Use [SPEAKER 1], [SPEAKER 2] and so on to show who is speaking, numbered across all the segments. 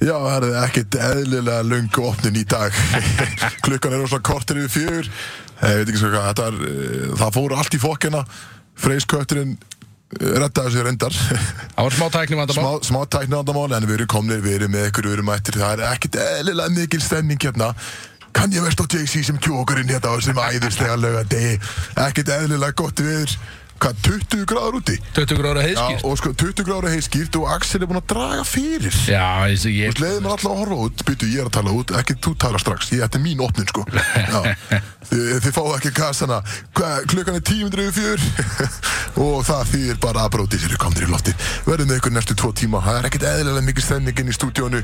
[SPEAKER 1] Já, það er ekkert eðlilega lungu opnin í dag Klukkan er svona kortir yfir fjögur Ég veit ekki svo hvað, þetta er eh, Það fór allt í fokkina Freyskötturinn reddaði sér endar
[SPEAKER 2] Það var smá tæknum að
[SPEAKER 1] Smá, smá tæknandamál, en við erum komnir Við erum með ykkur, við erum mættir Það er ekkert eðlilega mikil stemning hérna Kann ég verst á JC sem kjókurinn hérna á þessum æðislega laugadegi Ekkert eðlilega gott viður Hvað, 20 gráður úti?
[SPEAKER 2] 20 gráður
[SPEAKER 1] Já,
[SPEAKER 2] heiðskýrt
[SPEAKER 1] og sko, 20 gráður heiðskýrt og Axel er búinn að draga fyrir
[SPEAKER 2] Já, ég, ég,
[SPEAKER 1] Þú veist, leiðum við alltaf að horfa út, byttu ég er að tala út, ekki þú tala strax, ég, þetta er mín opnin sko. Já, þið, þið fáðu ekki kassana, Hva, klukkan er 10.04 og það þýðir bara að bróti sér komnir í lofti. Verðum með ykkur næstu tvo tíma, það er ekkert eðlilega mikið stemning inn í stúdíónu.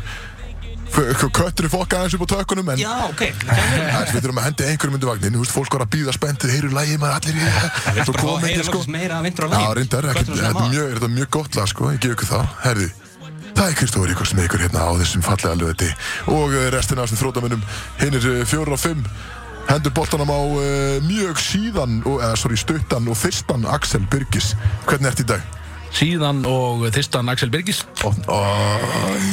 [SPEAKER 1] Köttur er fokka aðeins upp á tökunum en
[SPEAKER 3] Já, ok
[SPEAKER 1] Það er, við þurfum að henda einhverjum undir vagnin, þú veist, fólk var að býða spennt, þeir eru lægi, maður allir í það,
[SPEAKER 3] Bara fá að heyra loksins meira af vindur á
[SPEAKER 1] sko. Já,
[SPEAKER 3] lagi
[SPEAKER 1] reyndar, ekkert-
[SPEAKER 3] Kötturinn sem
[SPEAKER 1] þetta er
[SPEAKER 3] maður.
[SPEAKER 1] mjög, þetta er mjög gott lag, sko, ég gef ykkur það, herði. Það er Kristóður Ríkos með ykkur hérna á þessum fallega lögati og eh, restina af þessum þrótamönnum, hinn er fjórar og fimm, hendur boltanum á uh, mjög síðan, og, eða, sorry, stuttan og fyrstan Axel Byrgis. Hvernig ert í dag?
[SPEAKER 2] síðan og þyrstan Axel Birgis
[SPEAKER 1] Og, og,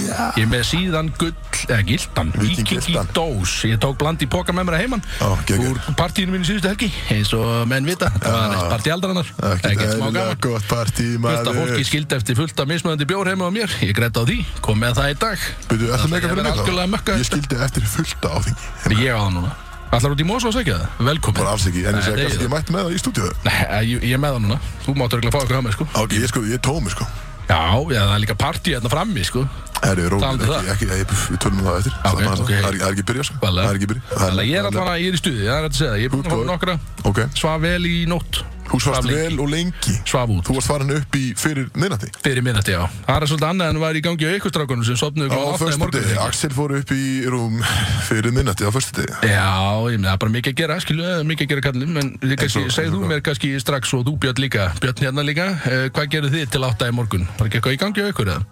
[SPEAKER 1] já,
[SPEAKER 2] Ég er með síðan gull, eða gildan
[SPEAKER 1] Víking
[SPEAKER 2] Víking í
[SPEAKER 1] gildan.
[SPEAKER 2] dós Ég tók bland í póka með mér að heiman
[SPEAKER 1] Ó, geggjað.
[SPEAKER 2] Úr partíinu mínu síðustu helgi Eins og menn vita, það var eitt partí aldarinnar
[SPEAKER 1] ekkert
[SPEAKER 2] Ekkert smá
[SPEAKER 1] eðlilega
[SPEAKER 2] gaman
[SPEAKER 1] gott partí,
[SPEAKER 2] Fullt af fólki sko.
[SPEAKER 1] maður.
[SPEAKER 2] skildi eftir fullt af mismöðandi bjór heima á mér Ég greitt á því, kom með það í dag
[SPEAKER 1] Byrju, ertu
[SPEAKER 2] Ætla
[SPEAKER 1] með
[SPEAKER 2] ég að
[SPEAKER 1] eitthvað
[SPEAKER 2] vera
[SPEAKER 1] fyrir mig
[SPEAKER 2] algjörlega
[SPEAKER 1] þá?
[SPEAKER 2] mökkaður.
[SPEAKER 1] Ég skildi eftir fullta á þingi,
[SPEAKER 2] En Ég á það núna Ætlar út í Mosó að segja það? Velkomin
[SPEAKER 1] bara alls ekki, en
[SPEAKER 2] Nei,
[SPEAKER 1] ég segi
[SPEAKER 2] nei,
[SPEAKER 1] kannski
[SPEAKER 2] ég-
[SPEAKER 1] ég mætti með það í stúdíu.
[SPEAKER 2] Nei, ég, ég er með það núna Þú mátt örgulega fá eitthvað hjá mér sko
[SPEAKER 1] Ok, ég sko, ég er tómi, sko.
[SPEAKER 2] Já, já, það er líka partí hérna frammi sko
[SPEAKER 1] Herri, rólir,
[SPEAKER 2] Talandi
[SPEAKER 1] ekki, ekki, ekki, við tölum um það eftir
[SPEAKER 2] Ok,
[SPEAKER 1] Slappa aðeins af.
[SPEAKER 2] ok.
[SPEAKER 1] Það er ekki- það er ekki byrja, sko
[SPEAKER 2] Varlega.
[SPEAKER 1] Það er ekki byrja
[SPEAKER 2] Þannig að ég er alltaf hana, ég er í stuði, það er hægt að segja það Ég er búinn að
[SPEAKER 1] Good
[SPEAKER 2] fá nokkra
[SPEAKER 1] Ok,
[SPEAKER 2] Svaf vel í nótt
[SPEAKER 1] þú
[SPEAKER 2] Svaf
[SPEAKER 1] svarst
[SPEAKER 2] lengi.
[SPEAKER 1] vel og lengi
[SPEAKER 2] Svaf út
[SPEAKER 1] Þú varst farin upp í fyrir minnati
[SPEAKER 2] Fyrir minnati, já Það er svolítið annað en var í gangi á ykkur strákunum sem sopnuðu
[SPEAKER 1] Á
[SPEAKER 2] klukkan átta í morgun
[SPEAKER 1] föstudegi, Axel fór upp í rúm fyrir minnati á föstudegi
[SPEAKER 2] Já, ég meina, það er bara mikið að gera, skilu, það er mikið að gera kallum En þið kannski,
[SPEAKER 1] Eins og-
[SPEAKER 2] segð
[SPEAKER 1] eins og-
[SPEAKER 2] þú mér kannski strax og þú Björn líka Björn hérna líka, uh, hvað gerðu þið til átta í morgun? Var ekki eitthvað í gangi á ykkur eða?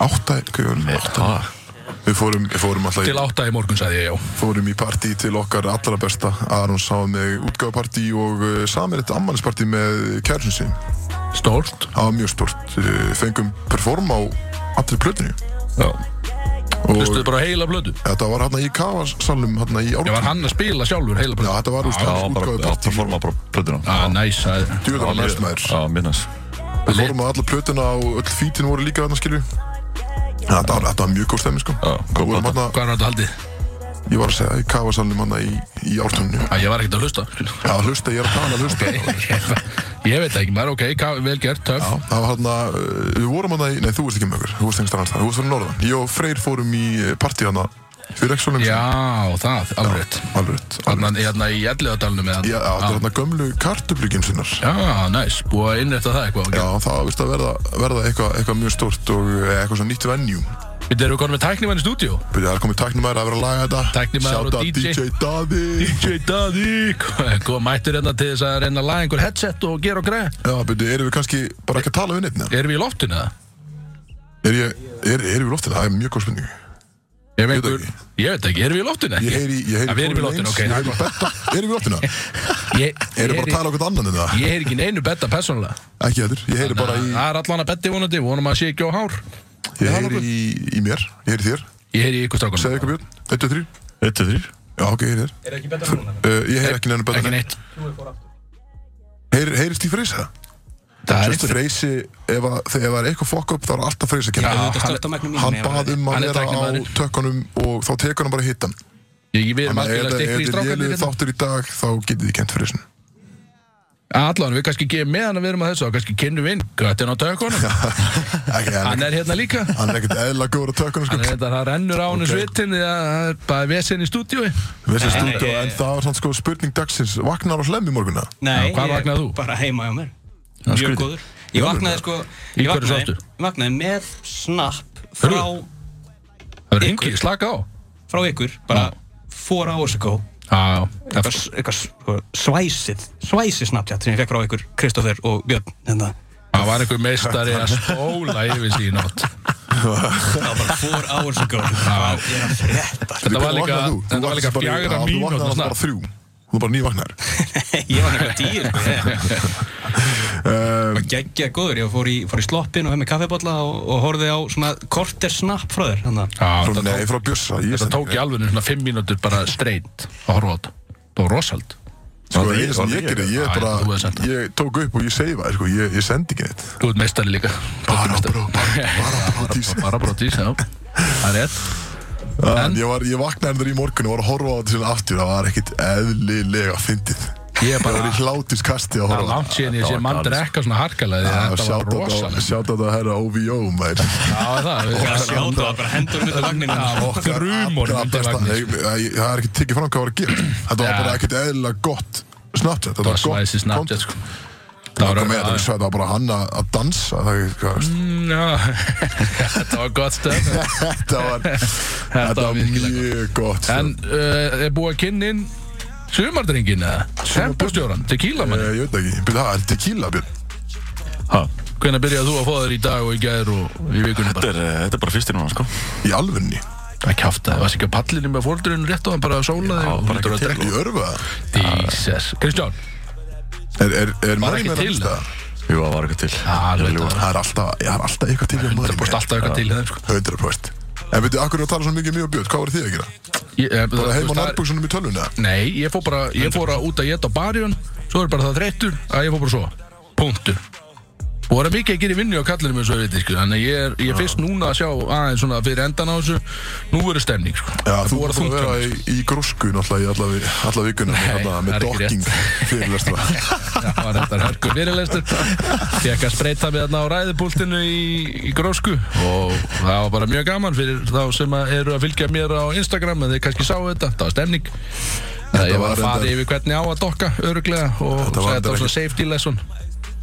[SPEAKER 1] Átta, hvað var það? Átta Við fórum, við fórum alltaf
[SPEAKER 2] Til
[SPEAKER 1] í,
[SPEAKER 2] átta í morgun, sagði ég, já
[SPEAKER 1] fórum í partí til okkar allra besta Aron sá með útgáfapartí og uh, samir þetta ammálispartí með kærsun sín
[SPEAKER 2] Stórt
[SPEAKER 1] Það var mjög stort uh, Fengum perform á allri plötunni
[SPEAKER 2] Já
[SPEAKER 1] Og-
[SPEAKER 2] Hlustuðu bara á heila blödu
[SPEAKER 1] Þetta var hérna í kafasalum hérna í
[SPEAKER 2] Ég
[SPEAKER 1] Ártúni.
[SPEAKER 2] var hann að spila sjálfur heila
[SPEAKER 1] Já,
[SPEAKER 2] blödu
[SPEAKER 1] þetta var úst
[SPEAKER 4] Já,
[SPEAKER 1] hans
[SPEAKER 4] bara
[SPEAKER 1] útgáðu
[SPEAKER 4] já,
[SPEAKER 1] partí
[SPEAKER 4] performa bara plötuna
[SPEAKER 2] Ah, næs, það er
[SPEAKER 1] Djúvel var
[SPEAKER 4] Já,
[SPEAKER 1] næst maður
[SPEAKER 4] Já, minnas
[SPEAKER 1] Við fórum að alla plötuna og öll fítin voru líka þarna skilju Þetta var, þetta var mjög góð stemmi sko
[SPEAKER 4] Já, góð
[SPEAKER 1] Við vorum
[SPEAKER 4] plata.
[SPEAKER 1] þarna-
[SPEAKER 2] Hvað er þetta haldið?
[SPEAKER 1] Ég var að segja, í kafasalum hérna í, í ártunni
[SPEAKER 2] Ah, ég var ekkert að hlusta skilu.
[SPEAKER 1] Já, hlusta, ég er að tala, hlusta
[SPEAKER 2] Ég veit það ekki, maður, ok, ka- vel gert, töff
[SPEAKER 1] Já, það var hérna, uh, við vorum hérna í, nei þú veist ekki með okkur, þú veist einhvers annars það, þú veist fyrir norðan Ég og Freyr fórum í partí hérna fyrir ekki svo lengi síðan.
[SPEAKER 2] Já, það, alveg
[SPEAKER 1] Alveg rétt, alveg rétt.
[SPEAKER 2] Þannig hérna í Elliðadalunum eða
[SPEAKER 1] Já, þetta er hérna gömlu kartöflugin sinnar
[SPEAKER 2] Já, næs, búið að innrætta það eitthvað okay.
[SPEAKER 1] Já, það vist að verða, verða eitthvað eitthva mjög stort og eh, eitthvað svona nýtt venjum
[SPEAKER 2] Við erum konum með tæknimann í stúdíu
[SPEAKER 1] Byrja, það er komið tæknumæður að vera að laga þetta
[SPEAKER 2] Tæknimaður og
[SPEAKER 1] Shout out
[SPEAKER 2] DJ.
[SPEAKER 1] DJ Daði
[SPEAKER 2] DJ Davík Góð mættur hérna til þess að reyna að laga einhver headset og gera og greið
[SPEAKER 1] Já, byrju, erum við kannski bara ekki að tala við neitt nefn?
[SPEAKER 2] Erum við í loftinu eða?
[SPEAKER 1] Er ég, er, erum við loftið? Það er mjög góð spurning
[SPEAKER 2] Ég
[SPEAKER 1] Ég veit
[SPEAKER 2] veit, ég veit ekki, erum við í loftinu
[SPEAKER 1] Ég
[SPEAKER 2] ekki?
[SPEAKER 1] heyri, ég heyri
[SPEAKER 2] Já, Við erum í
[SPEAKER 1] Colin
[SPEAKER 2] loftinu,
[SPEAKER 1] Eins,
[SPEAKER 2] ok
[SPEAKER 1] Ég heyri betta, erum við loftið? Erum bara að
[SPEAKER 2] Ég, ég, heyri,
[SPEAKER 1] tala okkur annan en það?
[SPEAKER 2] ég heyri ekki neinu betta persónulega
[SPEAKER 1] Ekki heldur, ég heyri bara í,
[SPEAKER 2] Það er allan að betti vonandi, vonum að sé ekki á hár
[SPEAKER 1] ég heyri í, í mér, ég heyri í þér
[SPEAKER 2] Ég heyri í ykkur strákunum
[SPEAKER 1] Segðu ykkur Björn, 1, 2, 3
[SPEAKER 4] Eitt til þrýr
[SPEAKER 1] Já, ok, ég heyri þér
[SPEAKER 3] Er ekki betra núna?
[SPEAKER 1] uh, Ég heyri ekki nefnum
[SPEAKER 2] Ekki
[SPEAKER 1] betta
[SPEAKER 2] neitt
[SPEAKER 1] Heyri, Heyrist í freysa?
[SPEAKER 2] Það er
[SPEAKER 1] Sérst
[SPEAKER 2] einhver
[SPEAKER 1] freysi, ef að- þegar það er eitthvað fokk upp þá er alltaf freysi að
[SPEAKER 2] Já,
[SPEAKER 1] kenna
[SPEAKER 3] Þetta stört á magnum
[SPEAKER 1] Hann bað um að
[SPEAKER 2] Hann er
[SPEAKER 1] vera á
[SPEAKER 2] tæknimaðurinn.
[SPEAKER 1] tökkunum og þá tekur hann bara hittan
[SPEAKER 2] Ég við erum
[SPEAKER 1] Þannig að
[SPEAKER 2] algjörlega
[SPEAKER 1] ef þetta
[SPEAKER 2] stikkri í hérna.
[SPEAKER 1] er
[SPEAKER 2] strákunum
[SPEAKER 1] lélið þáttur í dag þá getið þið kent freysin
[SPEAKER 2] Allan, við kannski gefum með hann að við erum að þessu og kannski kynnum við inn Göttin á tökunum
[SPEAKER 1] Ekki, hann
[SPEAKER 2] Hann
[SPEAKER 1] er
[SPEAKER 2] er hérna líka
[SPEAKER 1] Hann er ekkert eðla góður að tökuna sko
[SPEAKER 2] Hann er þetta, það rennur á hennu
[SPEAKER 1] Ok.
[SPEAKER 2] svitinn því að það er bara vesen í stúdíói
[SPEAKER 1] Við sem
[SPEAKER 3] Nei,
[SPEAKER 1] stúdíu
[SPEAKER 3] nei.
[SPEAKER 1] En það var svona sko spurning dagsins Vagnar og hlemm í morgunna
[SPEAKER 3] Nei,
[SPEAKER 2] Já, hvað
[SPEAKER 3] ég er
[SPEAKER 2] vaknaði þú?
[SPEAKER 3] Bara heima hjá mér
[SPEAKER 2] er
[SPEAKER 3] Mjög
[SPEAKER 2] skrítið.
[SPEAKER 3] góður Ég vaknaði sko
[SPEAKER 2] Í
[SPEAKER 3] Ég
[SPEAKER 2] hverju
[SPEAKER 3] vaknaði,
[SPEAKER 2] svafstu?
[SPEAKER 3] vaknaði með snapp frá,
[SPEAKER 2] Það er
[SPEAKER 3] Ykkur.
[SPEAKER 2] hengi, slaka á
[SPEAKER 3] frá ykkur Bara four hours ago
[SPEAKER 2] Já,
[SPEAKER 3] Eitthvað, s- eitthvað s- sko, svæsið Svæsið snapptjátt sem ég fekk frá ykkur Kristoffer og Björn hérna.
[SPEAKER 2] það var einhver meistari að spóla yfir sig í nótt
[SPEAKER 3] Það var bara four hours ago Hvað er að frétta?
[SPEAKER 2] Þetta var líka,
[SPEAKER 1] Vaknaði þú? Þú
[SPEAKER 2] þetta
[SPEAKER 1] vaknaðir
[SPEAKER 2] var líka
[SPEAKER 1] bara í- já,
[SPEAKER 2] fjagra
[SPEAKER 1] Þú
[SPEAKER 2] mínúta
[SPEAKER 1] vaknaði bara
[SPEAKER 2] snart
[SPEAKER 1] þrjú Þú er bara nývagnar
[SPEAKER 3] Ég var nefnilega dýr sko.
[SPEAKER 1] um,
[SPEAKER 3] geggja góður, ég fór í, fór í sloppin og hef með kaffibotla og, og horfði á svona korter snapp frá þér þannig að-
[SPEAKER 2] Já,
[SPEAKER 1] Frá,
[SPEAKER 2] þetta,
[SPEAKER 1] nei, frá Bjössa ég
[SPEAKER 2] þetta
[SPEAKER 1] sendi-
[SPEAKER 2] tók í alveg svona fimm mínútur bara streynt að horfa á þetta. Það var rosald.
[SPEAKER 1] Sko,
[SPEAKER 4] Var
[SPEAKER 1] ég,
[SPEAKER 4] það
[SPEAKER 1] sem
[SPEAKER 4] ég-
[SPEAKER 1] ég gerði, ég
[SPEAKER 2] Já,
[SPEAKER 1] bara
[SPEAKER 2] þú hefur sent það.
[SPEAKER 1] Ég tók upp og ég seifa, sko, ég, ég sendi ekki neitt
[SPEAKER 2] Þú ert meistari líka.
[SPEAKER 1] Bara bró- bara- bara brótis.
[SPEAKER 2] Bara brótis, já. Það er rétt.
[SPEAKER 1] En ég, var, ég vaknaði endur í morgun og var að horfa á þetta sinna aftur Það var ekkit eðlilega fyndið
[SPEAKER 2] Ég er
[SPEAKER 1] Ég
[SPEAKER 2] bara-
[SPEAKER 1] var í hlátis kasti að
[SPEAKER 2] Það
[SPEAKER 1] horfa
[SPEAKER 2] er
[SPEAKER 1] á
[SPEAKER 2] langt síðan ég
[SPEAKER 4] Þetta
[SPEAKER 2] sé
[SPEAKER 4] var
[SPEAKER 2] mann
[SPEAKER 4] galið,
[SPEAKER 2] drekka svona harkalega því að
[SPEAKER 1] þetta
[SPEAKER 2] þetta var rosalegt.
[SPEAKER 1] Sjátt á þetta að herra OVO, mær
[SPEAKER 2] Já, það
[SPEAKER 3] að
[SPEAKER 2] er
[SPEAKER 3] sjá það var bara hendur undir vagninu
[SPEAKER 2] það. Grumor
[SPEAKER 1] Allra
[SPEAKER 2] undir
[SPEAKER 1] besta-
[SPEAKER 2] vagnir.
[SPEAKER 1] Nei, nei, Það er ekki tekið fram hvað var að gera Þetta var
[SPEAKER 2] Já.
[SPEAKER 1] bara ekkert eðlilega gott Snapchat, þetta
[SPEAKER 2] Það var
[SPEAKER 1] var gott
[SPEAKER 2] svæsið Snapchat,
[SPEAKER 1] content.
[SPEAKER 2] sko.
[SPEAKER 1] Það var,
[SPEAKER 2] var-
[SPEAKER 1] með,
[SPEAKER 2] já,
[SPEAKER 1] það, það var bara hann að að dansa það, er- hvað, veist,
[SPEAKER 2] Mm, já. Þetta var gott stöð.
[SPEAKER 1] Þetta var,
[SPEAKER 2] var
[SPEAKER 1] þetta var
[SPEAKER 2] virkilega
[SPEAKER 1] mjög gott sko.
[SPEAKER 2] En uh, er búið að kynna inn sumardrengin eða? Tempostjóran, tequila
[SPEAKER 1] Eh,
[SPEAKER 2] manni.
[SPEAKER 1] Ég veit ekki, byrja, það er tequila björn
[SPEAKER 4] Ha,
[SPEAKER 2] Hvernig byrjaði þú að fá þér í dag og í gæðir og í vikunum
[SPEAKER 4] þetta,
[SPEAKER 2] bara?
[SPEAKER 4] er, eh, þetta er bara fyrst í núna sko
[SPEAKER 1] Í alvunni,
[SPEAKER 2] Það kjáfti það, það varst ekki á pallinu með fóldurinn rétt og hann bara sólaði
[SPEAKER 4] Já,
[SPEAKER 2] og
[SPEAKER 4] bara
[SPEAKER 2] hundur að
[SPEAKER 4] ekki
[SPEAKER 2] drekka.
[SPEAKER 1] í örfa
[SPEAKER 2] Jesus. Kristján,
[SPEAKER 1] Er, er, er
[SPEAKER 2] Var
[SPEAKER 1] Marín
[SPEAKER 2] ekki
[SPEAKER 1] með
[SPEAKER 2] til
[SPEAKER 1] rafsta?
[SPEAKER 4] Jú, það var eitthvað til
[SPEAKER 2] það er
[SPEAKER 4] ljúga.
[SPEAKER 2] þetta.
[SPEAKER 1] Það er alltaf, það er alltaf eitthvað til um
[SPEAKER 2] Það er
[SPEAKER 1] Marín
[SPEAKER 2] búið alltaf eitthvað til þeim, sko.
[SPEAKER 1] 100% En veitu, akkur er að tala svona mikið mjög björn, hvað voru þið að gera?
[SPEAKER 2] Ég- eh, þú
[SPEAKER 1] Bara
[SPEAKER 2] veist,
[SPEAKER 1] heima á
[SPEAKER 2] það er-
[SPEAKER 1] nærbuksunum í tölvuna?
[SPEAKER 2] Nei, ég fór bara, ég fór að út að geta á barjun Svo er bara það þreyttur að ég fór bara svo Punktur Og það er mikið að gera í vinnu á kallinu eins og við veitir sko Þannig að ég er, ég er fyrst núna að sjá aðeins svona fyrir endan á þessu Nú verður stemning sko
[SPEAKER 1] Já,
[SPEAKER 2] Það
[SPEAKER 1] þú
[SPEAKER 2] búið að
[SPEAKER 1] voru að
[SPEAKER 2] þungt hjá
[SPEAKER 1] vera
[SPEAKER 2] mér,
[SPEAKER 1] í, í grósku náttúrulega í alla, vi- alla vikuna
[SPEAKER 2] Nei, það
[SPEAKER 1] með
[SPEAKER 2] er ekki
[SPEAKER 1] docking fyrirlestra
[SPEAKER 2] sko. Það var þetta hörku fyrirlestur Fekk að spreita mig þarna á ræðupúltinu í, í grósku Og það var bara mjög gaman fyrir þá sem að eru að fylgja mér á Instagram En þið kannski sáu þetta, það var stemning Það
[SPEAKER 1] var
[SPEAKER 2] ég var að fara
[SPEAKER 1] reyndar-
[SPEAKER 2] yfir hvernig á að dokka öruglega og
[SPEAKER 1] Þetta var
[SPEAKER 2] sagði þetta
[SPEAKER 1] reyndar
[SPEAKER 2] var svona
[SPEAKER 1] ekki-
[SPEAKER 2] safety lesson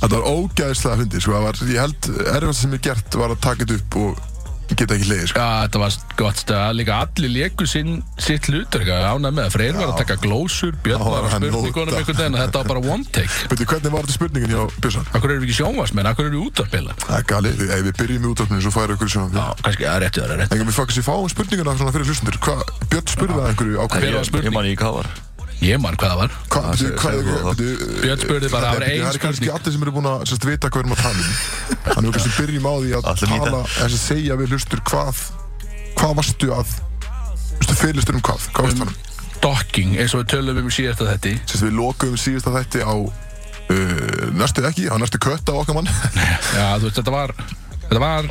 [SPEAKER 1] Þetta var ógæðislega fyndið, sko, það var, ég held erfast sem ég gert var að taka þetta upp og geta ekki leiði, sko
[SPEAKER 2] Já, þetta var gott stöða, líka allir leiku sinn, sitt hlutur, ánað með að Freyr var að taka glósur, Björn
[SPEAKER 1] Já,
[SPEAKER 2] var að
[SPEAKER 1] hann
[SPEAKER 2] spurningunum
[SPEAKER 1] nota.
[SPEAKER 2] einhvern veginn, þetta var bara one take.
[SPEAKER 1] Veitu, hvernig var þetta spurningin hjá Björnsson?
[SPEAKER 2] Akkur eru við ekki sjónvarsmenn, akkur eru við útarpilla?
[SPEAKER 1] Það er galið, ef við byrjum í útvarpinu svo færi okkur sem
[SPEAKER 2] Já, kannski, það er réttið, það er réttið.
[SPEAKER 1] En við fáum fáum spurninguna svona fyrir hlustundur Hvað, Björn spurði það einhverju
[SPEAKER 2] Hver
[SPEAKER 1] ákveð
[SPEAKER 2] var
[SPEAKER 4] Ég,
[SPEAKER 2] spurning?
[SPEAKER 4] ég man ekki hvað var
[SPEAKER 2] Ég man hvað það var.
[SPEAKER 1] Hvað,
[SPEAKER 4] það
[SPEAKER 1] betur,
[SPEAKER 4] segir-
[SPEAKER 1] hvað,
[SPEAKER 4] segir þú það.
[SPEAKER 1] betur
[SPEAKER 2] Björn spurði bara, það var
[SPEAKER 1] Það
[SPEAKER 2] ein
[SPEAKER 1] er kannski
[SPEAKER 2] spurning.
[SPEAKER 1] allir sem eru búin að sérst, vita hvað við erum að tala um Þannig við kannski byrjum á því að
[SPEAKER 4] Allir nýta.
[SPEAKER 1] tala Þess að segja við hlustur hvað Hvað varstu að Vistu, fyrirlistur um hvað, hvað varstu að tala um
[SPEAKER 2] Docking, eins og við tölum um í síðasta þetta.
[SPEAKER 1] Sérst, við lokuðum síðasta þætti á uh, Næstu ekki, á næstu kötta á okkar mann
[SPEAKER 2] Já, þú veist, þetta var, þetta var,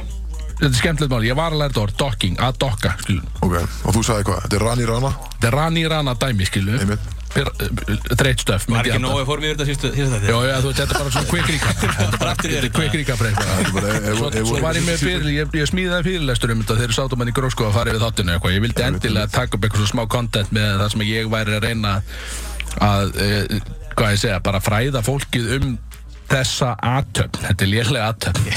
[SPEAKER 2] þetta er skemmtilegt mál, ég var að læra þetta orð, docking, að dokka, skilum.
[SPEAKER 1] Ok, og þú sagði hvað, þetta er Rani Rana
[SPEAKER 2] Þetta er rani rana dæmi, skilum.
[SPEAKER 1] Einmitt.
[SPEAKER 2] Dreitt stöf,
[SPEAKER 3] var ekki nógu að fór mér þetta síðustu síðustu þetta
[SPEAKER 2] Já, já, þú veist, þetta er bara svona quick recap Þetta er bara aftur í þetta Quick recap
[SPEAKER 1] er bara- ef-
[SPEAKER 2] reyna
[SPEAKER 1] ef-
[SPEAKER 2] Svo
[SPEAKER 1] ef-
[SPEAKER 2] svo
[SPEAKER 1] ef-
[SPEAKER 2] var ég með
[SPEAKER 1] ef-
[SPEAKER 2] fyrir, ég, ég smíðaði fyrirlestur um þetta þegar sátum hann í grósku að fara yfir þáttinu eitthvað Ég vildi endilega taka upp eitthvað svona smá content með það sem ég væri að reyna að, e, hvað ég segja, bara fræða fólkið um þessa aðtöfn, þetta er lélega aðtöfn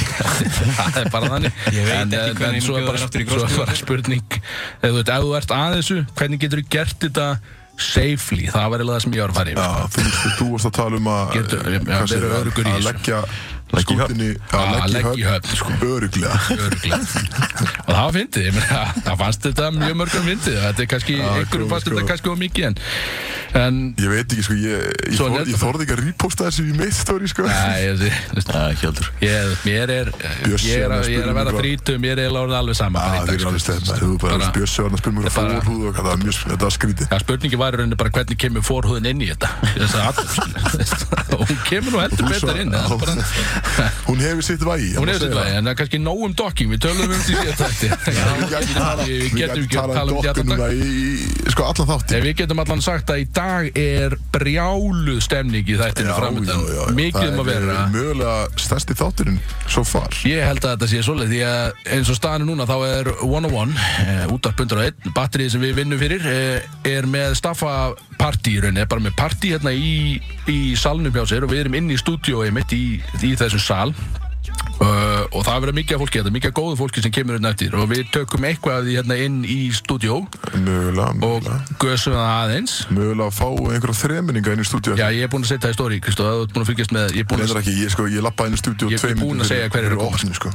[SPEAKER 2] það er bara þannig
[SPEAKER 3] Ég veit
[SPEAKER 2] en,
[SPEAKER 3] ekki
[SPEAKER 2] eh,
[SPEAKER 3] hvenær
[SPEAKER 2] en
[SPEAKER 3] ég
[SPEAKER 2] svo er
[SPEAKER 3] bjóð
[SPEAKER 2] bara,
[SPEAKER 3] þér aftur í
[SPEAKER 2] svo er
[SPEAKER 3] grósku.
[SPEAKER 2] bara spurning eða þú veit, ef þú ert að þessu hvernig getur þú gert þetta safely, það var eiginlega það sem ég var að fara yfir
[SPEAKER 1] Já, þú, þú varst að tala um að
[SPEAKER 2] Getur- já,
[SPEAKER 1] hvað
[SPEAKER 2] vera
[SPEAKER 1] segirðu, að-
[SPEAKER 2] öruggur í
[SPEAKER 1] að
[SPEAKER 2] þessu.
[SPEAKER 1] leggja
[SPEAKER 4] Leggja í höfn.
[SPEAKER 1] skútinni
[SPEAKER 2] Já,
[SPEAKER 1] að
[SPEAKER 2] leggja í
[SPEAKER 1] leggja í
[SPEAKER 2] höfn, sko.
[SPEAKER 1] höfn öruglega
[SPEAKER 2] Örugglega. og það var fyndið, ég meina, það fannst þetta mjög mörgum fyndið, þetta er kannski, einhverjum
[SPEAKER 1] sko,
[SPEAKER 2] fannst
[SPEAKER 1] sko.
[SPEAKER 2] þetta kannski of mikið en, en,
[SPEAKER 1] Ég veit ekki sko, ég, ég,
[SPEAKER 2] Svo er
[SPEAKER 1] þor,
[SPEAKER 2] þetta
[SPEAKER 1] ég þorði ekki að reposta þessu í mitt stóri sko
[SPEAKER 2] næ, ég, þú veist,
[SPEAKER 4] Nei, ekki heldur
[SPEAKER 2] ég, mér er,
[SPEAKER 1] Bjössi
[SPEAKER 2] ég er,
[SPEAKER 1] var
[SPEAKER 2] að-
[SPEAKER 1] að
[SPEAKER 2] ég er að vera
[SPEAKER 1] spurningu.
[SPEAKER 2] þrítum, mér er eiginlega orðið alveg sama
[SPEAKER 1] Það er alveg stefna, þú bara spjössi var hann að spyrja mér
[SPEAKER 2] sko. Þetta er bara-
[SPEAKER 1] fórhúð og hvað, það var mjög, þetta var skrítið
[SPEAKER 2] Já, spurningi var í rauninni bara hvernig kemur forhúðin inn í þetta þess að aðtöfn og hún kemur nú heldur
[SPEAKER 1] Hún
[SPEAKER 2] betur
[SPEAKER 1] svo-
[SPEAKER 2] inn það er bara,
[SPEAKER 1] Hún hefur sitt vægi
[SPEAKER 2] hún hefur þetta vegi, en það er kannski nóg um docking, við tölum um því síðan þetta
[SPEAKER 1] Við
[SPEAKER 2] við getum
[SPEAKER 1] getum
[SPEAKER 2] ekki að
[SPEAKER 1] talað
[SPEAKER 2] tala
[SPEAKER 1] um
[SPEAKER 2] um þetta
[SPEAKER 1] dottið
[SPEAKER 2] dag
[SPEAKER 1] núna í, í sko allan þátti
[SPEAKER 2] Nei, við getum allan sagt að í dag er brjáluð stemning í þættinu framöndan. Mikið um að vera.
[SPEAKER 1] Það er eh, mögulega stærsti þátturinn svo far
[SPEAKER 2] Ég held að þetta sé svolítið því að eins og staðan er núna þá er 101, eh, útarp 101, batterið sem við vinnum fyrir, eh, er með staffapartí í rauninni, er bara með partí hérna í, í salnum hjá sér og við erum inn í stúdíói mitt í, í þessum sal. Uh, og það verður mikið af fólki þetta, mikið af góðu fólki sem kemur hérna eftir og við tökum eitthvað af því hérna inn í stúdíó
[SPEAKER 1] Mögulega,
[SPEAKER 2] og
[SPEAKER 1] mögulega
[SPEAKER 2] gösum það aðeins
[SPEAKER 1] Mögulega að fá einhverja þremenninga inn í stúdíu
[SPEAKER 2] Já, ég er búinn að setja það í stóri, Kristof, þú ert búinn að fylgjast með, ég er búinn að,
[SPEAKER 1] Reyndar ekki, ég, sko, ég lappa inn í stúdíu
[SPEAKER 2] Ég- ég er búinn að segja hverjir eru að koma.
[SPEAKER 1] opnum, sko.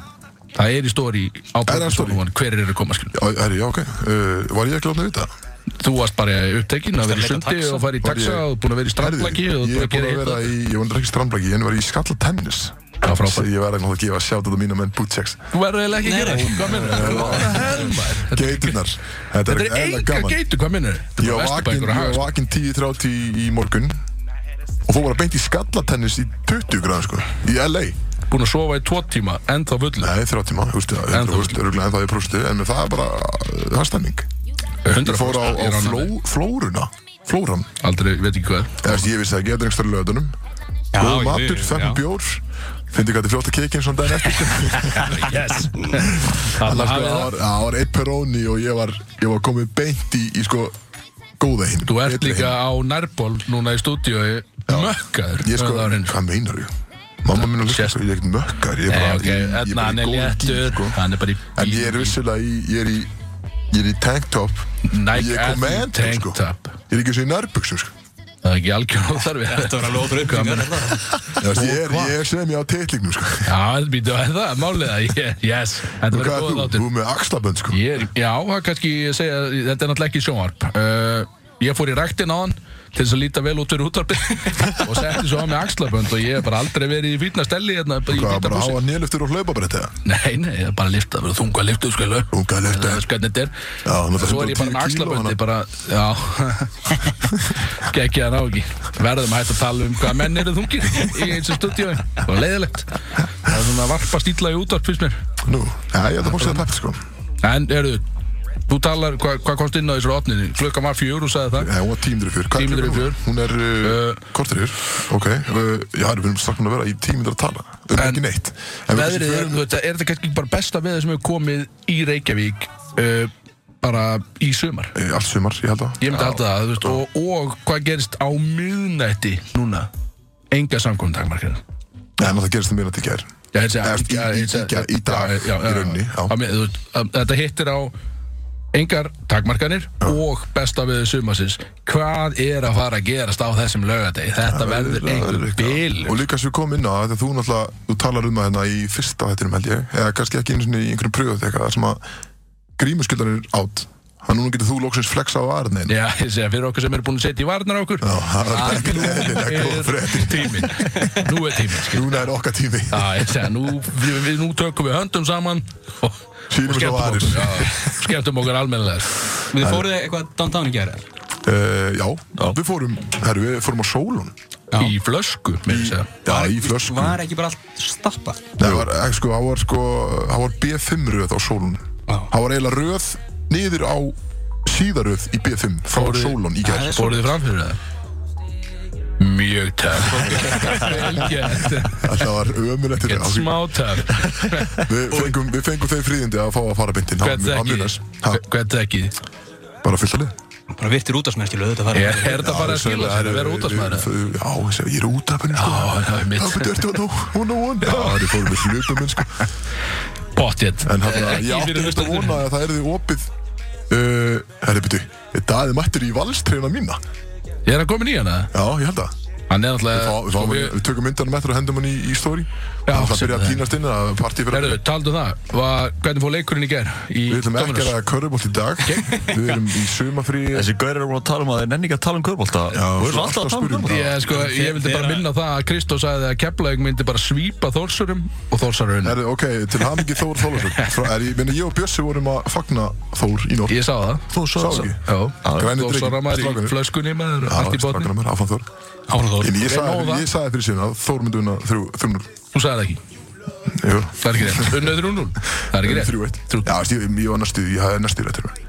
[SPEAKER 2] það er í stóri á
[SPEAKER 1] það í story?
[SPEAKER 2] Bókastónum, hver er að koma, skil.
[SPEAKER 1] Já, herri, já, ok. Uh, var ég ekki látað að vita?
[SPEAKER 2] Þú varst bara upptekinn að vera í
[SPEAKER 3] Varstu að leika
[SPEAKER 2] sundi
[SPEAKER 3] taxa?
[SPEAKER 2] og fara í
[SPEAKER 1] Var
[SPEAKER 2] taxa
[SPEAKER 1] ég-
[SPEAKER 2] og búinn að vera í strandlaki
[SPEAKER 1] Herri,
[SPEAKER 2] og
[SPEAKER 1] ég er
[SPEAKER 2] búinn að
[SPEAKER 1] búinn
[SPEAKER 2] gera
[SPEAKER 1] að vera
[SPEAKER 2] eitthvað.
[SPEAKER 1] í, ég var ekki strandblæki, en var í skalla tennis.
[SPEAKER 2] Já, frábært.
[SPEAKER 1] Ég verði náttúrulega að gefa sjátt á mínu menn Butcheks
[SPEAKER 2] Þú verður eiginlega ekki að gera
[SPEAKER 3] Nei,
[SPEAKER 2] það. Hvað minnur þau? Hvað er helmar?
[SPEAKER 1] Geiturnar Þetta er
[SPEAKER 2] Þetta er
[SPEAKER 1] eða
[SPEAKER 2] enga
[SPEAKER 1] gaman
[SPEAKER 2] geitur, hvað minnur þau?
[SPEAKER 1] Ég var vakinn- ég var vakinn
[SPEAKER 2] sko.
[SPEAKER 1] 10.30 í- í morgun Og þú var að beint í skallatennis í 20 gráðum sko Í LA
[SPEAKER 2] Búin að sofa í tvo tíma, ennþá fullu.
[SPEAKER 1] Nei, 30 mann, þú veist það
[SPEAKER 2] Ennþá
[SPEAKER 1] Þú veist, örgulega ennþá ég prústu En það er bara, það er stemning Ég
[SPEAKER 2] 100%
[SPEAKER 1] fór á, á
[SPEAKER 2] ég er ánægður.
[SPEAKER 1] fló, flóruna Flóran
[SPEAKER 2] Aldrei, veit ekki hvað.
[SPEAKER 1] Eða, þú veist, Ég vissi það ekki, þetta er einhverstað löðunum
[SPEAKER 3] Já,
[SPEAKER 1] Góð
[SPEAKER 3] ég-
[SPEAKER 1] matur,
[SPEAKER 3] já.
[SPEAKER 1] fengur bjór Fyndi hvað þið fljótt að keikinn svona um daginn eftir
[SPEAKER 2] Yes.
[SPEAKER 1] Þannig
[SPEAKER 2] Þannig
[SPEAKER 1] að sko, það var, það var eitt peróni og ég var, ég var komið beint í, í sko góða hinn.
[SPEAKER 2] Þú ert líka á nærból núna í stúdíói mökkaður.
[SPEAKER 1] Ég sko,
[SPEAKER 2] Það var hinn.
[SPEAKER 1] hvað meinar ég? Mamma mín að hlusta,
[SPEAKER 2] Sést-
[SPEAKER 1] sko, ég er ekkert mökkar, ég er
[SPEAKER 2] Nei,
[SPEAKER 1] bara,
[SPEAKER 2] ok,
[SPEAKER 1] Eh, ég, ég er
[SPEAKER 2] Edna,
[SPEAKER 1] bara
[SPEAKER 2] hann
[SPEAKER 1] í
[SPEAKER 2] er
[SPEAKER 1] góðum gýr,
[SPEAKER 2] léttur,
[SPEAKER 1] sko.
[SPEAKER 2] hann er bara í
[SPEAKER 1] En ég er vissulega í, ég er í, ég er í tanktop, ég
[SPEAKER 2] Nike
[SPEAKER 1] er
[SPEAKER 2] Athlete
[SPEAKER 1] komendum,
[SPEAKER 2] Tank
[SPEAKER 1] sko.
[SPEAKER 2] Top.
[SPEAKER 1] Ég er ekki eins og í nærbuksu, sko.
[SPEAKER 2] Það er ekki algjörn óþarfi.
[SPEAKER 3] Þetta var alveg ótrúið upplýsingar
[SPEAKER 1] Ég, veist, ég er, ég er sem ég á titlingnum, sko.
[SPEAKER 2] Já, þetta býtu að það, málið það, Ég- yes, þetta
[SPEAKER 1] Og
[SPEAKER 2] verður
[SPEAKER 1] hvað
[SPEAKER 2] góða
[SPEAKER 1] er þú?
[SPEAKER 2] þáttur.
[SPEAKER 1] Þú er með axlabönd, sko.
[SPEAKER 2] Ég er, já, það er kannski að segja, þetta er náttúrulega ekki sjónvarp. Uh, ég fór í ræktin á hann til þess að líta vel út fyrir útvarpi og setti svo á mig axlabönd og ég hef bara aldrei verið í fýtna stelli hérna bara í
[SPEAKER 1] Hvað,
[SPEAKER 2] fýtna
[SPEAKER 1] bara að
[SPEAKER 2] bussi.
[SPEAKER 1] háa nýluftur og hlaupabrætt, eða?
[SPEAKER 2] Nei, nei, það er bara liftað, það verður þunga liftað, sko, lög.
[SPEAKER 1] Þunga lyftu.
[SPEAKER 2] Það er hvernig þetta er.
[SPEAKER 1] Já, náttúrulega
[SPEAKER 2] Svo er ég bara
[SPEAKER 1] 110
[SPEAKER 2] með
[SPEAKER 1] kíló
[SPEAKER 2] axlaböndi,
[SPEAKER 1] hana.
[SPEAKER 2] bara, já, geggja það ná ekki. Verðum að hætta að tala um hvað menn eru þungir í eins og stúdíói. Það var leiðilegt. Það er svona varpa stíla í útvarp, finnst mér.
[SPEAKER 1] Nú, já, ég ætla að fá sér að peppa, sko.
[SPEAKER 2] En, eru, þú talar, hva, hvað komst inn á þessu rotninu? Klukkan var fjör og sagði það.
[SPEAKER 1] Nei, hún var tímindur í fjör. Hvað er
[SPEAKER 2] Tímínútur í
[SPEAKER 1] klukkan?
[SPEAKER 2] fjör.
[SPEAKER 1] Hún er uh, kortir í fjör. Ok, uh, já, við erum strax búin að vera í tímindur að tala. Um
[SPEAKER 2] En-
[SPEAKER 1] ekki neitt. En við
[SPEAKER 2] Veðrið,
[SPEAKER 1] kannski
[SPEAKER 2] er,
[SPEAKER 1] förum-
[SPEAKER 2] þú veit, er þetta kannski bara besta veður sem hefur komið í Reykjavík uh, bara í sömar?
[SPEAKER 1] Eh, Allt sumar, ég held að.
[SPEAKER 2] um Ég myndi halda það, þú veist, og, og hvað gerist á miðnætti núna? Enga samkominn takmarkina.
[SPEAKER 1] Nei, en það gerist það meira til gær.
[SPEAKER 2] Já, ég segi-
[SPEAKER 1] Eða, í-
[SPEAKER 2] já, ég
[SPEAKER 1] í- í-
[SPEAKER 2] segi-
[SPEAKER 1] í- í dag,
[SPEAKER 2] já, já,
[SPEAKER 1] í rauninni, já.
[SPEAKER 2] Á mið- þú veist, að- Þetta hittir á engar takmarkanir og besta við sumasins hvað er að fara að gerast á þessum lögadegi þetta verður einhver bil
[SPEAKER 1] Og líka sem við komum inn á þetta, þú náttúrulega, þú talar um það hérna í fyrsta þettinum held ég, eða kannski ekki einu sinni í einhverjum pröfut eitthvað, þar sem að grímuskyldan er átt. Þannig núna getur þú lóksins flexa á varnin.
[SPEAKER 2] Já, ég segja fyrir okkur sem eru búin að setja í varnar á okkur
[SPEAKER 1] Já, það er ekki eðlilega góð
[SPEAKER 2] Nú er
[SPEAKER 1] fréttir.
[SPEAKER 2] tíminn Nú er tíminn skil.
[SPEAKER 1] Núna er okkar tími.
[SPEAKER 2] Já, ég segja, nú, við, við, nú tökum við höndum saman og,
[SPEAKER 1] Sýnum
[SPEAKER 2] og
[SPEAKER 1] þessu
[SPEAKER 2] skemmtum
[SPEAKER 1] varir.
[SPEAKER 2] okkur já, Skemmtum okkur almennilega
[SPEAKER 3] Við fóruð þið eitthvað downtown í gera
[SPEAKER 1] Uh, já, við fórum, herru, við fórum á sólun.
[SPEAKER 2] Í flösku, með þess að
[SPEAKER 1] Já, í flösku.
[SPEAKER 3] Var ekki bara allt stappað
[SPEAKER 1] Nei, það var, ekki, sko, það var, sko, það var B5 röð á sólun
[SPEAKER 3] Já.
[SPEAKER 1] Það var eiginlega röð niður á síðaröð í B5 frá
[SPEAKER 2] Fóruð-
[SPEAKER 1] sólun í
[SPEAKER 3] Já,
[SPEAKER 1] gær
[SPEAKER 3] það er svo-
[SPEAKER 2] Fóruð þið fram fyrir það? Mjög töf Vel gert
[SPEAKER 1] Það var ömulegt
[SPEAKER 2] Gett smá töf
[SPEAKER 1] við, fengum, við fengum þau fríðindi að fá að fara beintinn
[SPEAKER 2] Hvert ekki Hvert ekki
[SPEAKER 1] Bara fyllt að lið
[SPEAKER 3] Bara virtir útastmennskjölu auðvitað
[SPEAKER 2] Er
[SPEAKER 3] fara
[SPEAKER 2] er þetta bara að skila sér að vera út af smæður?
[SPEAKER 1] Já, ég segi, ég er út af henni sko
[SPEAKER 2] Já, það er mitt.
[SPEAKER 1] Það betur eftir að þú, hún og hún Já, það er fórum við hlupum henni sko
[SPEAKER 2] Pottjett
[SPEAKER 1] En hann, ég
[SPEAKER 2] hérna. Ekki
[SPEAKER 1] átti
[SPEAKER 2] fyrir
[SPEAKER 1] þetta að
[SPEAKER 2] hlustendur.
[SPEAKER 1] vona að það erði opið Uh, herri, byrju, daði mættur í valstreina mína
[SPEAKER 2] Ég er að koma í hana
[SPEAKER 1] Já, ég held að
[SPEAKER 2] Hann
[SPEAKER 1] Fá,
[SPEAKER 2] er náttúrulega
[SPEAKER 1] við,
[SPEAKER 2] sko,
[SPEAKER 1] fáum,
[SPEAKER 2] við-
[SPEAKER 1] við, við tökum myndanum eftir og hendum hann í, í story
[SPEAKER 2] Já,
[SPEAKER 1] Það
[SPEAKER 2] setjum
[SPEAKER 1] byrja að
[SPEAKER 2] það.
[SPEAKER 1] pínast inn að partí fyrir
[SPEAKER 2] Herðu, taldu um það Var, Hvernig fór leikurinn í ger?
[SPEAKER 1] Við ætlum ekki að ræða körfubolt í dag Við erum í sumafrí
[SPEAKER 4] Þessi gaurir eru búin að tala um að þeir nenni ekki að tala um körbólta
[SPEAKER 1] Já,
[SPEAKER 4] og
[SPEAKER 1] svo
[SPEAKER 4] eru alltaf að tala um
[SPEAKER 1] alltaf
[SPEAKER 4] körbólta
[SPEAKER 2] Ég, sko, ég vildi bara minna á það að Kristó sagði að Keflavík myndi bara svípa Þórsurum og Þórsarum
[SPEAKER 1] Herðu, ok, til hamingi Þór Þólasson Er ég, minna, ég og Bjössi vorum að fagna Þór í nótt
[SPEAKER 2] Ég sá það
[SPEAKER 1] Þú sá ekki
[SPEAKER 2] Já,
[SPEAKER 1] Græni
[SPEAKER 2] Þórsara maður í
[SPEAKER 1] drikki
[SPEAKER 2] flöskunni maður allt í botni
[SPEAKER 1] Strákanar, áfram Þór
[SPEAKER 3] Árnþór
[SPEAKER 1] En ég
[SPEAKER 2] Ok,
[SPEAKER 1] sagði
[SPEAKER 2] nóg það.
[SPEAKER 1] ég sagði fyrir síðan að Þór myndi unna þrjúnur
[SPEAKER 2] Þú sagði það ekki,
[SPEAKER 1] Jú
[SPEAKER 2] það er ekki rétt Unnað 3-0, það er ekki rétt
[SPEAKER 1] Þrjú eitt
[SPEAKER 2] Þrjú-
[SPEAKER 1] Já, veist, ég ég var næstu, ég hafði næstu rétt fyrir mig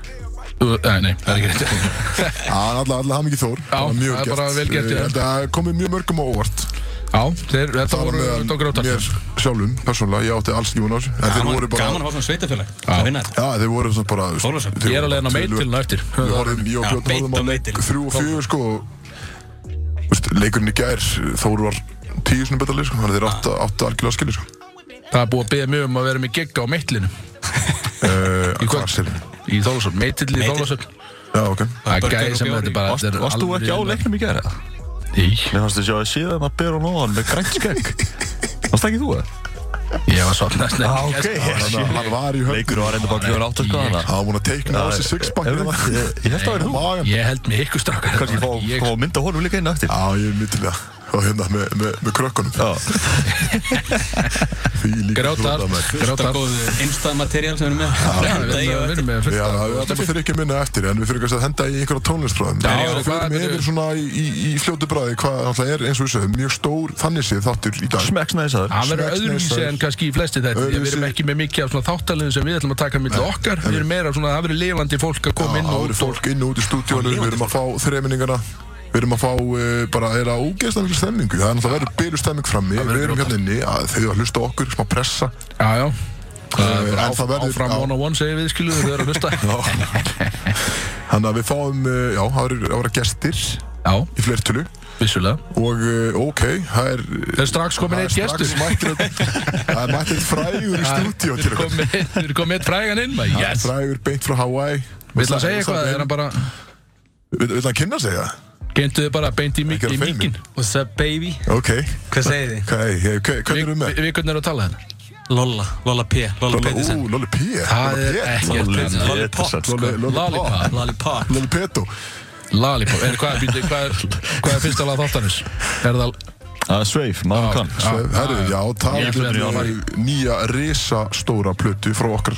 [SPEAKER 2] Þú- Nei, nei, það er ekki rétt
[SPEAKER 1] Alla, alla hamingi Þór Það var mjög
[SPEAKER 2] það er
[SPEAKER 1] gert.
[SPEAKER 2] bara vel gert,
[SPEAKER 1] Eh,
[SPEAKER 2] já.
[SPEAKER 1] Þetta komið mjög mörgum á óvart
[SPEAKER 2] Já, þeir, þetta
[SPEAKER 1] Það var
[SPEAKER 2] voru
[SPEAKER 1] meðan
[SPEAKER 2] tók grátar
[SPEAKER 1] mér sjálfum, persónulega, ég átti alls ekki von á þessu En þeir
[SPEAKER 3] Gaman
[SPEAKER 1] voru bara
[SPEAKER 3] gaman að fá svona sveitafélag Það vinna þetta
[SPEAKER 1] Já, þeir voru svona bara
[SPEAKER 3] Þorlákshöfn.
[SPEAKER 1] þeir
[SPEAKER 2] Ég er
[SPEAKER 1] voru
[SPEAKER 2] alveg enn á
[SPEAKER 1] bara
[SPEAKER 2] meitilinu eftir
[SPEAKER 1] Við horfum, ég og
[SPEAKER 3] Já,
[SPEAKER 1] Björn
[SPEAKER 3] beint á
[SPEAKER 1] horfum á
[SPEAKER 3] meitil.
[SPEAKER 1] leik þrjú og fjögur sko og, veist, Leikurinn í gær, Þóru var tíu sinni betalið sko Þannig að þeir
[SPEAKER 3] Ah.
[SPEAKER 1] áttu, áttu algjörlega skilja sko
[SPEAKER 2] Það er búið að beða mjög um að vera með gegga á meitlinu
[SPEAKER 1] uh,
[SPEAKER 2] Í
[SPEAKER 1] Hvað
[SPEAKER 2] kvöld.
[SPEAKER 1] sér þið?
[SPEAKER 2] Í Þólasöfn, meitill í
[SPEAKER 3] Meitill.
[SPEAKER 2] Þólasöfn
[SPEAKER 1] Já, ok
[SPEAKER 2] Það er
[SPEAKER 3] Börgur
[SPEAKER 2] gæði
[SPEAKER 3] og
[SPEAKER 2] sem
[SPEAKER 3] bjór
[SPEAKER 2] þetta
[SPEAKER 3] í.
[SPEAKER 2] bara
[SPEAKER 4] Varst-
[SPEAKER 2] þetta er
[SPEAKER 4] Varst þú ekki á
[SPEAKER 2] alveg-
[SPEAKER 4] leiknum í gera?
[SPEAKER 2] Nei,
[SPEAKER 4] Mér fannst þið sjá að síðan að bera nóðan með grænt skegg Varst ekki þú það?
[SPEAKER 2] ég var svolítið
[SPEAKER 4] ok.
[SPEAKER 1] Þannig að hann var í höfn
[SPEAKER 4] Leikur var reynda bara kljóðan átt að sko hana
[SPEAKER 1] Hann var búinn að teikna á sig sixpack
[SPEAKER 4] Ég
[SPEAKER 1] hérna.
[SPEAKER 4] ég- ég held að það verið þú
[SPEAKER 1] Magan.
[SPEAKER 2] Ég held mig ykkur strákar
[SPEAKER 4] Kanski fá
[SPEAKER 2] Ég-
[SPEAKER 4] fá mynd á honum líka inn eftir
[SPEAKER 1] Já, ég er mittilega og hérna með, með, með krökkunum
[SPEAKER 4] Já.
[SPEAKER 1] því líka
[SPEAKER 2] Grátart,
[SPEAKER 3] Þetta
[SPEAKER 2] grátart
[SPEAKER 3] góðu einstæð materiál sem við erum með
[SPEAKER 2] Já,
[SPEAKER 3] Henda í
[SPEAKER 2] við
[SPEAKER 3] og
[SPEAKER 2] erum með fullt
[SPEAKER 1] Já,
[SPEAKER 2] af-
[SPEAKER 1] við ætlum að þurfa ekki að minna eftir en við þurfum kannski að henda í einhverja tónlistbræðum
[SPEAKER 2] Já,
[SPEAKER 1] við
[SPEAKER 2] hvað
[SPEAKER 1] förum
[SPEAKER 2] eru-
[SPEAKER 1] yfir svona í, í, í fljótu bræði hvað náttúrulega er eins og þessu mjög stór þannig séð þáttur í dag
[SPEAKER 4] Smekksnæsaður
[SPEAKER 2] Hann verður
[SPEAKER 1] Snacks,
[SPEAKER 2] öðruvísi
[SPEAKER 1] snacks,
[SPEAKER 2] en kannski í flesti þetta Við
[SPEAKER 1] Öðruvísi.
[SPEAKER 2] erum ekki með mikið af svona þáttalegu sem við ætlum að taka milli okkar Við erum meira svona, það verður lifandi fólk að koma
[SPEAKER 1] Já,
[SPEAKER 2] inn
[SPEAKER 1] það
[SPEAKER 2] og
[SPEAKER 1] verður
[SPEAKER 2] út og
[SPEAKER 1] fólk inn og út í stúdíónu, við erum að fá þreiminningana Við erum að fá uh, bara, er það ógeðslega mikil stemmingu Það er náttúrulega verður byrju stemming frammi Við erum hérna inni, að þau að hlusta á okkur, smá pressa Eh,
[SPEAKER 2] Já, já Það
[SPEAKER 1] en
[SPEAKER 2] er
[SPEAKER 1] það
[SPEAKER 2] bara
[SPEAKER 1] verður-
[SPEAKER 2] áfram
[SPEAKER 1] já.
[SPEAKER 2] one on one segir við skilu Þau eru að hlusta
[SPEAKER 1] Þannig að við fáum, uh, já, það verður- það verður gestir
[SPEAKER 2] Já,
[SPEAKER 1] í flertölu
[SPEAKER 2] vissulega
[SPEAKER 1] Og uh, ok, það er
[SPEAKER 2] Það er strax komin eitt gestur
[SPEAKER 1] mættir að- Það er mættir frægur í stúdíó til okkur
[SPEAKER 2] Komin- Þau eru komið eitt frægan inn maður, Yes
[SPEAKER 1] Frægur beint frá Hawaii
[SPEAKER 2] Vill að segja eitthvað, er hann bara
[SPEAKER 1] Vill vill hann kynna sig það?
[SPEAKER 2] Geintu þið bara beint í
[SPEAKER 1] Ekki að feimi.
[SPEAKER 2] mikinn
[SPEAKER 3] What's up baby?
[SPEAKER 1] Ok,
[SPEAKER 3] Hvað segir þið?
[SPEAKER 1] hvað er hvernig erum við með?
[SPEAKER 2] Við hvernig eru að tala hérna
[SPEAKER 3] Lolla, Lolla P, Lolla Pettersen
[SPEAKER 1] Ú, Lolli P
[SPEAKER 2] Það er
[SPEAKER 1] Lolli
[SPEAKER 2] ekkert hérna.
[SPEAKER 4] Lolli-
[SPEAKER 2] Pettersen.
[SPEAKER 4] Pettersen.
[SPEAKER 1] Lolli- Lolli Pop.
[SPEAKER 2] Lollipop
[SPEAKER 3] Lolli Pop
[SPEAKER 1] Lolli Peto
[SPEAKER 2] Lollipop, er hvað, býttu, hvað, er, hvað er fyrsta lag þáttanins? Er það,
[SPEAKER 4] Það er sveif, maður kann
[SPEAKER 2] Já,
[SPEAKER 1] Herru,
[SPEAKER 2] já, já.
[SPEAKER 1] já,
[SPEAKER 2] Ég ætla
[SPEAKER 1] það
[SPEAKER 2] að fara
[SPEAKER 1] er
[SPEAKER 2] í-
[SPEAKER 1] nýja risastóra plötu frá okkar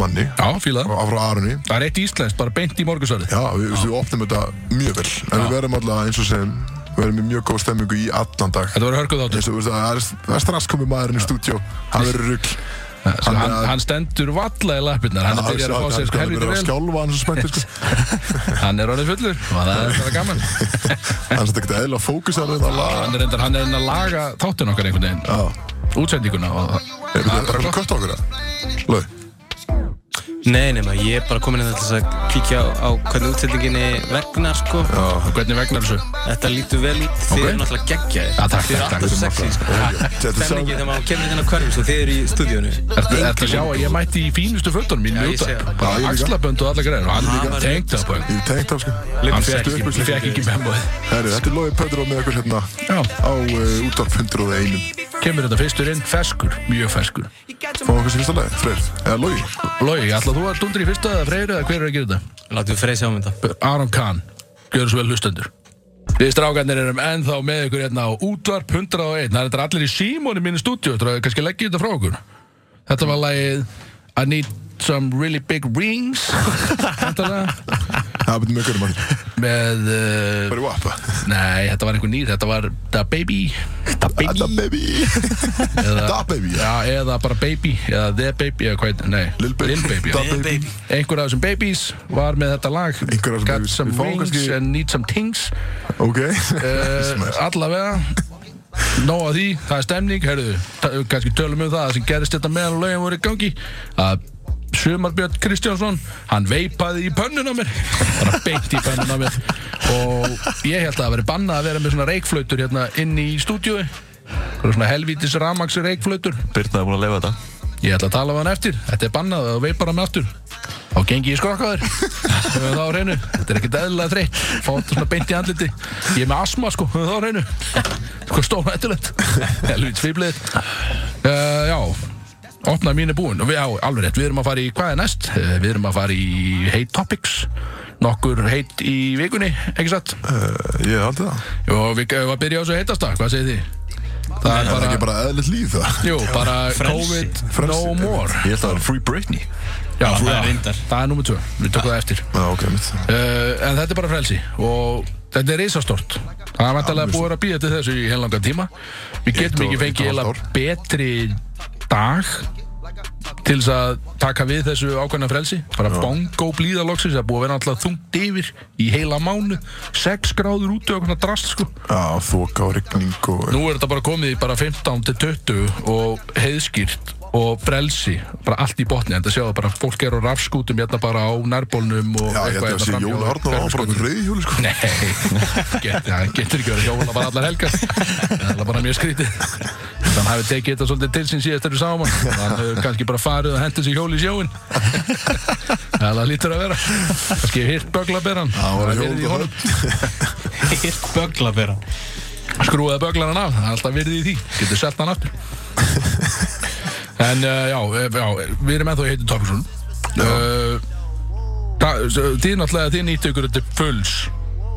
[SPEAKER 1] manni
[SPEAKER 2] já, fíla það
[SPEAKER 1] frá frá Arunni
[SPEAKER 2] Það er eitt íslenskt, bara beint í morgunsvarið
[SPEAKER 1] Já, við, við opnum þetta mjög vel En við verðum alltaf eins og sem Við verðum í mjög góð stemmingu í allan dag
[SPEAKER 2] Þetta voru hörkuð áttur
[SPEAKER 1] Eins og, veist, það er, það er strax komið maðurinn í stúdjó Hann verður rugl
[SPEAKER 2] hann, hann, hann stendur valla í lappirnar Hann
[SPEAKER 1] Já,
[SPEAKER 2] er byrjar að fá
[SPEAKER 1] hann-
[SPEAKER 2] sér sko
[SPEAKER 1] hann verður
[SPEAKER 2] helviti
[SPEAKER 1] að
[SPEAKER 2] vel
[SPEAKER 1] skjálfa hann svo spenntir sko.
[SPEAKER 2] Hann er orðið fullur og það er bara gaman
[SPEAKER 1] Hann er þetta ekkert eðla fókus að þetta lag
[SPEAKER 2] Hann er reyndar, hann er enn að laga þáttun okkar einhvern veginn
[SPEAKER 1] Já,
[SPEAKER 2] Útsendinguna og það
[SPEAKER 1] er þetta að kötta okkur það? Lög
[SPEAKER 3] Nei, nema, ég er bara komin inn til þess að kíkja á, á hvernig útsendinginni vegnar, sko.
[SPEAKER 2] Hvernig vegnar þessu?
[SPEAKER 3] Þetta lítur vel út, þið
[SPEAKER 2] Ok.
[SPEAKER 3] eru náttúrulega geggjaði.
[SPEAKER 2] Já, takk,
[SPEAKER 3] Þið eru
[SPEAKER 2] takk, takk.
[SPEAKER 3] alltaf sexy, sko.
[SPEAKER 1] Þetta er
[SPEAKER 3] Stemningin
[SPEAKER 1] saman-
[SPEAKER 3] þegar maður kemur hérna þennan hverfum, svo sko, þið eru í stúdíónu.
[SPEAKER 2] Ertu ertu að sjá að ég mætti í fínustu fötunum mínu
[SPEAKER 3] Já, ég
[SPEAKER 2] út
[SPEAKER 3] sé það.
[SPEAKER 1] Já, ég
[SPEAKER 2] Bara
[SPEAKER 1] líka.
[SPEAKER 2] axlabönd og alla greiðar Og
[SPEAKER 3] Hann
[SPEAKER 2] hann
[SPEAKER 3] var
[SPEAKER 2] tengt
[SPEAKER 3] rétt,
[SPEAKER 2] það bara
[SPEAKER 1] Ég er tengt af sko
[SPEAKER 2] Hann
[SPEAKER 3] Lipstick.
[SPEAKER 2] fekk ekki,
[SPEAKER 1] Lipstick.
[SPEAKER 2] fekk ekki memóið
[SPEAKER 1] Herru, þetta er Lói Pötur og með okkur hérna
[SPEAKER 2] Já.
[SPEAKER 1] á uh, útvarp 101
[SPEAKER 2] Kemur þetta fyrstur inn, ferskur, mjög ferskur
[SPEAKER 1] Fá okkur sem fyrsta lagi, Freyr, eða Lói
[SPEAKER 2] Lói, ætla þú að dundra í fyrsta eða freyri eða hver er að gera þetta?
[SPEAKER 3] Látum við Frey sjá um þetta.
[SPEAKER 2] Aron Kahn, gjör svo vel hlustendur Við strákarnir erum ennþá með ykkur hérna á útvarp 101 Það er þetta allir í símónu mínu stúdíu Þú kannski leggja þetta frá okkur Þetta var lagið I need some really big rings Þetta
[SPEAKER 1] Það betur með okkur mann
[SPEAKER 2] með uh,
[SPEAKER 1] Bara í vapa
[SPEAKER 2] Nei, þetta var einhver nýr, þetta var Da Baby Da
[SPEAKER 1] Da baby
[SPEAKER 2] eða,
[SPEAKER 1] Da baby
[SPEAKER 2] Já, eða bara Baby eða The Baby eða hvað, nei,
[SPEAKER 1] Lil Baby.
[SPEAKER 2] Baby já.
[SPEAKER 1] Da baby
[SPEAKER 2] einhver af þessum babies var með þetta lag
[SPEAKER 1] Einhver af þessum
[SPEAKER 2] Got
[SPEAKER 1] babies.
[SPEAKER 2] some
[SPEAKER 1] Við fáum
[SPEAKER 2] rings
[SPEAKER 1] kannski-
[SPEAKER 2] and need some things
[SPEAKER 1] Ok
[SPEAKER 2] uh,
[SPEAKER 1] Smell.
[SPEAKER 2] allavega nóg að því, það er stemning herðu, kannski tölum um það það sem gerist þetta meðan lögin voru í gangi að Sumarbjörn Kristjánsson hann veipaði í pönnun á mér bara beint í pönnun á mér og ég held að það veri bannað að vera með svona reikflautur hérna inn í stúdíói Einhverjar svona helvítis ramaks reikflautur
[SPEAKER 4] Birna er búin að leifa þetta
[SPEAKER 2] Ég ætla að tala við hann eftir, þetta er bannað og veipar hann aftur Þá gengi ég skrokkaður Höfum það á reynu, þetta er ekkert eðlilega þreytt Fá þetta svona beint í andliti Ég er með asma sko, höfum það á reynu Hvað stóra eftirlegt Helvít sviblið uh, Já, opnaði mín er búin og við, já, alveg rétt, við erum að fara í, hvað er næst? Uh, við erum að fara í Hate Topics Nokkur heit í vikunni, ekki satt?
[SPEAKER 1] Eh, Ég haldi það
[SPEAKER 2] Og við erum að byrja á þessu heitasta, hvað segir þið? Það er
[SPEAKER 1] Það er ekki
[SPEAKER 2] bara,
[SPEAKER 1] bara eðlilegt líf það
[SPEAKER 2] jú, bara
[SPEAKER 3] Frelsi.
[SPEAKER 2] COVID
[SPEAKER 1] Frelsi,
[SPEAKER 2] no
[SPEAKER 1] einmitt.
[SPEAKER 2] more
[SPEAKER 4] Ég held að það var Free Britney
[SPEAKER 2] Já,
[SPEAKER 3] það er
[SPEAKER 2] já,
[SPEAKER 3] reyndar.
[SPEAKER 2] Það er nummið tvö, við tökum það eftir
[SPEAKER 1] Já, ok, mitt
[SPEAKER 2] uh, En þetta er bara frelsi og þetta er risastort Það er vantarlega búið að vera að býja til þessu í heilangan tíma Við
[SPEAKER 1] Eitt
[SPEAKER 2] getum
[SPEAKER 1] og-
[SPEAKER 2] ekki
[SPEAKER 1] eitt og
[SPEAKER 2] fengið
[SPEAKER 1] hálft
[SPEAKER 2] eiginlega betri dag til þess að taka við þessu ákveðna frelsi bara bongo blíða loksins, það er búið að vera alltaf þungt yfir í heila mánu 6 gráður úti og okkurna drast sko
[SPEAKER 1] Já, þoka og rigning og
[SPEAKER 2] Nú er þetta bara komið í bara 15 til 20 og heiðskýrt og frelsi, bara allt í botni en það sjáðu bara, fólk er á rafskútum hérna bara á nærbólnum og
[SPEAKER 1] Já, ég held að
[SPEAKER 2] hérna
[SPEAKER 1] sé
[SPEAKER 2] framhjá
[SPEAKER 1] Jón Arnóð á bara
[SPEAKER 2] hverfisgötunni.
[SPEAKER 1] með reyðhjóli sko
[SPEAKER 2] Nei, get, ja, getur ekki verið hjóla bara allar helgar Það er bara mjög skrítið Þannig hafi tekið þetta svolítið til sín síðast þegar við sáum hann Þannig hefur kannski bara farið og hendur sér hjóli í sjóin Það lítur að vera Kannski hefur hirt böglaberan
[SPEAKER 1] Það var að
[SPEAKER 2] verið í
[SPEAKER 1] hjóla
[SPEAKER 2] honum.
[SPEAKER 3] Hirt bögla vera.
[SPEAKER 2] skrúaði böglaran af, það er alltaf virðið í því getur selt hann aftur en uh, já, eh, já, við erum ennþá í heitu Topperson uh, það- s- þið náttúrulega þið nýttu ykkur þetta fulls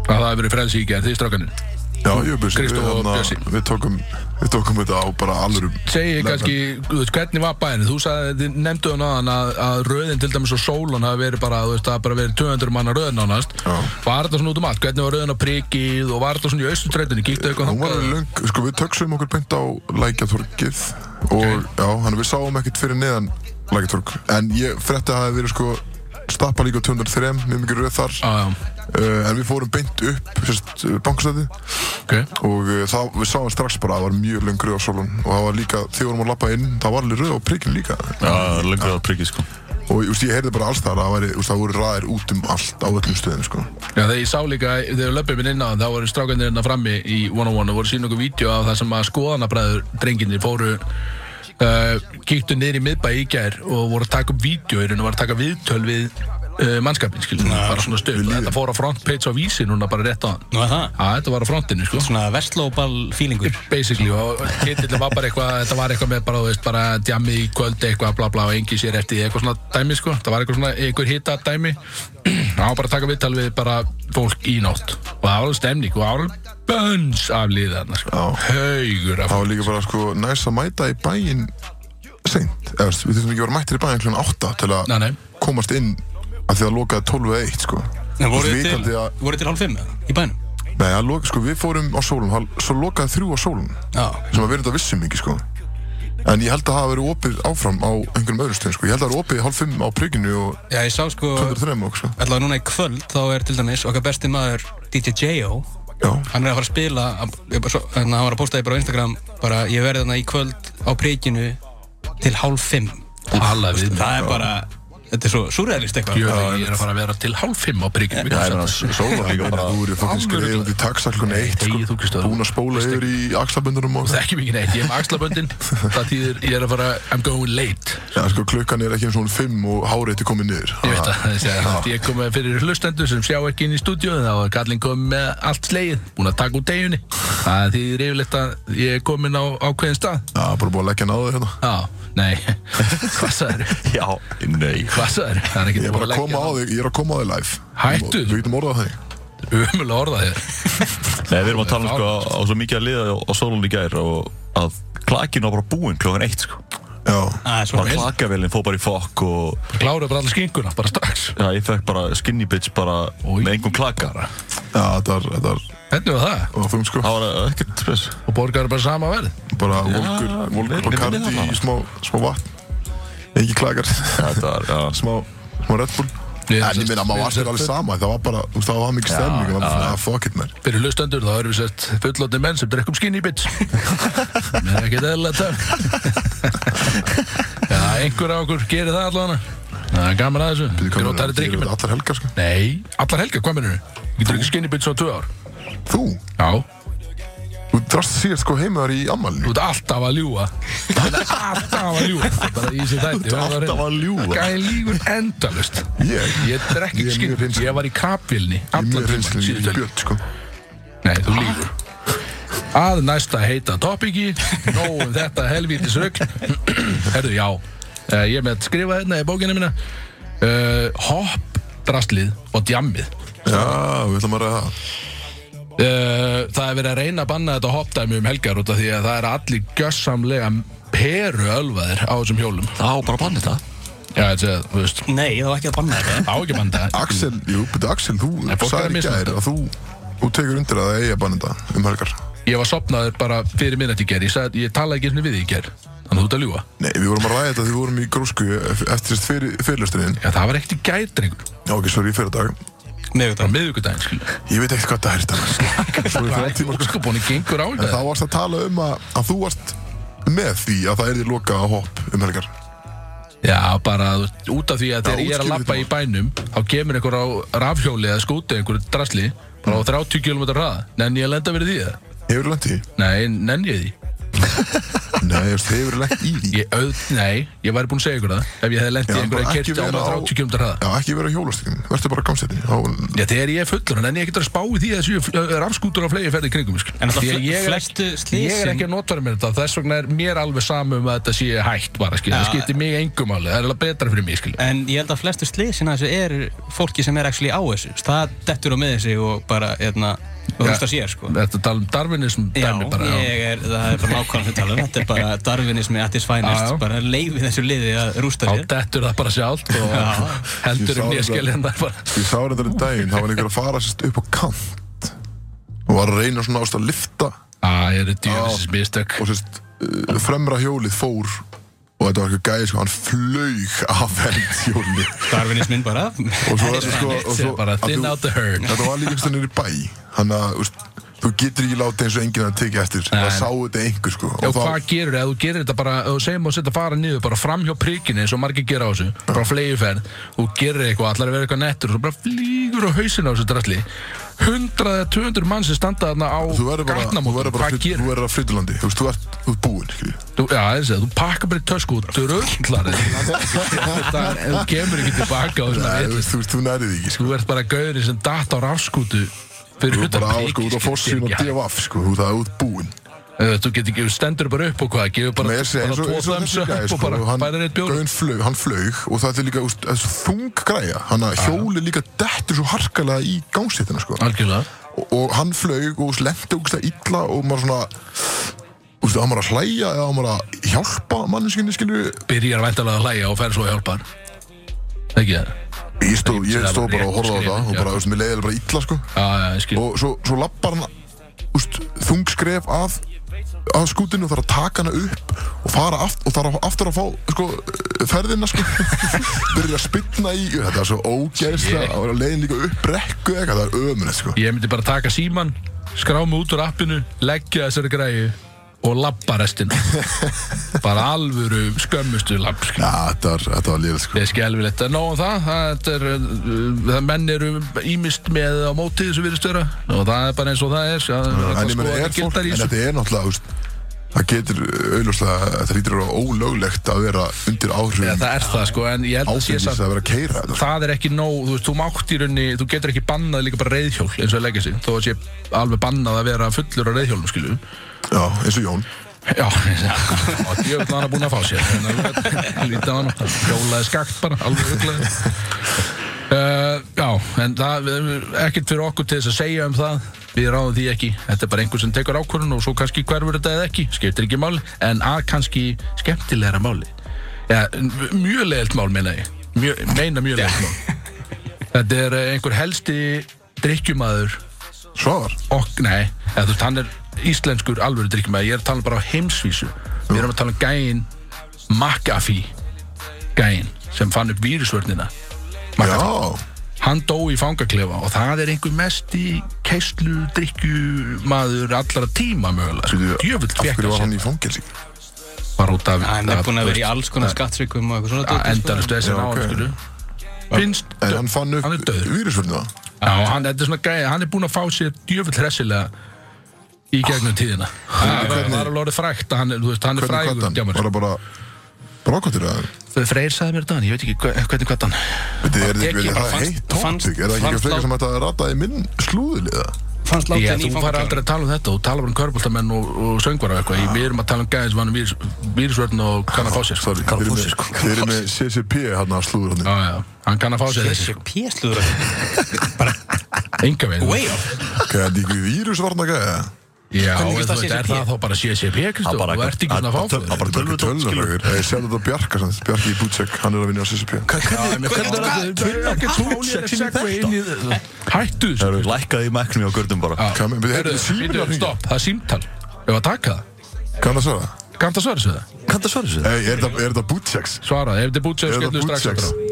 [SPEAKER 2] að það hefur verið frelsi í gerð, þið strákanir
[SPEAKER 1] Já, Já, ég bjössi hérna,
[SPEAKER 2] Kristó og Bjössi.
[SPEAKER 1] Við tókum, við tókum þetta á bara alvöru
[SPEAKER 2] Segji
[SPEAKER 1] Nei,
[SPEAKER 2] kannski, þú veist, hvernig var bæðin? Þú sagði, þið nefndu hann aðan að, að röðin til dæmis á sólan hafi verið bara, þú veist, það hafi bara verið 200 manna röðin ánast
[SPEAKER 1] Já.
[SPEAKER 2] Var þetta svona út um allt? Hvernig var röðin á prikið og var þetta svona í austutrættinni? Kíktu eitthvað
[SPEAKER 1] Hún var
[SPEAKER 2] þangað?
[SPEAKER 1] alveg löng, sko við töksum okkur beint á Lækjatorgið og já, hann við sáum ekkert fyrir neðan Lækjatorg en ég frétti að það hefði verið sko stappa líka á 203, mjög mikið röð þar
[SPEAKER 2] Já, já,
[SPEAKER 1] uh, en við fórum beint upp sérst, bankastæði
[SPEAKER 2] ok
[SPEAKER 1] og uh, það, við sáum strax bara að það var mjög löng röð á solun og það var líka, þegar við vorum að lappa inn það var alveg röð á prikinu líka
[SPEAKER 4] Já, lengur að prikið sko
[SPEAKER 1] og ég, ég heyrði bara alls þar að það væri, þú veist, það voru ræðir út um allt á öllum stöðum sko
[SPEAKER 2] Já, þegar ég sá líka, þegar löpum minn inn á það, þá voru strákarnir hérna frammi í 101 og voru sín okkur vídeo af það sem að skoðanabræður drenginir fóru uh, kíktu niður í miðbæ í gær og voru að taka upp vídeo í raun og voru að taka viðtöl við uh, mannskapin, skiljum, bara svona stöð og þetta fór á frontpage á vísi núna bara rétt á hann
[SPEAKER 3] Nú er það
[SPEAKER 2] Já, þetta var á frontinu, sko
[SPEAKER 3] Svona verslóbal feelingur
[SPEAKER 2] basically og hitillin var bara eitthvað þetta var eitthvað með bara, þú veist, bara djamið í kvöld eitthvað bla bla og engi sér eftir því, eitthvað svona dæmi sko, það var eitthvað svona, eitthvað hita dæmi það var bara að taka viðtal við bara fólk í nótt og það var alveg stemning og það var alveg bönns af liðarna sko, haugur af
[SPEAKER 1] það var líka bara sko næs að mæta í bæinn seint, eða þú veist, við þurfum ekki að vera mættir í bæinn kl. 8 til að
[SPEAKER 2] Nei, nei.
[SPEAKER 1] komast inn að því að lokaði 12 eða 1 sko
[SPEAKER 3] En voru þið
[SPEAKER 1] Vitandi
[SPEAKER 3] til,
[SPEAKER 1] að,
[SPEAKER 3] voru þið til hálf fimm eða? Í bænum?
[SPEAKER 1] nei, að loka, sko, við fórum á sólum hal- svo lokaði þrjú á sólum
[SPEAKER 3] Já
[SPEAKER 1] sem að við erum þetta vissum ekki sko en ég held að það hafa verið opið áfram á einhverjum öðrum stöðum sko, ég held að það hafa verið opið hálf 5 á prikinu og
[SPEAKER 3] Já, ég sá sko
[SPEAKER 1] 103 og sko
[SPEAKER 3] Alltaf núna í kvöld þá er til dæmis okkar besti maður DJ J.O.
[SPEAKER 1] já,
[SPEAKER 3] Hann er að fara að spila ég bara svo- Þannig að hann var að posta því bara á Instagram bara ég verði þarna í kvöld á prikinu til hálf fimm
[SPEAKER 2] tala við mig
[SPEAKER 3] Það er bara Þetta er svo surrealist eitthvað
[SPEAKER 2] Ég veit ekki, ég er að fara að vera til hálf fimm á prikinu
[SPEAKER 4] Já, ég meina, sóla líka bara
[SPEAKER 1] þú eru fokkin
[SPEAKER 2] Alvöru
[SPEAKER 1] skriðið í taxaklun 1 sko,
[SPEAKER 2] Hey, þú Kristóður.
[SPEAKER 1] búin að spóla yfir í axlaböndunum og
[SPEAKER 2] Það er ekki mikið neitt, ég hef axlaböndin það týðir, ég er að fara, I'm going late
[SPEAKER 1] Já, sko, klukkan er ekki eins og hún 5 og hárétti komið niður. Ah,
[SPEAKER 2] Ég veit að það sé að ég kom með fyrir hlustendur sem sjá ekki inn í stúdíu þá er Karlinn komið með allt slegið búin að taka úr deginni það þýðir yfirleitt að ég er komin á ákveðin stað
[SPEAKER 1] Já, bara búið að leggja náðu hérna.
[SPEAKER 2] Já, nei, hvað sagður
[SPEAKER 4] Já, nei
[SPEAKER 2] hvað sagður, það er
[SPEAKER 1] Ég
[SPEAKER 2] ekki
[SPEAKER 1] er bara að koma á þig, ég er að koma á þig live.
[SPEAKER 2] Hættu.
[SPEAKER 1] Við getum orðað það.
[SPEAKER 2] umulega orða þér
[SPEAKER 4] Nei, við erum að tala um sko á, á svo mikið að liða á, á sólun í gær og að klakinn var bara búinn klokkan eitt sko
[SPEAKER 1] Já.
[SPEAKER 3] Það er
[SPEAKER 4] Bara
[SPEAKER 3] svona
[SPEAKER 4] klakavélinn fór bara í fokk og
[SPEAKER 2] kláruðu bara allir skinguna, bara strax
[SPEAKER 4] já, ég fekk bara skinny bitch bara
[SPEAKER 2] Oj.
[SPEAKER 4] með engum klaka Það
[SPEAKER 1] Já, þetta var, þetta var,
[SPEAKER 2] hvernig var það?
[SPEAKER 1] það var þung sko.
[SPEAKER 4] var eh, ekkert spes
[SPEAKER 2] og borgar bara sama verð
[SPEAKER 1] Bara volkur,
[SPEAKER 4] við-
[SPEAKER 1] volkur
[SPEAKER 4] við
[SPEAKER 1] og
[SPEAKER 4] viljum
[SPEAKER 1] kardi
[SPEAKER 4] það
[SPEAKER 1] í
[SPEAKER 4] bara.
[SPEAKER 1] smá, smá vatn. Engi klakar.
[SPEAKER 4] Þetta var, já,
[SPEAKER 1] smá, smá Red Bull.
[SPEAKER 2] Við erum
[SPEAKER 1] en ég
[SPEAKER 2] sem-
[SPEAKER 1] minna, maður var sér alveg sama. Það var bara, þú veist, það var mikið stemning. og Það var svona, fuck it, mér.
[SPEAKER 2] fyrir hlustendur þá erum við sett fullotni menn sem um drekkum skinny bitch með ekki eðla takk Já, einhver á okkur gerir það allavega Það er gaman að þessu Við rótari drikkjum minn
[SPEAKER 1] hérna Allar helgar sko.
[SPEAKER 2] Nei, allar helga, hvað mennur þau? Ég drukki skinny bitch á tvö ár
[SPEAKER 1] Þú,
[SPEAKER 2] Já,
[SPEAKER 1] þú drast síðast sko heimaður í ammælinu.
[SPEAKER 2] þú ert alltaf að ljúa Þú ert alltaf að ljúa Bara í sér þætti Þú
[SPEAKER 4] alltaf að ljúga.
[SPEAKER 2] Gæði lífur endalust
[SPEAKER 1] Ég, ég
[SPEAKER 2] Ég
[SPEAKER 1] Ég
[SPEAKER 2] drekki
[SPEAKER 1] er
[SPEAKER 2] ekki
[SPEAKER 1] mjög
[SPEAKER 2] skinny
[SPEAKER 1] hreinskilinn.
[SPEAKER 2] Ég var í kapvilni
[SPEAKER 1] er
[SPEAKER 2] Allan
[SPEAKER 1] mjög
[SPEAKER 2] tímann
[SPEAKER 1] reynslinn í
[SPEAKER 2] síðustu helgi.
[SPEAKER 1] björn sko.
[SPEAKER 2] Nei, þú lífur Að næsta heita topiki Nóg um þetta helvítis rögg Herðu, já eh, Ég er með að skrifa hérna í bókinu mína uh, Hopp, drastlið og djammið
[SPEAKER 1] Já, við ætlum að ræða það.
[SPEAKER 2] uh, Það er verið að reyna að banna þetta hoppdæmi um helgar út af því að það er allir gjössamlega peru ölvaðir á þessum hjólum
[SPEAKER 4] það var bara að banna þetta
[SPEAKER 2] Já, þetta er, þú veist,
[SPEAKER 3] Nei, það var ekki að banna þetta
[SPEAKER 2] á ekki að banna þetta.
[SPEAKER 1] Axel, jú, betur Axel, þú
[SPEAKER 2] fólk er að
[SPEAKER 1] sagði í
[SPEAKER 2] misnota.
[SPEAKER 1] gæri að þú, þú tekur undir að það eigi að banna þetta um helgar.
[SPEAKER 2] Ég var sopnaður bara fyrir minnætt í ger Ég, sagði, ég tala ekki einu sinni við þig í ger Þannig að þú ert að ljúga
[SPEAKER 1] Nei, við vorum að ræða þetta því við vorum í grósku eftir þess fyrir, fyrirlustriðin.
[SPEAKER 2] Já, það var ekkert í gær, drengur
[SPEAKER 1] Já, ok, sorry, fyrir dag.
[SPEAKER 2] Á
[SPEAKER 3] Miðvikudag
[SPEAKER 2] miðvikudaginn, skilur
[SPEAKER 1] Ég veit ekkert hvað það er þetta. sko. Svo í
[SPEAKER 2] Hvað
[SPEAKER 1] þrjá
[SPEAKER 2] er
[SPEAKER 1] tíma, sko.
[SPEAKER 2] óskapóni gengur á
[SPEAKER 1] En
[SPEAKER 2] þetta?
[SPEAKER 1] þá varst að tala um að, að þú varst með því að það er því loka að hopp um helgar.
[SPEAKER 2] Já, bara þú veist, út af því að þegar ég er að
[SPEAKER 1] útskýrðu
[SPEAKER 2] lappa
[SPEAKER 1] þetta
[SPEAKER 2] í bænum þá kemur einhver á rafhjóli eða skúti einhver drasli, bara á 30 km hraða nenni ég að lenda verið því það?
[SPEAKER 1] Hefur lent í? því?
[SPEAKER 2] Nei, nenni ég því
[SPEAKER 1] Nei, þú veist, hefur lent í því.
[SPEAKER 2] ég, auð, Nei, ég væri búinn að segja ykkur það ef ég hefði lendið
[SPEAKER 1] Já, bara
[SPEAKER 2] einhverja
[SPEAKER 1] ekki
[SPEAKER 2] kerti á
[SPEAKER 1] vera á-
[SPEAKER 2] 30 km hraða
[SPEAKER 1] Já, ekki vera hjólastíkin, verður bara gamsettin.
[SPEAKER 2] Já, þegar ég er fullur, nenni ég ekki að spá í því að þessu eh, rafskútur á flegi ferði kringum sko.
[SPEAKER 3] En alltaf
[SPEAKER 2] Því að
[SPEAKER 3] fle-
[SPEAKER 2] ég er-
[SPEAKER 3] flestu
[SPEAKER 2] Ég er
[SPEAKER 3] slysin-
[SPEAKER 2] ekki að notfæra mér þetta, þess vegna er mér alveg samum að þetta sé hægt bara, skil, það
[SPEAKER 3] Já.
[SPEAKER 2] skiptir mig engum áli, það er alveg betra fyrir mig, skil.
[SPEAKER 3] En ég held að flestu slisin að þessu er fólki sem er actually á þessu Það dettur á með þessi og bara, hérna og hlusta sér sko
[SPEAKER 2] Þetta tala um darwinism
[SPEAKER 3] Já,
[SPEAKER 2] dæmi bara
[SPEAKER 3] ég er, það er bara nákvæmlega þetta talum um. Þetta er bara darwinismi at his
[SPEAKER 2] Já,
[SPEAKER 3] finest
[SPEAKER 2] já.
[SPEAKER 3] Bara leiði þessu liði að rústa
[SPEAKER 2] Á
[SPEAKER 3] sér
[SPEAKER 2] dettur það bara sjálft og heldur
[SPEAKER 1] Ég
[SPEAKER 2] um
[SPEAKER 1] sá
[SPEAKER 2] nýjaskeli en það er bara
[SPEAKER 1] Ég sá reyndar um daginn, það var einhver að fara sérst upp á kant og var að reyna svona ást að lifta
[SPEAKER 2] Æ, það eru djöfisins mistök
[SPEAKER 1] og sérst, uh, fremra hjólið fór og þetta var eitthvað gæði sko, hann flaug af hend hjólið
[SPEAKER 3] Darwinismin bara
[SPEAKER 1] og svo er þetta sko og svo,
[SPEAKER 2] Bara
[SPEAKER 1] að
[SPEAKER 2] thin
[SPEAKER 1] þú-
[SPEAKER 2] out the herd.
[SPEAKER 1] Þetta var líka einhvers veginn í bæ Þannig að úst, þú getur ekki látið eins og enginn að tekið eftir sko, Það
[SPEAKER 2] Nei.
[SPEAKER 1] sá þetta einhver sko
[SPEAKER 2] Já,
[SPEAKER 1] og þá-
[SPEAKER 2] hvað gerur það? Þú gerir þetta bara, ef þú segjum að setja fara niður, bara fram hjá prikinu eins og margir gera á þessu, bara flegiferð og gerir eitthvað, allar að vera eitthvað nettur og svo bara flýgur á hausinu á þessu dralli 100 eða 200 mann sem standa þarna á
[SPEAKER 1] Þú verður bara, þú verður
[SPEAKER 2] gatnamótum,
[SPEAKER 1] bara,
[SPEAKER 2] hvað
[SPEAKER 1] flyt- þú
[SPEAKER 2] gerir?
[SPEAKER 1] verður að flytulandi, þú veist, þú ert, þú ert búinn, skiljið.
[SPEAKER 2] Þú, já, þessi, þú pakkar bara í tösku og drullar þig Þetta, ef þú kemur ekki tilbaka á þessu
[SPEAKER 1] Nei, þú
[SPEAKER 2] vitleysu.
[SPEAKER 1] veist, þú veist, þú nærið því ekki, sko.
[SPEAKER 2] Þú ert bara gaurið sem datt á rafskútu fyrir
[SPEAKER 1] Þú ert
[SPEAKER 2] utan
[SPEAKER 1] bara á,
[SPEAKER 2] prikið,
[SPEAKER 1] sko, út á
[SPEAKER 2] skilur
[SPEAKER 1] fossin og
[SPEAKER 2] ekki hægt.
[SPEAKER 1] divaf, sko, þú veist, það er út búinn.
[SPEAKER 2] Eh, Þú getur ekki, þú stendur bara upp og hvað, gefur bara,
[SPEAKER 1] Með þessi,
[SPEAKER 2] bara
[SPEAKER 1] eins og,
[SPEAKER 2] tvo
[SPEAKER 1] eins og
[SPEAKER 2] thumbs
[SPEAKER 1] þessi
[SPEAKER 2] up
[SPEAKER 1] gæði,
[SPEAKER 2] og
[SPEAKER 1] sko,
[SPEAKER 2] bara
[SPEAKER 1] hann,
[SPEAKER 2] færir eitt bjór
[SPEAKER 1] gaun flaug, hann flaug og það er líka, þú veist, þessi þung græja, hann að hjóli líka dettur svo harkalega í gangsettina, sko.
[SPEAKER 2] Algjörlega
[SPEAKER 1] og, og hann flaug og lendi ógust að illa og maður svona Þú veist, á maður að hlæja eða á maður að hjálpa manneskinni, skilju
[SPEAKER 2] byrjar væntalega að hlæja og fer svo að hjálpa hann ekki það?
[SPEAKER 1] Ég stóð, ég
[SPEAKER 2] Það er
[SPEAKER 1] stóð bara
[SPEAKER 2] rétt,
[SPEAKER 1] og horfði á
[SPEAKER 2] skilur,
[SPEAKER 1] það og
[SPEAKER 2] já.
[SPEAKER 1] bara, þú veist, mér leiði bara illa, sko
[SPEAKER 2] Já, já, ég skil
[SPEAKER 1] Og svo, svo lappar hann, þú veist, þung skref að að skútinu og þarf að taka hana upp og fara aft og þarf aftur að fá, sko, ferðina, sko Byrja að spilna í, þetta er svo ógeðslega og leiðin líka upp brekku eða eitthvað, það er ömulegt, sko
[SPEAKER 2] Ég myndi bara taka síman, skrá mig út úr appinu leggja þessari græju og labba restina bara alvöru skömmustu labb skil.
[SPEAKER 1] Já, þetta var, þetta var liðið, sko
[SPEAKER 2] Ég skelvilegt, en nóg um það, það er, uh, það menn eru ímist með á móti þessu virðist vera og það er bara eins og það er sko.
[SPEAKER 1] En
[SPEAKER 2] það,
[SPEAKER 1] ég meina, er fólk, en þetta er náttúrulega, þú veist, það getur auðvitað, það lítur að vera ólöglegt að vera undir áhrifum
[SPEAKER 2] ja,
[SPEAKER 1] ja,
[SPEAKER 2] það er það sko, en ég held að sé
[SPEAKER 1] áfengis
[SPEAKER 2] samt
[SPEAKER 1] að vera að keira þetta. sko.
[SPEAKER 2] það er ekki nóg, þú veist, þú mátt í rauninni þú getur ekki bannað líka bara reyðhjól eins og að leggja sig, þó að sé alveg bannað að vera fullur á reyðhjólum, skilju
[SPEAKER 1] Já, eins og Jón.
[SPEAKER 2] Já, og djöfn hann að búin að fá sér En alveg, lítið á hann hjólaði skakt bara, alveg huglaði uh, Já, en það er ekkert fyrir okkur til þess að segja um það Við ráðum því ekki, þetta er bara einhver sem tekur ákvörðun og svo kannski hverfur þetta eða ekki, skiptir ekki máli en að kannski skemmtilegra máli Já, mjög leiðilt mál meina ég, mjög, meina mjög leiðilt mál Þetta er eh, einhver helsti drikkjumaður
[SPEAKER 1] Svavar.
[SPEAKER 2] og, nei, eða, þú veist, hann er íslenskur alvöru drikkmaður, ég er að tala bara á heimsvísu við erum að tala um gæin McAfee gæin sem fann upp vírusvörnina
[SPEAKER 1] Já,
[SPEAKER 2] McAfee, hann dó í fangaklefa og það er einhver mesti keislu, drikju, maður allra tíma
[SPEAKER 1] byrju,
[SPEAKER 2] mögulega
[SPEAKER 1] af
[SPEAKER 2] djöfull
[SPEAKER 1] hverju
[SPEAKER 2] fekk
[SPEAKER 1] var
[SPEAKER 2] hann
[SPEAKER 1] hann í fangelsi?
[SPEAKER 2] sér bara út af
[SPEAKER 3] Hann er
[SPEAKER 2] af-
[SPEAKER 3] búin að vera í
[SPEAKER 2] veist,
[SPEAKER 3] alls konar skattsvikum og eitthvað svona
[SPEAKER 2] að
[SPEAKER 3] dót, sko.
[SPEAKER 2] endalaust
[SPEAKER 1] Já,
[SPEAKER 2] þessi
[SPEAKER 1] ok.
[SPEAKER 2] náðan skilju finnst
[SPEAKER 1] En hann fann upp
[SPEAKER 2] hann er döður
[SPEAKER 1] vírusvörnina.
[SPEAKER 2] Já, hann, þetta er svona gæði, hann er búinn að fá sér djöfull hressilega í gegnum tíðina Það var- var alveg orðið frægt að hann, er- þú veist, hann er
[SPEAKER 1] Hvernig
[SPEAKER 2] frægur
[SPEAKER 1] hvað hann?
[SPEAKER 2] djámar
[SPEAKER 1] Var það bara brákottir að hann?
[SPEAKER 2] Þau Freyr sagði mér þetta, ég veit ekki hva- hvernig hvað hann
[SPEAKER 1] Þetta er þetta
[SPEAKER 2] Ég
[SPEAKER 1] ekki,
[SPEAKER 2] bara
[SPEAKER 1] það er
[SPEAKER 3] fannst-
[SPEAKER 1] heitt
[SPEAKER 3] fannst-
[SPEAKER 1] tópík. Er það ekki
[SPEAKER 3] fannst
[SPEAKER 1] fleika
[SPEAKER 3] lát-
[SPEAKER 1] sem þetta er ratað í minn slúðiliða?
[SPEAKER 3] sko. Fannst
[SPEAKER 2] Já,
[SPEAKER 3] látinn í
[SPEAKER 2] þú fari aldrei
[SPEAKER 3] fangaklefa
[SPEAKER 2] að tala um þetta, þú talar bara um körbóltamenn og, og söngvara og eitthvað, Ég- við erum að tala um gæði sem hann er vírusvörn og kann að fá sér
[SPEAKER 1] Sorry,
[SPEAKER 2] Kann
[SPEAKER 1] þeir eru
[SPEAKER 2] að fá
[SPEAKER 1] með-
[SPEAKER 2] sér, sko
[SPEAKER 1] þeir eru með CCP hann að slúður hann.
[SPEAKER 2] Já, já, hann kann að fá sér þessi,
[SPEAKER 3] Þessi pjæsluður
[SPEAKER 2] enga veginn
[SPEAKER 3] Way off
[SPEAKER 1] Hvað er þetta ekki vírusvarna gæða?
[SPEAKER 2] Já,
[SPEAKER 3] Hvernig
[SPEAKER 2] en
[SPEAKER 3] finnst
[SPEAKER 2] þú
[SPEAKER 3] það
[SPEAKER 2] veist, er
[SPEAKER 3] CCP?
[SPEAKER 2] það þá bara CCP, Kristó, þú ert ekki svona fáflöður
[SPEAKER 4] Það bara tölvur tótt, skilur
[SPEAKER 1] Tölvulegur. Ég sé þetta á Bjarka, sanns. Bjarki í Bútsek, hann er að vinna á CCP.
[SPEAKER 2] Hættu þessu
[SPEAKER 4] við. Lækkaði í mæknum hjá Gurdum bara.
[SPEAKER 1] Hvað með-
[SPEAKER 2] Heyrðu,
[SPEAKER 1] heyrðu, síminn
[SPEAKER 2] heyrðu,
[SPEAKER 1] að hringja.
[SPEAKER 2] Stopp, það er símtal Ef að taka það
[SPEAKER 1] Kann að svara?
[SPEAKER 2] Kannst að svara þessu það?
[SPEAKER 4] Kann það svara þessu?
[SPEAKER 1] Hey, er þetta- er þetta Butcheks?
[SPEAKER 2] Svaraði, ef þið búið sér
[SPEAKER 1] Er
[SPEAKER 2] skellu
[SPEAKER 1] það
[SPEAKER 2] strax
[SPEAKER 1] bootsex?
[SPEAKER 2] eftir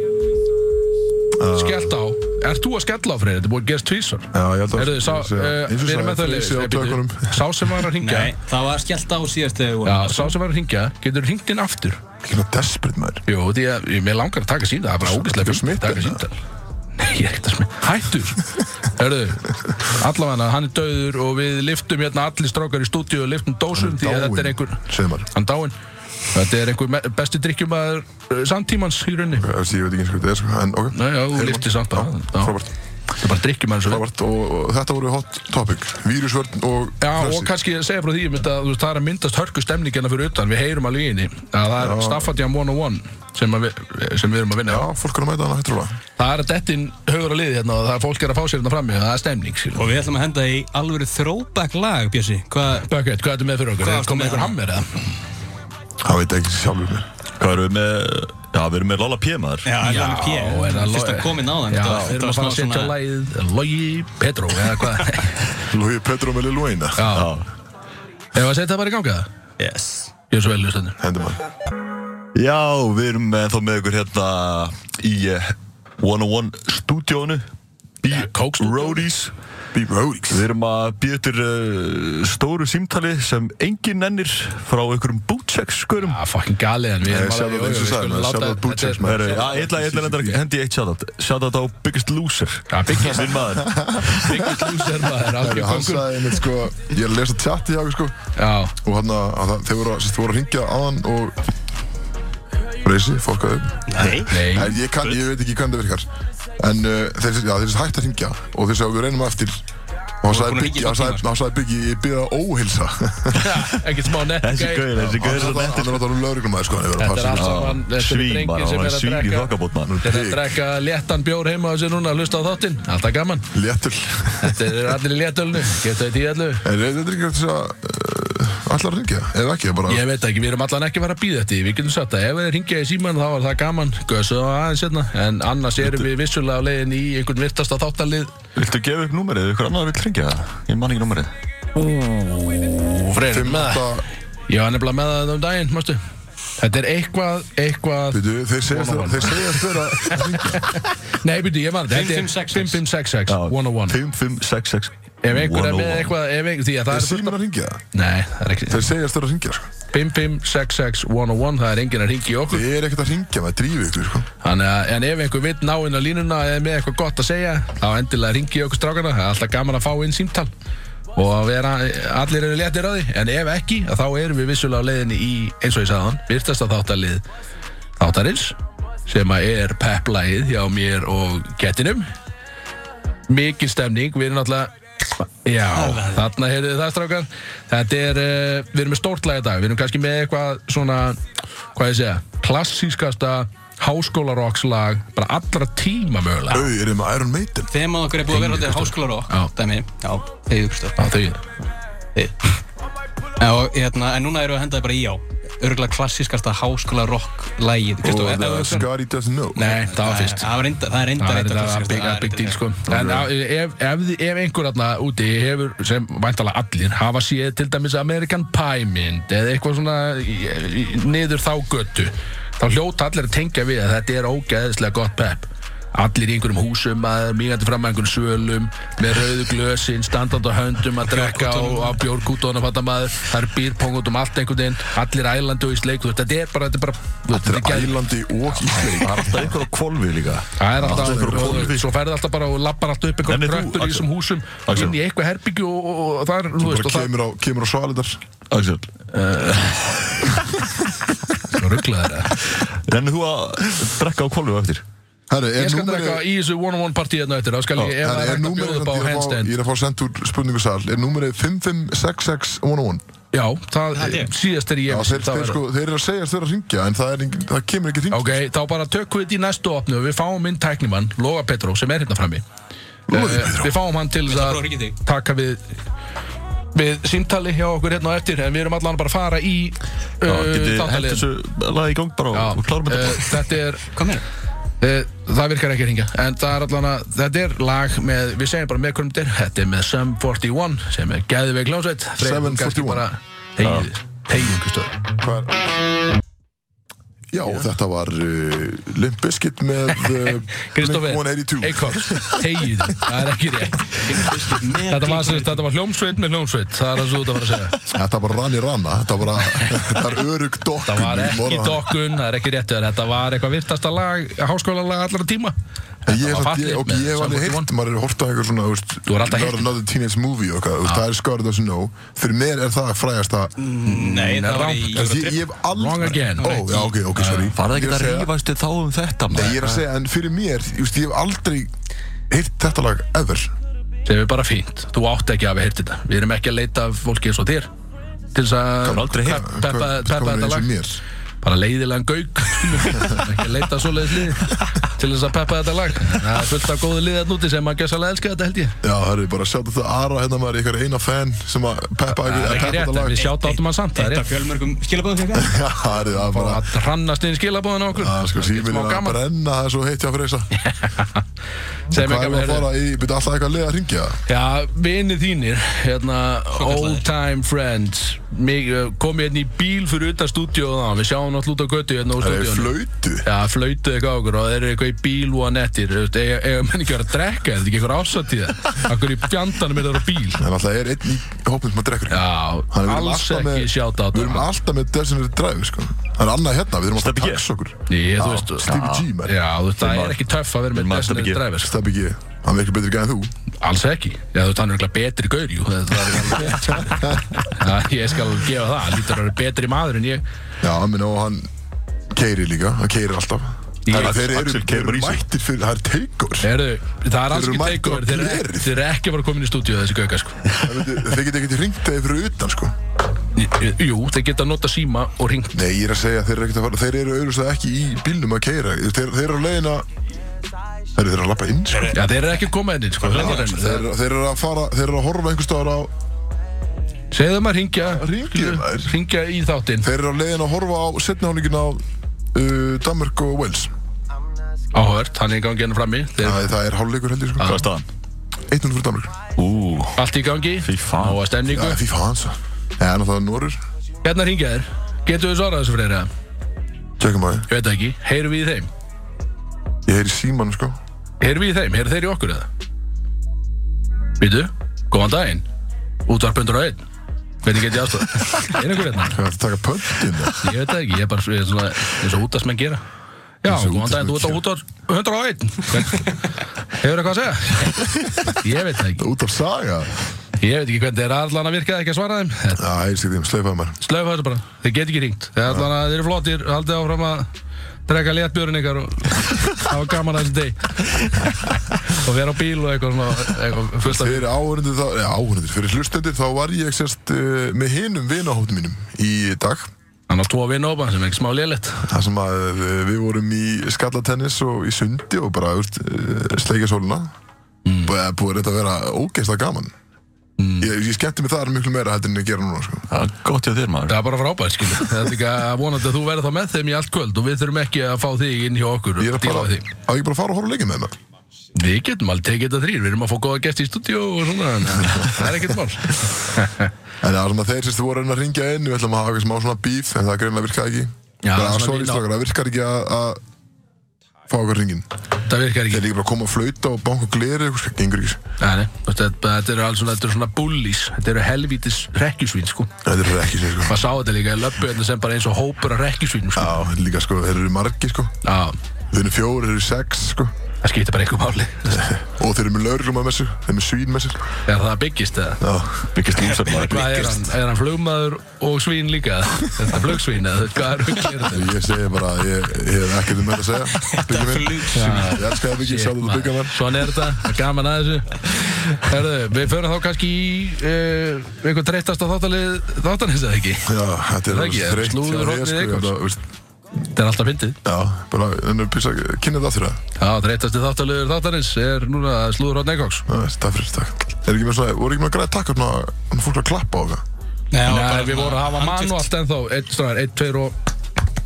[SPEAKER 2] á Skellt á Er þú að skella á freyri? Þetta er búið að gerast tvísar
[SPEAKER 1] Já, ég held að-
[SPEAKER 2] Heyrðu, sá,
[SPEAKER 1] ég sé- eins
[SPEAKER 2] eh,
[SPEAKER 1] og
[SPEAKER 2] við erum
[SPEAKER 1] sagði,
[SPEAKER 2] með þau
[SPEAKER 1] þau
[SPEAKER 2] leiðis
[SPEAKER 1] séu á
[SPEAKER 2] Nei, bíddu.
[SPEAKER 1] tökunum.
[SPEAKER 2] Sá sem var að ringja
[SPEAKER 3] Nei, það var skellt á síðast þegar við
[SPEAKER 2] Já,
[SPEAKER 3] vorum
[SPEAKER 2] sá sem var að ringja Getur ringt inn aftur
[SPEAKER 1] Ekki með desperate maður
[SPEAKER 2] Jú, því að ég- mér langar að taka símtal Það er bara ógæslega
[SPEAKER 1] ertu
[SPEAKER 2] fyrir að
[SPEAKER 1] smitaður,
[SPEAKER 2] taka
[SPEAKER 1] eða?
[SPEAKER 2] símtal Nei, ég er ekkert að smita Hættur Hörðu, allavega hann er döður og við liftum hérna allir strákar í stúdíu og liftum dósum því að þetta er einhver
[SPEAKER 1] Segðu maður
[SPEAKER 2] hann dáinn Þetta er einhver me- besti drikkjumæður samtímans í rauninni
[SPEAKER 1] Ég veit ekki eins og hvað þetta er sko En ok
[SPEAKER 2] Nei, já, þú
[SPEAKER 1] Heyrum
[SPEAKER 2] lyftir
[SPEAKER 1] hann.
[SPEAKER 2] samt bara.
[SPEAKER 1] Já,
[SPEAKER 2] Já.
[SPEAKER 1] Frábært
[SPEAKER 2] það er bara drikkjum eins og við
[SPEAKER 1] Robert, og, og þetta voru hot topic Vírusvörn og
[SPEAKER 2] Já, og
[SPEAKER 1] frelsi.
[SPEAKER 2] kannski segja frá því um þetta, þú veist, það er að myndast hörku stemningina fyrir utan, við heyrum alveg í henni að það er Staffadjam 101 sem, að við, sem við erum að vinna
[SPEAKER 1] Já,
[SPEAKER 2] á.
[SPEAKER 1] fólk er að mæta hana hættulega
[SPEAKER 2] það er að dettin haugur að liði hérna og það er fólk er að fá sér hérna frammi og það er stemning, skilur
[SPEAKER 3] Og við ætlum að henda í alvöru throwback lag, Bjössi Hvað,
[SPEAKER 2] Bökveit, hvað er þetta með fyrir okkur?
[SPEAKER 3] Hvað
[SPEAKER 2] Er
[SPEAKER 3] ertu
[SPEAKER 2] komið
[SPEAKER 3] með?
[SPEAKER 2] einhver hammer eða?
[SPEAKER 1] Það veit ekki sjálfur mér
[SPEAKER 4] Hvað erum við með? Já, við erum með Lola P maður.
[SPEAKER 3] já, er hann P?
[SPEAKER 2] er það
[SPEAKER 3] Fyrst að
[SPEAKER 2] logi-
[SPEAKER 3] komin á þann
[SPEAKER 2] Já, við erum að fara að setja á lagið Logi Petro, eða hvað?
[SPEAKER 1] Lói Petro með Lil Wayne
[SPEAKER 2] Já,
[SPEAKER 4] Já.
[SPEAKER 2] ef að setja það bara í ganga það?
[SPEAKER 3] Yes
[SPEAKER 2] Ég er svo vel, hlustendur.
[SPEAKER 1] Hendur maður
[SPEAKER 4] Já, við erum með þá með ykkur hérna í eh, 101 stúdíónu
[SPEAKER 2] Kókstúdíónu.
[SPEAKER 4] Roadies
[SPEAKER 1] Bíbra Húríks
[SPEAKER 4] Við erum að býja ykkur uh, stóru símtali sem engin nennir frá ykkurum bootcheck-skurum
[SPEAKER 2] Já, fucking galið en við erum
[SPEAKER 1] Sjáðu
[SPEAKER 2] jú,
[SPEAKER 1] eins og
[SPEAKER 2] við
[SPEAKER 1] sagði
[SPEAKER 2] skulum
[SPEAKER 1] maður,
[SPEAKER 2] láta-
[SPEAKER 1] sjáðu
[SPEAKER 2] þetta er-
[SPEAKER 1] Butchers maður
[SPEAKER 4] Heru, já, ég ætla ég ætla reyndar að hendi í eitt shoutout Shoutout á Biggest Loser
[SPEAKER 2] Já, Biggest-
[SPEAKER 4] Minn maður
[SPEAKER 2] Biggest loser maður, algjör
[SPEAKER 1] Hann
[SPEAKER 2] kongur.
[SPEAKER 1] sagði einmitt sko Ég er að lesa chati hjá okkur sko
[SPEAKER 2] Já,
[SPEAKER 1] Og hann að það- þeir voru að- sérst, voru að ringja á hann og Reysi, fólk að
[SPEAKER 3] Nei
[SPEAKER 2] nei,
[SPEAKER 1] En ég, kann, ég veit ekki hvernig það virkar En uh, þeir, já, þeir hægt að ringja Og þeir sagði við reynum aftur Og hann
[SPEAKER 3] búin
[SPEAKER 1] sagði
[SPEAKER 3] að hringja í
[SPEAKER 1] Biggi, hann
[SPEAKER 3] tvo
[SPEAKER 1] sagði-
[SPEAKER 3] tíma,
[SPEAKER 1] hann sagði Biggi Ég byrði að óhilsa
[SPEAKER 2] ekkert smá nett
[SPEAKER 4] Þessi
[SPEAKER 2] gæi.
[SPEAKER 4] gauðir, þessi
[SPEAKER 1] Hann
[SPEAKER 4] gauðir
[SPEAKER 1] er
[SPEAKER 4] svo nettir
[SPEAKER 1] náttúrulega um lauruglumæði sko hann hefur verið að
[SPEAKER 2] Þetta er allt
[SPEAKER 1] passa
[SPEAKER 2] saman, þetta er
[SPEAKER 4] Svín
[SPEAKER 2] drengir
[SPEAKER 4] bara,
[SPEAKER 2] sem
[SPEAKER 4] hann
[SPEAKER 2] er
[SPEAKER 4] er
[SPEAKER 2] að
[SPEAKER 4] svín í
[SPEAKER 2] drekka Mm.
[SPEAKER 4] þokkabót maður
[SPEAKER 2] Þetta er að drekka léttan bjór heima á þessu núna, hlusta á þáttinn, alltaf gaman
[SPEAKER 1] sig. Léttul
[SPEAKER 2] Þetta er allir í léttölnu, geta þetta í öllu
[SPEAKER 1] En er þetta ekki eftir að uh, Allar að ringja, ef ekki bara
[SPEAKER 2] Ég veit ekki, við erum allan ekki að fara að býða þetta í, Við getum sagt að ef við ringja í síman þá er það gaman Gössu á aðeins hérna En annars erum við vissulega á leiðin í einhvern virtasta þáttalið
[SPEAKER 4] Viltu gefa upp númerið, ykkur annar vil hringja það? Ég man ekki númerið
[SPEAKER 2] Og freyrum með það
[SPEAKER 1] Þetta,
[SPEAKER 2] Ég var nefnilega með það um daginn, mástu Þetta er eitthvað, eitthvað
[SPEAKER 1] veitu, þeir segjast
[SPEAKER 2] One on
[SPEAKER 1] vera- þeir segjast vera
[SPEAKER 2] Nei, byrju, ég man þetta
[SPEAKER 3] 5566.
[SPEAKER 2] 5566 101
[SPEAKER 4] 5566
[SPEAKER 2] Ef oh einhver
[SPEAKER 4] oh
[SPEAKER 2] er með eitthvað, ef einhver, því að
[SPEAKER 1] Þeir
[SPEAKER 2] það er fullt
[SPEAKER 1] símur að ringja það
[SPEAKER 2] af- Nei, það er ekki
[SPEAKER 1] Þeir segjast vera að ringja sko
[SPEAKER 2] 5566-101 það er enginn að ringi í okkur
[SPEAKER 1] Ég er ekkert að ringja, maður drífi ykkur sko
[SPEAKER 2] Þannig að en ef einhver vill ná inn á línuna eða er með eitthvað gott að segja þá endilega ringi í okkur strákana það er alltaf gaman að fá inn símtal og að vera, allir eru léttir á því en ef ekki, að þá erum við vissulega á leiðinni í eins og ég sagði hann, virtasta þáttalið þáttarins sem að er peplægið hjá mér og kettinum mikil stemning, við erum náttúrulega Já, þarna heyrðu það strákar Þetta er, uh, við erum með stórt lag í dag Við erum kannski með eitthvað svona Hvað ég segja, klassískasta Háskólarokkslag Bara allra tíma mögulega
[SPEAKER 1] Þau eru með Iron Maiden
[SPEAKER 3] Þeim að okkur er búið að vera þetta háskólarokk
[SPEAKER 2] Já.
[SPEAKER 3] Dæmi Já, þeir ykkurstof
[SPEAKER 2] Já, þau
[SPEAKER 3] Og hérna, en núna eru að henda þið bara í á Örgulega klassískasta háskólarokk lagið Kristó,
[SPEAKER 1] Og
[SPEAKER 3] þetta
[SPEAKER 1] the
[SPEAKER 3] var
[SPEAKER 1] Scary doesn't know
[SPEAKER 2] Nei, það var fyrst
[SPEAKER 3] Það var reyndar- það er
[SPEAKER 2] Það
[SPEAKER 3] reyndar
[SPEAKER 2] er
[SPEAKER 3] eitt af
[SPEAKER 2] þetta big,
[SPEAKER 3] klassískasta-
[SPEAKER 2] big deal sko En á- ef, ef, þið- ef einhver þarna úti hefur, sem væntalega allir hafa séð til dæmis American Pie mynd eða eitthvað svona í- í- niður þá götu þá hljóta allir að tengja við að þetta er ógeðislega gott pepp Allir í einhverjum húsum að mingandi fram að einhverjum svölum með rauðu glösin, standandi á höndum að drekka á, á bjórkútónu að fatta maður það er býrpong út um allt einhvern veginn allir ælandi og í sleik, þú veist, þetta er bara þetta er bara,
[SPEAKER 1] Þetta er
[SPEAKER 2] geðveikt.
[SPEAKER 1] ælandi og ísleik
[SPEAKER 4] Það er alltaf einhver á kvolvi líka
[SPEAKER 2] Það er
[SPEAKER 4] Alltaf
[SPEAKER 2] alltaf,
[SPEAKER 4] einhver á hvolfi.
[SPEAKER 2] svo ferði alltaf bara og lappar alltaf upp einhver
[SPEAKER 4] Nennir þú,
[SPEAKER 2] tröppur í
[SPEAKER 4] Axel?
[SPEAKER 2] þessum húsum
[SPEAKER 4] Axel?
[SPEAKER 2] inn í eitthvað herbyggju og, og, og það er, þú
[SPEAKER 1] Bara
[SPEAKER 2] veist, og það
[SPEAKER 1] kemur á, kemur á svalindar
[SPEAKER 4] Axel,
[SPEAKER 2] er rugglaður
[SPEAKER 4] rennir þú að drekka á kvolvi á eftir?
[SPEAKER 1] Herru, er
[SPEAKER 2] Ég skal
[SPEAKER 1] númerið-
[SPEAKER 2] drekka í þessu one-on-one partíi hérna eftir, þá skal ég,
[SPEAKER 1] Herru,
[SPEAKER 2] ef það er
[SPEAKER 1] er
[SPEAKER 2] hægt að
[SPEAKER 1] númerið
[SPEAKER 2] bjóða upp á
[SPEAKER 1] ég er að fá-
[SPEAKER 2] handstand
[SPEAKER 1] Ég er að fá sendt úr spurningasal Er númerið 5566111
[SPEAKER 2] Já, það,
[SPEAKER 3] Það er ég.
[SPEAKER 2] síðast er
[SPEAKER 1] Já,
[SPEAKER 2] ég
[SPEAKER 1] þeir,
[SPEAKER 2] það
[SPEAKER 1] þeir,
[SPEAKER 2] verður.
[SPEAKER 1] sko, þeir eru að segja að þeir eru að ringja En það, er, engin- það kemur ekki ring
[SPEAKER 2] Ok, þá bara tökum við þetta í næstu opnu og við fáum inn tæknimann, Loga Petró, sem er hérna frammi
[SPEAKER 1] Logi
[SPEAKER 2] Eh,
[SPEAKER 1] Petró.
[SPEAKER 2] Við fáum hann til
[SPEAKER 3] Ég ætla
[SPEAKER 2] að
[SPEAKER 3] að prófa að hringja í þig.
[SPEAKER 2] taka við við símtali hjá okkur hérna á eftir en við erum allan bara að fara í
[SPEAKER 4] Já,
[SPEAKER 2] uh,
[SPEAKER 4] getið hendt
[SPEAKER 2] þáttaliðin.
[SPEAKER 4] þessu lag í gang bara
[SPEAKER 2] Já,
[SPEAKER 4] og- og klárum þetta
[SPEAKER 2] eh, Þetta er
[SPEAKER 3] Hvað meina?
[SPEAKER 2] Eh, Það virkar ekki að ringja En það er allan að Þetta er lag með Við segjum bara með hverjum þetta er Þetta er með Sum 41 Sem er Gæðveik Ljónsveit
[SPEAKER 1] 741.
[SPEAKER 2] Hegið Hegið Kristóð
[SPEAKER 1] Hvað er Já, þetta var uh, Limp Bizkit með uh,
[SPEAKER 2] Kristófer
[SPEAKER 1] Blink-182
[SPEAKER 2] Eikhorst Hegið Það er ekki rétt Þetta var, sem sagt- þetta var hljómsveit með hljómsveit Það er það sem þú ert að fara að segja
[SPEAKER 1] Þetta var rann í ranna Þetta var, þetta var örug dokkun
[SPEAKER 2] Það var
[SPEAKER 1] í
[SPEAKER 2] ekki
[SPEAKER 1] morgun.
[SPEAKER 2] dokkun Það er ekki rétt hjá þér. Þetta var eitthvað virtasta lag Háskóla lag allra tíma
[SPEAKER 1] En Ég,
[SPEAKER 2] Þetta
[SPEAKER 1] hef
[SPEAKER 2] var
[SPEAKER 1] samt- ég,
[SPEAKER 2] fallið
[SPEAKER 1] og
[SPEAKER 2] með
[SPEAKER 1] ég hef
[SPEAKER 2] Sum
[SPEAKER 1] alveg
[SPEAKER 2] 41.
[SPEAKER 1] heyrt, maður er að horta eitthvað svona veist,
[SPEAKER 2] Þú er alltaf heyrt.
[SPEAKER 1] Another- Another Teenage Movie og eitthvað, þú veist, það er skarð þessu no Fyrir mér er það frægast að
[SPEAKER 3] Nei, það var
[SPEAKER 2] rangt.
[SPEAKER 3] í
[SPEAKER 1] Ég, ég hef aldrei
[SPEAKER 2] Mm. Wrong again.
[SPEAKER 1] Ó, já, ok, ok, sorry
[SPEAKER 4] Farðu
[SPEAKER 1] Ég
[SPEAKER 4] ekki
[SPEAKER 1] er
[SPEAKER 4] að
[SPEAKER 1] segja-
[SPEAKER 4] rífastu þá um þetta
[SPEAKER 1] Nei,
[SPEAKER 4] maður
[SPEAKER 1] ég er að segja, en fyrir mér, ég, veist, ég hef aldrei heyrt þetta lag ever
[SPEAKER 2] sem er bara fínt, þú átt ekki að hafa heyrt þetta við erum ekki að leita af fólki eins og þér til þess að
[SPEAKER 4] Hefur aldrei heyrt.
[SPEAKER 2] pep- peppa peppa þetta lag
[SPEAKER 1] lag
[SPEAKER 2] bara leiðilegan gauk ekki að leita svoleiðis lið til þess að peppa þetta lag það er fullt af góðu liðan úti sem að gæsalega elska þetta held ég
[SPEAKER 1] Já, það er bara að sjá þetta Ara hérna maður, ykkar eina fan sem að peppa
[SPEAKER 2] það
[SPEAKER 1] peppa
[SPEAKER 2] er ekki rétt, en við sjátt átum hann samt það er
[SPEAKER 3] Þetta
[SPEAKER 2] rétt
[SPEAKER 3] fjölmörgum skilabóðum fyrir það
[SPEAKER 1] Já, það er það bara
[SPEAKER 2] að hrannast inn skilabóðan á okkur
[SPEAKER 1] Það er sko
[SPEAKER 2] er
[SPEAKER 1] síminn
[SPEAKER 2] smá
[SPEAKER 1] er að
[SPEAKER 2] gaman
[SPEAKER 1] brenna það er svo heitt hjá Freysa
[SPEAKER 2] sem
[SPEAKER 1] Hvað er
[SPEAKER 2] ekki að
[SPEAKER 1] að
[SPEAKER 2] vera
[SPEAKER 1] fara í, byrja alltaf eitthvað leið að ringja
[SPEAKER 2] Já, vinið þínir, hérna, old time friends Mig, uh, kom ég hérna í bíl fyrir utan stúdíu og það, við sjáum alltaf út á götu hérna úr
[SPEAKER 1] Það er
[SPEAKER 2] stúdíu
[SPEAKER 1] flöytu
[SPEAKER 2] Já, flautu eitthvað á okkur og þeir eru eitthvað í bíl og að nettir Eða menn ekki að vera að drekka, er þetta ekki eitthvað ásatíða Akkur í fjandanum er það á bíl
[SPEAKER 1] En alltaf er einn í hópum sem að drekkur ekki.
[SPEAKER 2] Já,
[SPEAKER 1] Þannig við erum
[SPEAKER 2] alls
[SPEAKER 1] alltaf með-
[SPEAKER 2] ekki sjátt á
[SPEAKER 1] Við erum
[SPEAKER 2] þetta
[SPEAKER 1] alltaf með Designated Drive sko. Það er annað hérna, við erum alltaf
[SPEAKER 4] Stebbi
[SPEAKER 1] að
[SPEAKER 4] G.
[SPEAKER 1] taxa okkur
[SPEAKER 2] Ég, þú veist,
[SPEAKER 1] Stevie G, menn.
[SPEAKER 2] Já, þú veist, það
[SPEAKER 4] Maður-
[SPEAKER 2] er ekki töff að vera
[SPEAKER 4] Maður
[SPEAKER 2] með
[SPEAKER 4] stefnir
[SPEAKER 2] designated
[SPEAKER 4] ekki.
[SPEAKER 2] driver sko.
[SPEAKER 1] Stebbi G, hann virkir betur gæðan þú
[SPEAKER 2] Alls ekki, já, þú veist, hann er eitthvað betri gaur, jú það- það er alveg rétt, sko. Já, Ég skal gefa það, hann lítur að vera betri maður en ég
[SPEAKER 1] Já, menn og hann keirir líka, hann keirir alltaf
[SPEAKER 2] Ég-
[SPEAKER 1] Þannig að þeir eru,
[SPEAKER 4] Axel
[SPEAKER 1] þeir
[SPEAKER 4] keyrir
[SPEAKER 1] eru
[SPEAKER 4] bara í sig.
[SPEAKER 1] mættir fyrir, það er teikur
[SPEAKER 2] Heru, Það er alls
[SPEAKER 1] eru
[SPEAKER 2] ekki
[SPEAKER 1] mættir á
[SPEAKER 2] takeover, þeir eru-
[SPEAKER 1] glerið.
[SPEAKER 2] þeir eru ekki að fara komin í stúdíu þessi gauka, sko
[SPEAKER 1] Þeir geta ekkert ringt þeir fyrir utan sko
[SPEAKER 2] Jú, þeir geta nota síma og ringt
[SPEAKER 1] Nei, ég er að segja að þeir eru ekkert að fara Þeir eru auðvitað ekki í bílnum að keira Þeir, þeir eru á leiðina Þeir eru þeir eru að lappa inn sko
[SPEAKER 2] Já, þeir eru ekki að koma henni, sko
[SPEAKER 1] Já,
[SPEAKER 2] lengra en-
[SPEAKER 1] Þeir, þeir eru að fara, þeir eru að horfa einhvers staðar á
[SPEAKER 2] Segðu maður hringja
[SPEAKER 1] Hringið,
[SPEAKER 2] skilur,
[SPEAKER 1] maður.
[SPEAKER 2] Hringja í þáttinn
[SPEAKER 1] Þeir eru á leiðin að horfa á setnihálingin á uh, Danmark og Wales
[SPEAKER 2] Áhört, hann er í gangi hann frammi Þeir,
[SPEAKER 1] Það, það er hálfleikur held ég sko
[SPEAKER 4] Hvað er staðan?
[SPEAKER 1] 1-0 fyrir Danmark
[SPEAKER 4] um Ú,
[SPEAKER 2] Allt í gangi
[SPEAKER 4] Fy fan.
[SPEAKER 2] Á að stemningu
[SPEAKER 1] Já, FIFA hans sko. Já, en það er Norur
[SPEAKER 2] Hérna hringja þér Getur við svarað þessu fyrir það?
[SPEAKER 1] Tjökkum að
[SPEAKER 2] Ég veit það ekki Heyrum við í þeim?
[SPEAKER 1] þið Ég heyri síman sko
[SPEAKER 2] Heyrum við í þeim? Heyrum þeir í okkur eða? Býtu Góðan daginn Útvarpundur á einn Hvernig get ég aðstofa? Er einhver hérna?
[SPEAKER 1] Það er að taka pöntin
[SPEAKER 2] Ég veit það ekki Ég er bara ég er svona eins og útast menn gera Já,
[SPEAKER 1] Eins og
[SPEAKER 2] góðan daginn, þú ert á
[SPEAKER 1] útvarpsmenn
[SPEAKER 2] útvar 101 Hefur eitthvað að segja? Ég veit það ekki
[SPEAKER 1] Út af saga
[SPEAKER 2] Ég veit ekki hvernig þeir allan að virka ekki að svara þeim Þetta
[SPEAKER 1] Já, ég sé því um sleipaði maður
[SPEAKER 2] Slaufa þessu bara, þeir get ekki ringt Þeir allan að þeir eru flottir, haldið áfram að drekka léttbjörn ykkar og hafa gaman að þessu deg og vera á bíl og eitthvað svona eitthvað fullt af
[SPEAKER 1] Fyrir áhörundir þá Já, áhörundir Fyrir hlustendur þá var ég sérst uh, með hinum vinahóttum mínum í dag
[SPEAKER 2] Hann á tvo vinna opa sem er ekki smá lélitt
[SPEAKER 1] Það sem að eh, við vorum í skallatennis og í sundi og bara úst, sleikja sóluna mm. búið þetta að vera ógeðslega gaman
[SPEAKER 2] Mm.
[SPEAKER 1] ég, ég skemmti mig þar miklu meira heldur en ég gera núna sko.
[SPEAKER 4] það er gott hjá þér maður
[SPEAKER 2] Það er bara frábært skilu Það er ekki að vonandi að þú verður þá með þeim í allt kvöld og við þurfum ekki að fá þig inn hjá okkur
[SPEAKER 1] ég er
[SPEAKER 2] og
[SPEAKER 1] að
[SPEAKER 2] díla
[SPEAKER 1] bara,
[SPEAKER 2] við þig
[SPEAKER 1] á ég bara að fara og horfa á leikinn með hennar
[SPEAKER 2] Við getum alveg tekið þetta þrýr, við erum að fá góða gesti í stúdíu og svona en það er ekkert mál
[SPEAKER 1] en það sem að þeir sérst voru að reyna að ringja inn við ætlum að hafa eitthvað smá svona bíf en það greinlega virkaði ekki
[SPEAKER 2] Já,
[SPEAKER 1] það,
[SPEAKER 2] svona
[SPEAKER 1] það, sorry,
[SPEAKER 2] vinna-
[SPEAKER 1] strákar, það virkar ekki að, að fá okkar ringin þeir
[SPEAKER 2] Það virkar ekki
[SPEAKER 1] eru ekki bara að koma að flauta og banka og gleri eitthvað, sko, gengur ekki
[SPEAKER 2] Nei, nei, þú veist, þetta þetta eru alls svona, þetta eru svona bullies, þetta eru helvítis rekkjusvín, sko.
[SPEAKER 1] þetta er ekki sér sko.
[SPEAKER 2] Maður sá þetta líka í löppu hérna sem bara eins og hópur af rekkjusvínum, sko.
[SPEAKER 1] Já, líka sko, þeir eru margir sko
[SPEAKER 2] Já,
[SPEAKER 1] þeir eru fjóri, þeir eru sex sko
[SPEAKER 2] það skiptir bara einhver máli.
[SPEAKER 1] Og þeir eru með lauruglum með sér, þeir eru með svín með sér
[SPEAKER 2] Er það byggist eða?
[SPEAKER 1] Já,
[SPEAKER 4] Byggist úmsar maður
[SPEAKER 2] Hvað er hann? Er hann flugmaður og svín líka? Þetta er flugsvín eða? Hvað er huglir þetta?
[SPEAKER 1] ég segi bara að ég, ég hef ekkert um þetta að segja Byggja minn, ég elska það byggja, sjá þetta byggja minn
[SPEAKER 2] Svona er þetta, það er gaman að þessu. Herðu, við förum þá kannski í uh, einhver dreytasta þáttalið þáttanins eða ekki?
[SPEAKER 1] Já, þetta er
[SPEAKER 2] Það
[SPEAKER 1] alveg
[SPEAKER 2] ekki, er
[SPEAKER 1] þreytt
[SPEAKER 2] slúður
[SPEAKER 1] hjá þér,
[SPEAKER 2] hornið
[SPEAKER 1] sko,
[SPEAKER 2] eitthvað?
[SPEAKER 1] þetta, veist,
[SPEAKER 2] Þetta er alltaf fyndið.
[SPEAKER 1] Já, bara, en písa, kynna það þurra
[SPEAKER 2] Já, dreytasti þáttaliður þáttanins er núna slúður Rótt Neikoks.
[SPEAKER 1] Takk fyrir, takk Er ekki með svona, voru ekki með að græða takk upp Þannig fólk að klappa á það
[SPEAKER 3] Nei,
[SPEAKER 2] Nei, við vorum að hafa manualt ennþá Eitt, stráðar, eitt, tveir og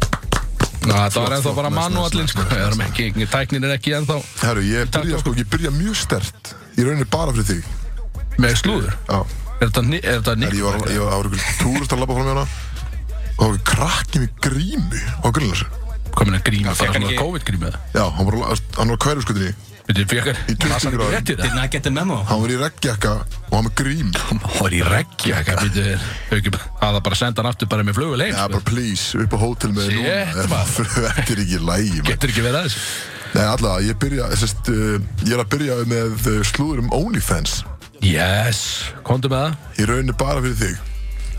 [SPEAKER 2] Ná, það var ennþá
[SPEAKER 1] flott,
[SPEAKER 2] bara
[SPEAKER 1] nice, nice,
[SPEAKER 2] manuallin
[SPEAKER 1] nice,
[SPEAKER 2] sko.
[SPEAKER 1] nice,
[SPEAKER 2] Við erum ekki, tæknin er ekki ennþá
[SPEAKER 1] Herru, ég
[SPEAKER 2] Takk,
[SPEAKER 1] byrja,
[SPEAKER 2] takk.
[SPEAKER 1] sko, ég byrja mjög stert Ég rauninni bara fyrir þig
[SPEAKER 2] með slúður
[SPEAKER 1] Já,
[SPEAKER 2] Er þetta ni- er þetta
[SPEAKER 1] er,
[SPEAKER 2] nýtt?
[SPEAKER 1] ég var, ég var, það var ykkur túrist að labba fram í hana Og það var krakki með grímu á grunnar
[SPEAKER 2] Komin að gríma,
[SPEAKER 3] fékk
[SPEAKER 2] bara
[SPEAKER 3] hann
[SPEAKER 2] svona
[SPEAKER 3] ekki-
[SPEAKER 2] COVID-gríma
[SPEAKER 1] Já, hann var, á- hann var hverju skutinni
[SPEAKER 2] Við þið fekar,
[SPEAKER 1] Í 20
[SPEAKER 2] það er ekki
[SPEAKER 1] gráðum.
[SPEAKER 2] réttir
[SPEAKER 3] Did
[SPEAKER 2] það
[SPEAKER 3] not get the memo
[SPEAKER 1] Hann var í reggjaka og hann með grím
[SPEAKER 4] Það er í regn
[SPEAKER 2] Já, hvað býtu þér Það er bara að senda hann aftur bara með flugul heim
[SPEAKER 1] Já,
[SPEAKER 2] sko.
[SPEAKER 1] bara please, upp á hótel með þér
[SPEAKER 2] Shit,
[SPEAKER 1] núna
[SPEAKER 2] maður.
[SPEAKER 1] Þetta er ekki lægi Nei,
[SPEAKER 2] Getur ekki verið aðeins
[SPEAKER 1] allavega, ég byrja sest, uh, Ég er að byrja með uh, slúður um OnlyFans
[SPEAKER 2] Yes, komdu með það
[SPEAKER 1] Í rauninni bara fyrir þig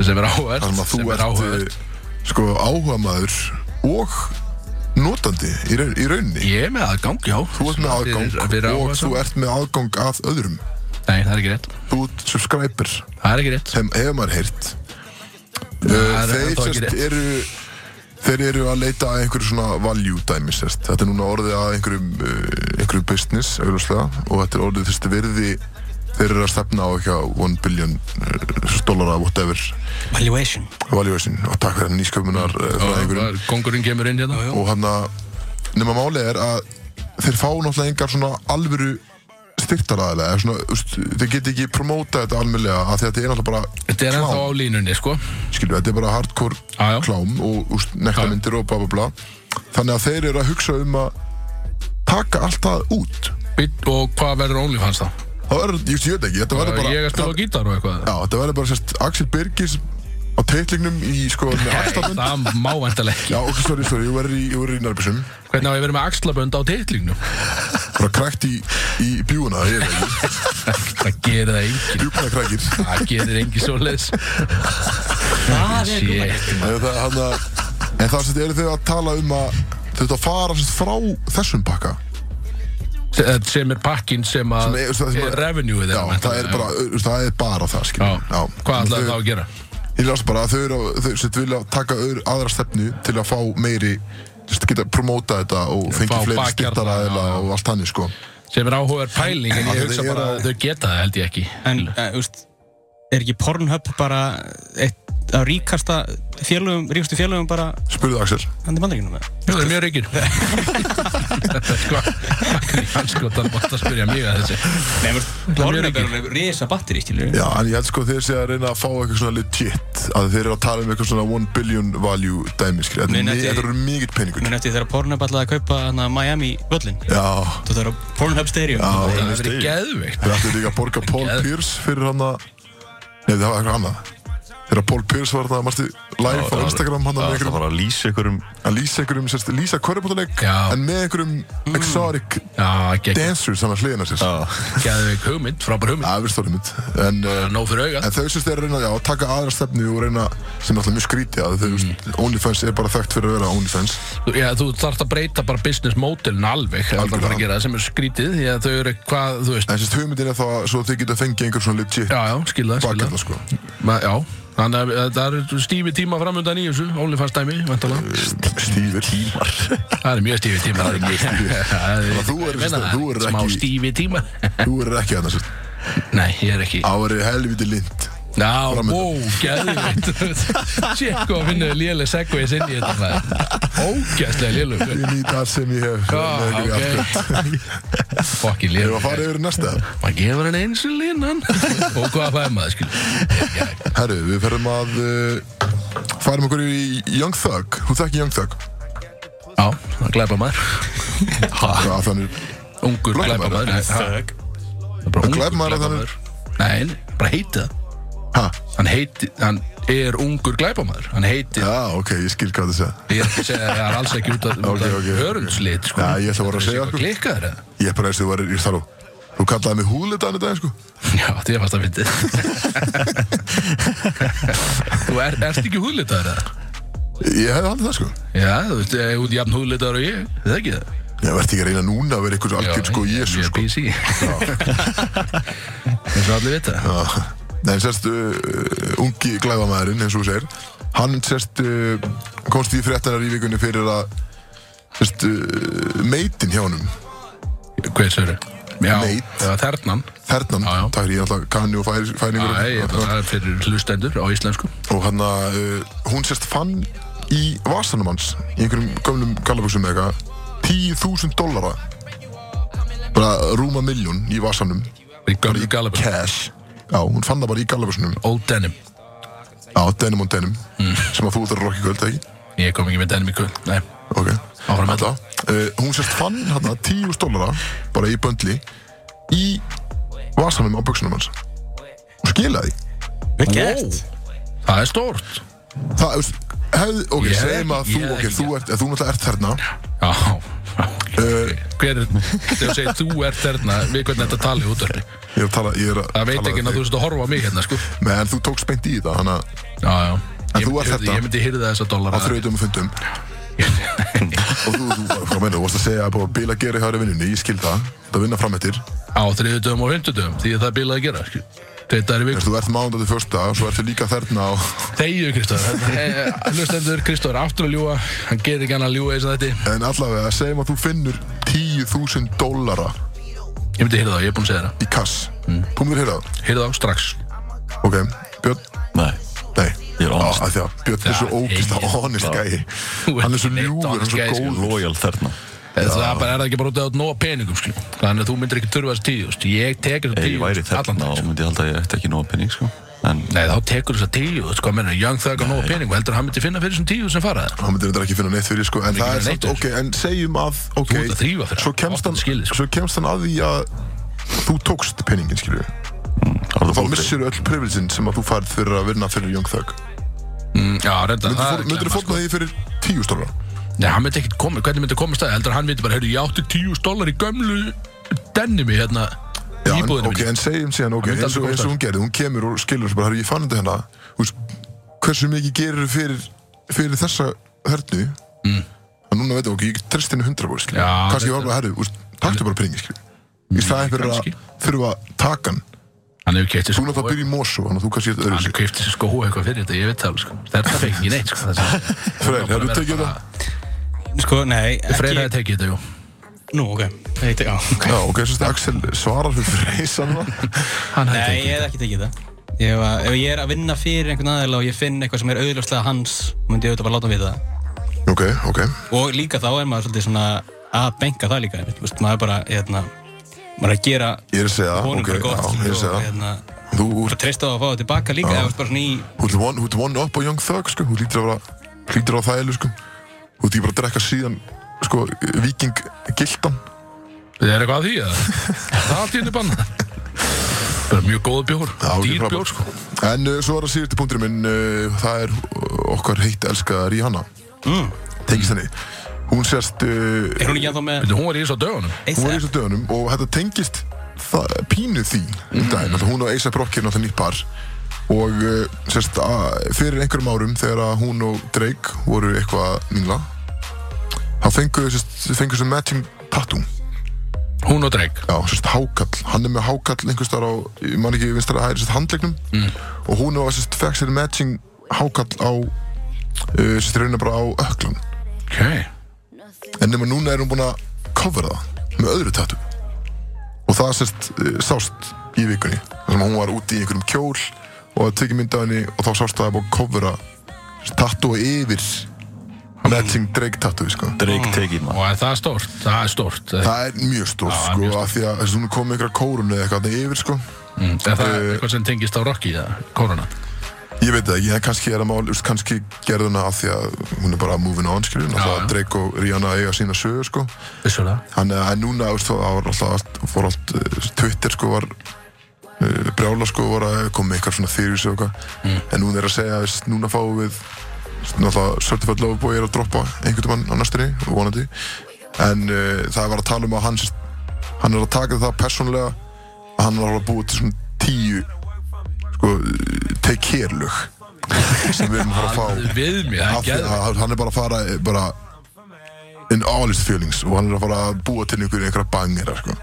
[SPEAKER 2] Það sem er áhvert
[SPEAKER 1] Þar sem að þú eh,
[SPEAKER 2] sem er
[SPEAKER 1] ert
[SPEAKER 2] áhvert
[SPEAKER 1] uh, sko, áhuga maður og notandi í, raun, í rauninni
[SPEAKER 2] Ég er með aðgang, já
[SPEAKER 1] Þú ert með
[SPEAKER 2] Fyrir-
[SPEAKER 1] aðgang
[SPEAKER 2] fyrir
[SPEAKER 1] og
[SPEAKER 2] áhugasama.
[SPEAKER 1] þú ert með aðgang að öðrum
[SPEAKER 2] Nei, það er ekki rétt
[SPEAKER 1] Þú ert subscriber
[SPEAKER 2] Það er ekki rétt
[SPEAKER 1] sem hefur maður heyrt
[SPEAKER 2] það er
[SPEAKER 1] Eh, Þeir
[SPEAKER 2] ennþá ekki
[SPEAKER 1] sérst
[SPEAKER 2] rétt.
[SPEAKER 1] eru Þeir eru að leita að einhverju svona value dæmi sérst Þetta er núna orðið að einhverjum, uh, einhverjum business augljóslega og þetta er orðið þessi virði Þeir eru að stefna á eitthvað 1 billion uh, dollara whatever
[SPEAKER 3] Valuation
[SPEAKER 1] valuation og takk fyrir nýsköpunar uh, frá einhverjum
[SPEAKER 2] Og Kongurinn kemur inn hérna
[SPEAKER 1] og hann að nema málið er að þeir fá náttúrulega engar svona alvöru styrtaræðilega svona, úst, þeir geti ekki promóta þetta almjölega af því að þetta er náttúrulega bara
[SPEAKER 2] Þetta er ennþá á línunni, sko
[SPEAKER 1] skilju, þetta er bara hardcore
[SPEAKER 2] Já, já.
[SPEAKER 1] klám og úst, nektarmyndir og bla bla bla þannig að þeir eru að hugsa um að taka allt það út
[SPEAKER 2] Bíddu, Og hvað verður OnlyFans þá?
[SPEAKER 1] það verður, ég ég veit ekki, þetta verður bara
[SPEAKER 2] Ég er að spila á gítar og eitthvað
[SPEAKER 1] já, þetta verður bara sérst Axel Birgis á teitlingnum í sko með axlabönd
[SPEAKER 2] Það má endalega ekki
[SPEAKER 1] já, ok, sorry, sorry, ég verður í, ég verður í nærbísum
[SPEAKER 2] Hvernig á ég verið með axlabönd á titlingnum?
[SPEAKER 1] bara krækt í, í bjúuna, ég veit ekki
[SPEAKER 2] Það gerir það engin
[SPEAKER 1] bjúkna krækir
[SPEAKER 2] Það gerir engin svo leis Það er gummi
[SPEAKER 1] En það, hana, en það sem eru þau að tala um að þau þetta fara sem sagt frá þessum pakka
[SPEAKER 2] Sem er pakkin sem að
[SPEAKER 1] Sem er- sem að-
[SPEAKER 2] er revenue
[SPEAKER 1] Já,
[SPEAKER 2] þeirra
[SPEAKER 1] það er bara, það er bara það skil
[SPEAKER 2] Já. Hvað ætlaðu þá að gera?
[SPEAKER 1] Ég las bara að þau eru að- þau sem vilja taka öðru, aðra stefnu til að fá meiri just geta promóta þetta og fengi
[SPEAKER 2] fá
[SPEAKER 1] fleiri
[SPEAKER 2] bakhjarla,
[SPEAKER 1] styrtaræðila
[SPEAKER 2] já, já.
[SPEAKER 1] og allt hann sko.
[SPEAKER 2] Sem er áhugaður pæling En
[SPEAKER 1] Já,
[SPEAKER 2] ég
[SPEAKER 1] þeir
[SPEAKER 2] hugsa
[SPEAKER 1] eru
[SPEAKER 2] bara
[SPEAKER 1] á-
[SPEAKER 2] að þau geta það held ég ekki
[SPEAKER 3] En, eh, úst, er ekki Pornhub bara eitt af ríkasta félögum, ríkastu félögum bara
[SPEAKER 1] Spurðu Axel
[SPEAKER 3] hann til bandaríkjunum með?
[SPEAKER 2] Jú, það er mjög Sko, reykir Hvað sko, það er bótt að spyrja mig að þessi
[SPEAKER 3] Nei, veist,
[SPEAKER 2] mjög
[SPEAKER 3] Pornhub
[SPEAKER 2] ríkir.
[SPEAKER 3] er alveg risa batteri, skilur
[SPEAKER 1] Já, en ég held sko þeir sé að reyna að fá eitthvað svona legit að þeir eru að tala um eitthvað svona 1 billion value dæmi skil Þetta er
[SPEAKER 3] Nei, nei,
[SPEAKER 1] mi-
[SPEAKER 3] þetta-
[SPEAKER 1] þetta eru mikið peningur
[SPEAKER 3] Mér nefndi þegar Pornhub alltaf að kaupa hana, Miami völlin
[SPEAKER 1] Já,
[SPEAKER 3] Þú þarf að Pornhub Stadium
[SPEAKER 1] já
[SPEAKER 2] Það er verið geðveikt
[SPEAKER 1] Þeir ættu líka að borga Paul
[SPEAKER 2] Geð-
[SPEAKER 1] Pierce fyrir hann að Nei, það var eitthvað annað Þegar Paul Pierce var það, mannstu, live á Instagram hann með
[SPEAKER 4] Það
[SPEAKER 1] einhverjum
[SPEAKER 4] var að lýsa um- einhverjum
[SPEAKER 1] að lýsa einhverjum, sérst, lýsa körfbótaleik
[SPEAKER 2] Já.
[SPEAKER 1] en með einhverjum exotic
[SPEAKER 2] Já, gegn-
[SPEAKER 1] dancers hann að hliðina sérst
[SPEAKER 4] Já.
[SPEAKER 2] geðveik hugmynd, frábær hugmynd
[SPEAKER 1] Það er stóri mynd en, uh,
[SPEAKER 2] Nóg fyrir auga
[SPEAKER 1] en þau sérst er að reyna já, að taka aðra stefnu og reyna sem er alltaf mjög skrítið að þau, mm. OnlyFans er bara þekkt fyrir að vera OnlyFans
[SPEAKER 2] Þú- Já, þú þarft að breyta bara business modelin alveg Það er bara að gera það sem er skrítið Því að þau eru hvað, þú veist
[SPEAKER 1] en sérst hugmyndin er þá að- svo að þau geta fengið einhver svona legit
[SPEAKER 2] Já, já, skilða,
[SPEAKER 1] bakkalla
[SPEAKER 2] skilða
[SPEAKER 1] sko
[SPEAKER 2] Ma, Já, þannig að eh, það er stífi tíma framöndan í þessu OnlyFans dæmi, vantalega
[SPEAKER 1] Stífir Tímar
[SPEAKER 2] Það er mjög stífi tíma Það er mjög stífi
[SPEAKER 1] Þannig að þú er- þú er
[SPEAKER 2] Smá
[SPEAKER 1] ekki-
[SPEAKER 2] stífi tíma
[SPEAKER 1] Þú eru ekki þarna sko. sérst
[SPEAKER 2] Nei, ég er ekki
[SPEAKER 1] Ári helviti lind
[SPEAKER 2] Já,
[SPEAKER 1] Framöndan.
[SPEAKER 2] ó, gæðvitt Sér hvað finnur léleg segways inn í þetta maður. Ógæðslega léleg
[SPEAKER 1] Ég nýt allt sem ég hef
[SPEAKER 2] Já,
[SPEAKER 1] með einhverju aftur.
[SPEAKER 2] ok Fokkin
[SPEAKER 1] Ég var
[SPEAKER 2] léleg
[SPEAKER 1] að fara yfir í næsta
[SPEAKER 2] Maður gefur henni eins og línan Og hvað fæði maður, skil
[SPEAKER 1] Herru, við ferum að uh, Færum okkur í Young Thug Þú þekki Young Thug
[SPEAKER 2] Já, það glæpa maður Ah.
[SPEAKER 1] Það að þannig
[SPEAKER 2] Ungur
[SPEAKER 1] Glæpamaður,
[SPEAKER 2] glæpa maður
[SPEAKER 3] Þögg
[SPEAKER 1] Glæpamaður,
[SPEAKER 2] Glæpa
[SPEAKER 1] það er-
[SPEAKER 2] maður Nei, nei, bara heiti það
[SPEAKER 1] Ha?
[SPEAKER 2] Hann heiti, hann er ungur glæpamaður Hann heiti,
[SPEAKER 1] Já, ok, ég skil hvað það segja
[SPEAKER 2] ég er ekki að segja að það er alls ekki út af
[SPEAKER 1] Ok, ok.
[SPEAKER 2] hörundslit sko.
[SPEAKER 1] Já, ég ætla bara að segja
[SPEAKER 2] eitthvað
[SPEAKER 1] okkur.
[SPEAKER 2] Klikkaður eða?
[SPEAKER 1] Ég er bara eins og þú varir í þar og Þú kallaði mig húðlitaðan í dag, sko
[SPEAKER 2] Já, því að fast að fyndið Þú er, ert ekki húðlitaður eða?
[SPEAKER 1] Ég hefði haldið það, sko
[SPEAKER 2] Já, þú veist, ég er út jafn húðlitaður og ég, er það ekki það?
[SPEAKER 1] Ég verði ekki að reyna núna að vera ykkur algjör, sko, jésu,
[SPEAKER 2] Ég er
[SPEAKER 1] sko
[SPEAKER 2] PC Eins og allir vita
[SPEAKER 1] Já. Nei, Ah. sérst, uh, ungi glæfamæðurinn, eins og þú segir Hann, sérst, uh, komst í fréttanar í vikunni fyrir að Sérst, uh, meitin hjá honum
[SPEAKER 2] Hvað er það? Já,
[SPEAKER 1] Meit.
[SPEAKER 2] eða þernan
[SPEAKER 1] Þernan,
[SPEAKER 2] Já, já.
[SPEAKER 1] takk fyrir ég alltaf kanni og fæ-
[SPEAKER 2] Já,
[SPEAKER 1] fæningur
[SPEAKER 2] ég, held að það er fyrir hlustendur á íslensku
[SPEAKER 1] og hann að uh, hún sérst fann í vasanum hans í einhverjum gömlum gallabuxum eða eitthvað 10.000 dollara bara rúma miljón í vasanum
[SPEAKER 2] Í gömlu galabur
[SPEAKER 1] cash Já, hún fann það bara í gallabuxunum
[SPEAKER 2] Old Denim
[SPEAKER 1] Já, denim on denim
[SPEAKER 2] Mm.
[SPEAKER 1] sem að þú þarf að rokka í kvöld, ekki?
[SPEAKER 2] Ég kom ekki með denim í kvöld Nei,
[SPEAKER 1] Ok,
[SPEAKER 2] Áfram með
[SPEAKER 1] Alla. uh, Hún sérst fann hann að 10.000 dollara bara í böndli í vasanum á buxunum hans og skilaði
[SPEAKER 3] Vel gert
[SPEAKER 2] það er stórt
[SPEAKER 1] Það, þú veist, hefði, ok,
[SPEAKER 2] Ég hefði
[SPEAKER 1] segjum að
[SPEAKER 2] ekki-
[SPEAKER 1] þú,
[SPEAKER 2] ég hefði
[SPEAKER 1] ok,
[SPEAKER 2] ekki
[SPEAKER 1] þú ert, þú náttúrulega ert þarna
[SPEAKER 2] Já
[SPEAKER 1] uh,
[SPEAKER 2] Hver er, þegar þú segir þú ert þerna Við hvernig þetta tali út öll
[SPEAKER 1] Ég er að tala, ég er að
[SPEAKER 2] Það veit
[SPEAKER 1] tala
[SPEAKER 2] ekki
[SPEAKER 1] við
[SPEAKER 2] að
[SPEAKER 1] þig.
[SPEAKER 2] þú veist að horfa á mig hérna sko
[SPEAKER 1] Men þú tókst beint í þetta, þannig að
[SPEAKER 2] Já, já
[SPEAKER 1] En
[SPEAKER 2] Ég
[SPEAKER 1] þú ert
[SPEAKER 2] myndi-
[SPEAKER 1] þetta?
[SPEAKER 2] Ég myndi hyrða þessa
[SPEAKER 1] á
[SPEAKER 2] dólar
[SPEAKER 1] þrjóðum og fundum Og þú, þú, hvað meina, þú varst að segja að búið að bíla að gera í hægri vinnunni, ég skil það. Það vinna fram eftir.
[SPEAKER 2] á þriðutöfum og hundudöfum því að það er bilað að gera skil. þetta er í
[SPEAKER 1] Þegar
[SPEAKER 2] viku
[SPEAKER 1] þú ert mándag til fyrsta og svo ertu líka þarna og...
[SPEAKER 2] þegju Kristóður Eh, hlustendur Kristóður er aftur að ljúa hann gerir ekki hann að ljúa eins og þetta
[SPEAKER 1] En allavega, segjum að þú finnur 10.000 dólara
[SPEAKER 2] ég myndi hýrða það, ég er búinn að segja það
[SPEAKER 1] í kass. Mm. Búum þér hér að?
[SPEAKER 2] hýrða það strax
[SPEAKER 1] Ok, Björn?
[SPEAKER 4] Nei,
[SPEAKER 1] Nei.
[SPEAKER 4] Ég er
[SPEAKER 1] Á,
[SPEAKER 4] honest.
[SPEAKER 1] af því að Björn er
[SPEAKER 2] Já,
[SPEAKER 1] svo ógist
[SPEAKER 2] ég-
[SPEAKER 1] að honest
[SPEAKER 4] Já.
[SPEAKER 1] gæi.
[SPEAKER 2] Þú ert
[SPEAKER 1] Hann er svo
[SPEAKER 2] neitt
[SPEAKER 1] ljúgur, hann
[SPEAKER 2] honest
[SPEAKER 1] er
[SPEAKER 2] gæi,
[SPEAKER 1] svo
[SPEAKER 2] sko.
[SPEAKER 1] góð.
[SPEAKER 4] lojal þarna
[SPEAKER 2] Eða það er bara, er það ekki bara út af nóga peningum skil. þannig að þú myndir ekki þurfa þessi tíu þú veist. ég tekur
[SPEAKER 4] Ef
[SPEAKER 2] þessi
[SPEAKER 4] ég
[SPEAKER 2] tíu
[SPEAKER 4] væri
[SPEAKER 2] allan
[SPEAKER 4] þarna
[SPEAKER 2] dag
[SPEAKER 4] þá
[SPEAKER 2] sko.
[SPEAKER 4] myndi ég halda að ég ætti ekki nóga pening sko. En
[SPEAKER 2] Nei, þá tekur þess að tíu, þú veist hvað menna, Young Thug á nóga pening og heldur hann myndi finna fyrir þessum tíu sem fara það
[SPEAKER 1] Hann myndir þetta ekki finna neitt fyrir, sko, en það
[SPEAKER 2] finna
[SPEAKER 1] er
[SPEAKER 2] neitt
[SPEAKER 1] samt,
[SPEAKER 2] fyrir.
[SPEAKER 1] ok, en segjum að, ok,
[SPEAKER 2] ert að þrífa fyrir
[SPEAKER 1] svo
[SPEAKER 2] hann,
[SPEAKER 1] kemst
[SPEAKER 2] áttu
[SPEAKER 1] hann,
[SPEAKER 2] skilið, sko.
[SPEAKER 1] svo kemst hann að því að þú tókst peningin, skilur
[SPEAKER 4] þá
[SPEAKER 1] Þá missir öll privilegin sem að þú færð fyrir að vinna fyrir Young Thug. Mm,
[SPEAKER 2] Já, reynda, það er sko.
[SPEAKER 1] Myndir þú
[SPEAKER 2] glemma,
[SPEAKER 1] fórna því fyrir 10 stólar?
[SPEAKER 2] Nei, hann myndi ekkert koma, hvernig myndi komast það? Heldur hann myndi bara, heyrðu, ég átti 10 dólar í gömlu dennimi hérna
[SPEAKER 1] Já,
[SPEAKER 2] í
[SPEAKER 1] en,
[SPEAKER 2] íbúðinu
[SPEAKER 1] ok,
[SPEAKER 2] okay.
[SPEAKER 1] en segjum síðan, ok,
[SPEAKER 2] Hann myndi
[SPEAKER 1] eins og,
[SPEAKER 2] aldrei
[SPEAKER 1] eins og hún gerði, hún kemur og skilur þessu bara, herru, ég fann þetta hérna, þú veist, hversu mikið gerir fyrir, fyrir þessa hörnu, mm. en núna veitum við, ok, ég trist henni 100 bóri, skilur,
[SPEAKER 2] Já,
[SPEAKER 1] kannski ég
[SPEAKER 2] þetta-
[SPEAKER 1] var bara, herru, þú veist, taktu bara peningi, skilur, í staðin fyrir
[SPEAKER 2] kannski.
[SPEAKER 1] að þurfa að taka hann,
[SPEAKER 2] Hann hefur keitt
[SPEAKER 1] þú
[SPEAKER 2] þessi
[SPEAKER 1] náttúrulega byrja í Mosó, þannig að þú kannski eitthvað
[SPEAKER 2] Hann
[SPEAKER 1] öðru
[SPEAKER 2] hefur keitt þessi sko hú eitthvað fyrir þetta, ég veit það alveg sko Þetta fekk ekki neitt sko
[SPEAKER 1] Freyr,
[SPEAKER 2] Freyr,
[SPEAKER 1] hefur þú tekið þetta?
[SPEAKER 3] Sko, nei,
[SPEAKER 2] Freyr
[SPEAKER 3] ekki
[SPEAKER 2] hefði tekið þetta, jú
[SPEAKER 3] Nú, ok Nei, te- já, ok.
[SPEAKER 1] Já, ok, svo að Axel svarar fyrir freysan
[SPEAKER 2] Hann hefði
[SPEAKER 3] Nei,
[SPEAKER 2] tekið
[SPEAKER 3] ég hef ekki tekið það Ég hef, að- ef ég er að vinna fyrir einhvern aðeila og ég finn eitthvað sem er auðljóslega hans myndi ég auðvitað bara láta hann við það
[SPEAKER 1] Ok, ok,
[SPEAKER 3] og líka þá er maður svolítið svona að benka það líka einmitt, veist, maður er bara hérna, maður er að gera
[SPEAKER 1] ég er að segja,
[SPEAKER 3] honum
[SPEAKER 1] ok,
[SPEAKER 3] bara gott
[SPEAKER 1] já, ég er að
[SPEAKER 3] og
[SPEAKER 1] segja,
[SPEAKER 3] hérna,
[SPEAKER 1] þú ert
[SPEAKER 3] bara treysta á að fá það tilbaka líka eða þú veist bara svona í
[SPEAKER 1] Hún er one, hún er one up á Young Thug sko, hún lítur að vera, lítur að það sko. Hún er ekki bara að drekka síðan, sko, viking gildan.
[SPEAKER 2] Það er eitthvað að því, eða? Það er allt í henni banna Bara mjög góð bjór, dýr bjór sko
[SPEAKER 1] En uh, svo er það síðusti punkturinn minn, uh, það er uh, okkar heitt elska Rihanna.
[SPEAKER 3] mm,
[SPEAKER 1] Tengist henni. Hún sérst, uh,
[SPEAKER 3] er hún ekki að þá með
[SPEAKER 2] Veitu, Hún var í þessu á dögunum
[SPEAKER 1] hún var í
[SPEAKER 3] ASAP?
[SPEAKER 1] þessu dögunum og þetta tengist það, pínu því um daginn. Mm. Hún og A$AP Rocky er náttúrulega nýtt par. Og uh, sérst, að, fyrir einhverjum árum þegar að hún og Drake voru eitthvað að mingla, þá fengu þessu matching tattoo.
[SPEAKER 2] Hún og Dreg
[SPEAKER 1] Já, sérst hákall, hann er með hákall einhvers þar á, ég man ekki vinstra að hæri sérst handlegnum og hún var sérst fekk sér matching hákall á uh, sérst raunar bara á öklan
[SPEAKER 2] Ok,
[SPEAKER 1] en nema núna er hún búin að covera það með öðru tattu og það sérst uh, sást í vikunni þar sem hún var úti í einhverjum kjól og það tekið mynd af henni og þá sást það að búin að covera tattu yfir matching Drake tattu, sko
[SPEAKER 4] Drake tekið maður
[SPEAKER 2] og er það stórt? Það er stórt Það
[SPEAKER 1] Það er mjög stórt,
[SPEAKER 2] Já,
[SPEAKER 1] sko,
[SPEAKER 2] mjög
[SPEAKER 1] af því að þess að hún er komið ykkur að kórunu eða eitthvað þarna yfir, sko
[SPEAKER 2] Mm, Er það eitthvað sem tengist á Rocky, það, korona?
[SPEAKER 1] Ég veit það ekki, en kannski er það mál, úst, kannski gerði hún það af því að hún er bara moving on, skilur, náttúrulega
[SPEAKER 2] já.
[SPEAKER 1] Drake og Rihanna eiga sína sögur, sko.
[SPEAKER 2] Vissulega
[SPEAKER 1] Þannig að en núna, úst, það var alltaf, allt, fór allt, uh, Twitter, sko, var uh, brjála, sko, var að koma með eitthvað svona theories og eitthvað. En núna er að segja, úst, núna fáum við, úst, náttúrulega, Certified Lover Boy er að droppa einhvern tímann á næstunni, vonandi. En uh, það var að tala um að hann, sérst, hann er að taka það persónulega að hann var að búa til svona tíu, sko, uh, take care lög sem við erum að fara að fá
[SPEAKER 2] Við mér, það
[SPEAKER 1] af
[SPEAKER 2] er
[SPEAKER 1] því
[SPEAKER 2] geðvægt
[SPEAKER 1] að hann er bara að fara eh, bara in all his feelings og hann er að fara að búa til einhverja einhverja bangera sko.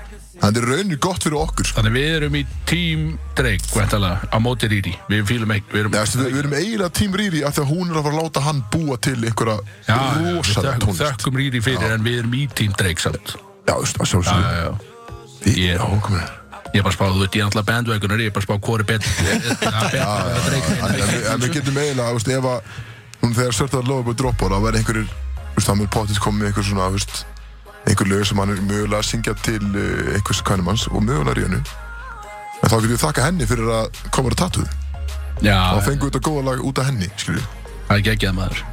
[SPEAKER 1] hann er raunir gott fyrir okkur sko.
[SPEAKER 2] Þannig við erum í Team Drake, væntalega, á móti Riri. Við fýlum ekki, við erum...
[SPEAKER 1] Nei, veistu, við, við erum eiginlega tím Riri af því að hún er að fara að láta hann búa til einhverja rosalega
[SPEAKER 2] við þökkum,
[SPEAKER 1] tónlist
[SPEAKER 2] þökkum Riri fyrir, en við erum í Team Drake samt.
[SPEAKER 1] já, þú veist, að sjálfsögðu
[SPEAKER 2] Já, já.
[SPEAKER 1] Við-
[SPEAKER 2] ég-
[SPEAKER 1] já, komið þér.
[SPEAKER 2] Ég er bara að spá, þú veit, ég er alltaf bandwagonar, ég er bara að spá hvori betur. Það er betur að Drake
[SPEAKER 1] En- en við- en við getum eiginlega, þú veist, ef að hún þegar Sörtaðar lofa búið droppar að vera einhverjir, þú veist, hann er potið komið með einhver svona, þú veist, einhver lög sem hann er mögulega að syngja til uh, einhvers kænumanns og mögulega ríðanu en þá getum við þakka henni fyrir að koma að tattu
[SPEAKER 2] Já,
[SPEAKER 1] og fengum þetta góða lag út af henni, skilju
[SPEAKER 2] það er geggjað maður.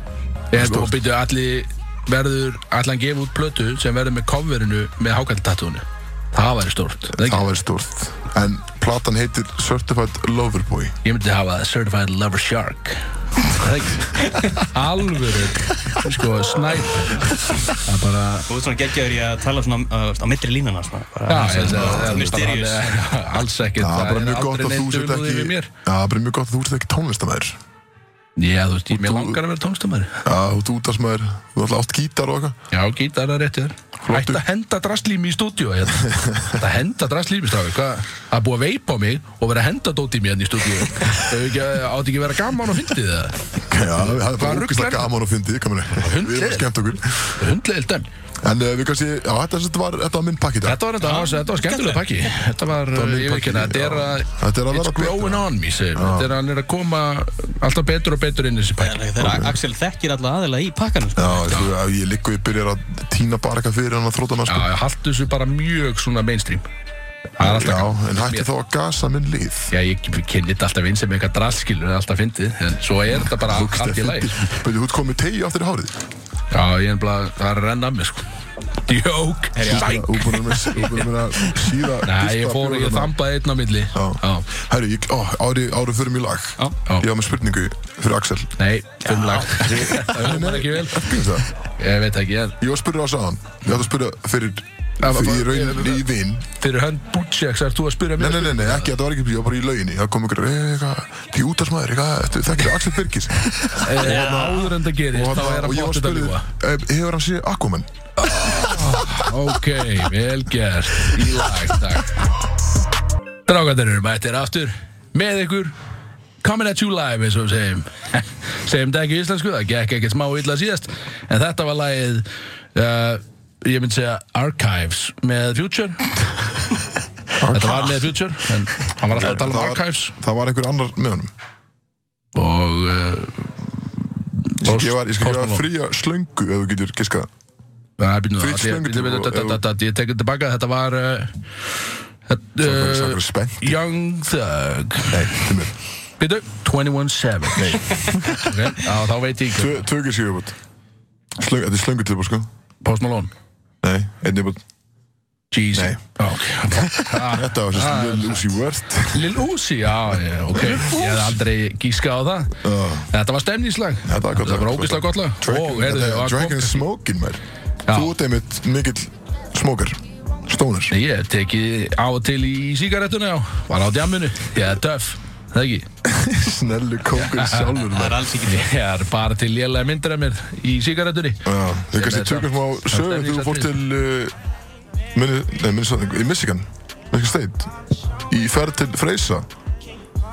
[SPEAKER 2] Ég, og byrju, allir verður, allan gefa út plötu sem verður með coverinu með hákaltatúinu. Það væri stórt. Það ekki?
[SPEAKER 1] það væri stórt en platan heitir Certified Lover Boy
[SPEAKER 2] Ég myndi hafa Certified Lover Shark Það er ekki- Alvöru Sko, snæp Það er bara
[SPEAKER 3] Þú ert svona geggjaður í að tala svona uh, á milli línana svona,
[SPEAKER 2] Já,
[SPEAKER 3] bara,
[SPEAKER 2] ég held að-
[SPEAKER 3] svona,
[SPEAKER 2] ég held að
[SPEAKER 3] mysterious
[SPEAKER 2] hann er- Alls ekki
[SPEAKER 1] það er bara mjög gott að þú
[SPEAKER 2] aldrei
[SPEAKER 1] sért
[SPEAKER 2] neitt
[SPEAKER 1] ekki
[SPEAKER 2] umlúðið við mér
[SPEAKER 1] Já, það er bara mjög gott að þú sért ekki tónlistamæður
[SPEAKER 2] Já, þú veist, ég mér langar að vera tónlistamæður
[SPEAKER 1] Já, þú ert útarsmaður, þú ert alltaf átt gítar og eitthvað
[SPEAKER 2] Já, gítar er rétt hjá þér Ætti að henda drastlými í stúdíu hérna. Ætti að henda drastlými, stráði Hvað, það er búið að veipa á mig og vera að henda dóti í mér hérna í stúdíu Hefur ekki- Átti ekki að vera gaman og fyndið það
[SPEAKER 1] Já, það er
[SPEAKER 2] Hvað
[SPEAKER 1] bara
[SPEAKER 2] rugl er
[SPEAKER 1] ógæslega
[SPEAKER 2] það?
[SPEAKER 1] gaman og fyndið, kaminu Við erum
[SPEAKER 2] Hundleiðilegt.
[SPEAKER 1] að skemmt okkur En
[SPEAKER 2] Hundlegil dæm
[SPEAKER 1] uh, við kannski, já, þetta, þetta, var, þetta var minn pakki í dag
[SPEAKER 2] Þetta var, þetta, ja, þetta var skemmtilega pakki Þetta var,
[SPEAKER 1] var minn
[SPEAKER 2] ég veit ekki,
[SPEAKER 1] pakki,
[SPEAKER 2] þetta er
[SPEAKER 1] já.
[SPEAKER 2] að
[SPEAKER 1] Þetta er að vera
[SPEAKER 2] It's growing
[SPEAKER 1] betra.
[SPEAKER 2] on me, segir við. Þetta er að hann er að koma alltaf betur og betur inn í þessi pakki
[SPEAKER 3] Þegar Axel þekkir alla aðila í pakkanum sko.
[SPEAKER 1] Já, þú, já, ég ligg og ég byrjar að tína bara eitthvað fyrir hann að þróta hann
[SPEAKER 2] Já,
[SPEAKER 1] sko.
[SPEAKER 2] já, haltu þessu bara mjög svona mainstream Það er alltaf
[SPEAKER 1] Já,
[SPEAKER 2] gaman.
[SPEAKER 1] en hætti þá að gasa minn líð
[SPEAKER 2] Já, ég kynni þetta alltaf inn sem eitthvað draskilur en alltaf fyndið, en svo er þetta bara allt í læg.
[SPEAKER 1] Þú ert komið tegi aftur í hárið
[SPEAKER 2] Já, ég er bara, það er að renna af mér, sko. Djók, sæk.
[SPEAKER 1] Þú er búin að vera- þú er búin að vera síða
[SPEAKER 2] Nei, ég fór, ég þambaði einn á milli. Já.
[SPEAKER 1] Herru, ég- ó, ári, ári fyrir mjög lag
[SPEAKER 3] Já.
[SPEAKER 2] Já.
[SPEAKER 1] Ég var með spurningu fyrir Axel
[SPEAKER 2] Nei, fimmlag. Það er ekki vel.
[SPEAKER 1] Býðu það?
[SPEAKER 2] Ég veit ekki, en
[SPEAKER 1] Ég var að spurra á sáðan Ég ætla að spurra fyrir
[SPEAKER 2] Já, bara-
[SPEAKER 1] Fyrir í rauninni í vinn
[SPEAKER 2] fyrir hönd Butcheks er þú að spyrja
[SPEAKER 1] Nei,
[SPEAKER 2] mér.
[SPEAKER 1] nei, nei, nei, ekki, þetta var ekki Ég var bara í lauginni Það kom ykkur Eitthvað, því útarsmaður Eitthvað, þekkir þú Axel Birgis Og
[SPEAKER 2] Eh, Áður en það gerist, þá
[SPEAKER 1] þarna-
[SPEAKER 2] er
[SPEAKER 1] og ég var að
[SPEAKER 2] að bóttið að
[SPEAKER 1] spurra
[SPEAKER 2] ljúa.
[SPEAKER 1] eh, Hefur hann séð Aquaman?
[SPEAKER 2] Ok, vel gert Í lag, takk Drákandir eru mættir aftur Með ykkur Coming at you live, eins og við segjum Segjum þetta ekki í íslensku, það gekk ekkert smá illa síðast En þetta var lagið uh, Ég myndi segja Archives Með Future Þetta var með Future En hann var alltaf að tala
[SPEAKER 1] Það
[SPEAKER 2] um
[SPEAKER 1] var-
[SPEAKER 2] Archives
[SPEAKER 1] Það var einhver annar með honum
[SPEAKER 2] Og uh,
[SPEAKER 1] Ég skal gefa- ég skal
[SPEAKER 2] Post
[SPEAKER 1] gefa
[SPEAKER 2] Malone.
[SPEAKER 1] fría slöngu Ef þú getur giskað
[SPEAKER 2] Nei, býtum
[SPEAKER 1] Frítt
[SPEAKER 2] það
[SPEAKER 1] slöngu-
[SPEAKER 2] Ég- ég- ég- ég- ég- Ég tekur tilbaka, þetta var uh, þetta,
[SPEAKER 1] Það var
[SPEAKER 2] uh,
[SPEAKER 1] sakra spennt
[SPEAKER 2] Young Thug
[SPEAKER 1] Nei, til mér
[SPEAKER 2] Býtu, 21 Savage okay. á, Þá veit ég ekki
[SPEAKER 1] Tvö giskið upp Slöngu, þetta er slöngu til sko
[SPEAKER 2] Post Malone
[SPEAKER 1] Nei, einnig upp
[SPEAKER 2] Jeezy
[SPEAKER 1] Nei.
[SPEAKER 2] Á, ok. Ah,
[SPEAKER 1] Þetta var sérst Lil Uzi Vert
[SPEAKER 2] Lil Uzi, já, já, ok Ég hef aldrei gíska á það Þetta var stemningslag
[SPEAKER 1] Þetta var gott lag,
[SPEAKER 2] Þetta var
[SPEAKER 1] gott
[SPEAKER 2] ógislega
[SPEAKER 1] lag.
[SPEAKER 2] gott lag
[SPEAKER 1] Dragon,
[SPEAKER 2] Og, heyrðu,
[SPEAKER 1] þetta er
[SPEAKER 2] og hann
[SPEAKER 1] Dragon
[SPEAKER 2] kom-
[SPEAKER 1] is smoking mér
[SPEAKER 2] Já.
[SPEAKER 1] Þú ert einmitt mikill smoker Stóner
[SPEAKER 2] Nei, Ég hef tekið á og til í sígarettuna, já Var á djamminu, ég er töff Það ekki
[SPEAKER 1] Snellu kókur sjálfur
[SPEAKER 3] Það
[SPEAKER 1] maður.
[SPEAKER 3] er alls ekki til
[SPEAKER 2] Ég er bara til lélega myndir af mér í sígarettunni
[SPEAKER 1] Já, Þau
[SPEAKER 2] Sem
[SPEAKER 1] kannski
[SPEAKER 2] er
[SPEAKER 1] tökum
[SPEAKER 2] það-
[SPEAKER 1] smá
[SPEAKER 2] það
[SPEAKER 1] sögur þegar
[SPEAKER 2] stemning
[SPEAKER 1] þú
[SPEAKER 2] samt
[SPEAKER 1] fór
[SPEAKER 2] við.
[SPEAKER 1] til uh, Minni- Nei, Minnesota, í Michigan Michigan State Í ferð til Freysa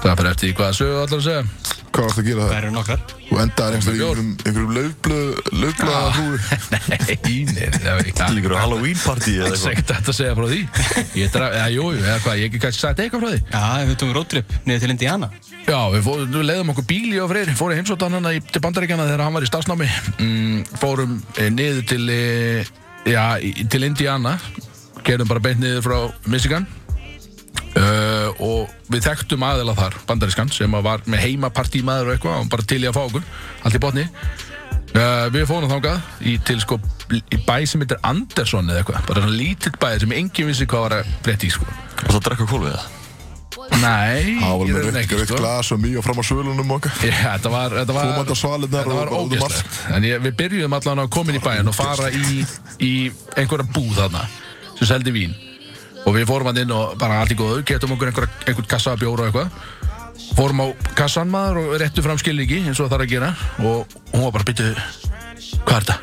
[SPEAKER 2] Það fyrir eftir því hvaða sögu allar að segja
[SPEAKER 1] Hvað varstu að gera
[SPEAKER 3] Það
[SPEAKER 1] það?
[SPEAKER 3] eru nokkrar
[SPEAKER 1] Og endaðar einhverjum í
[SPEAKER 2] bjór.
[SPEAKER 1] einhverjum- einhverjum laufblöð Laufblöð að
[SPEAKER 2] Nei, nei, það var ekki
[SPEAKER 4] Til ykkur Halloween party eða
[SPEAKER 2] Það er
[SPEAKER 4] eitthvað
[SPEAKER 2] ekkert hægt að segja frá því Ég draf, eða jú, jú, eða hvað, ég hef kannski sagt eitthvað frá því
[SPEAKER 3] Já, við tókum roadtrip niður til Indiana
[SPEAKER 2] Já, við, fór, við leiðum okkur bíl í og freyr Fórum heimsóttan hana í, til bandaríkjana þegar hann var í stafsnámi mm, Fórum e, niður til, e, já, í- til Indiana Gerðum bara beint niður frá Michigan uh, Og við þekktum aðeila þar, bandarískan Sem að var með heimapartí maður og eitthvað Og bara til í að fá okkur, allt í botni Uh, við fórum þangað í, til sko, í bæ sem heitir Andersson eða eitthvað, bara svona lítill bæ sem enginn vissi hvað var að breytta í sko.
[SPEAKER 4] Og það drekka kólfið það
[SPEAKER 1] Það var
[SPEAKER 2] Nei, í
[SPEAKER 1] með
[SPEAKER 2] rauninni
[SPEAKER 1] reykt reykt glas og mjög fram á svölunum okkar
[SPEAKER 2] Já, þetta var, þetta var,
[SPEAKER 1] Fórum þetta á svalirnar
[SPEAKER 2] þetta
[SPEAKER 1] og
[SPEAKER 2] var
[SPEAKER 1] bara út um allt.
[SPEAKER 2] ógeðslegt. En ég, við byrjuðum allan að koma inn í bæinn og fara í, í einhverja búð þarna sem seldi vín og við fórum hann inn og bara allt í góðu getum okkur einhver, einhvern kassa að bjóra og eitthvað fórum á kassan maður og réttu fram skilningi eins og það þarf að gera og hún var bara byttu hvað er þetta?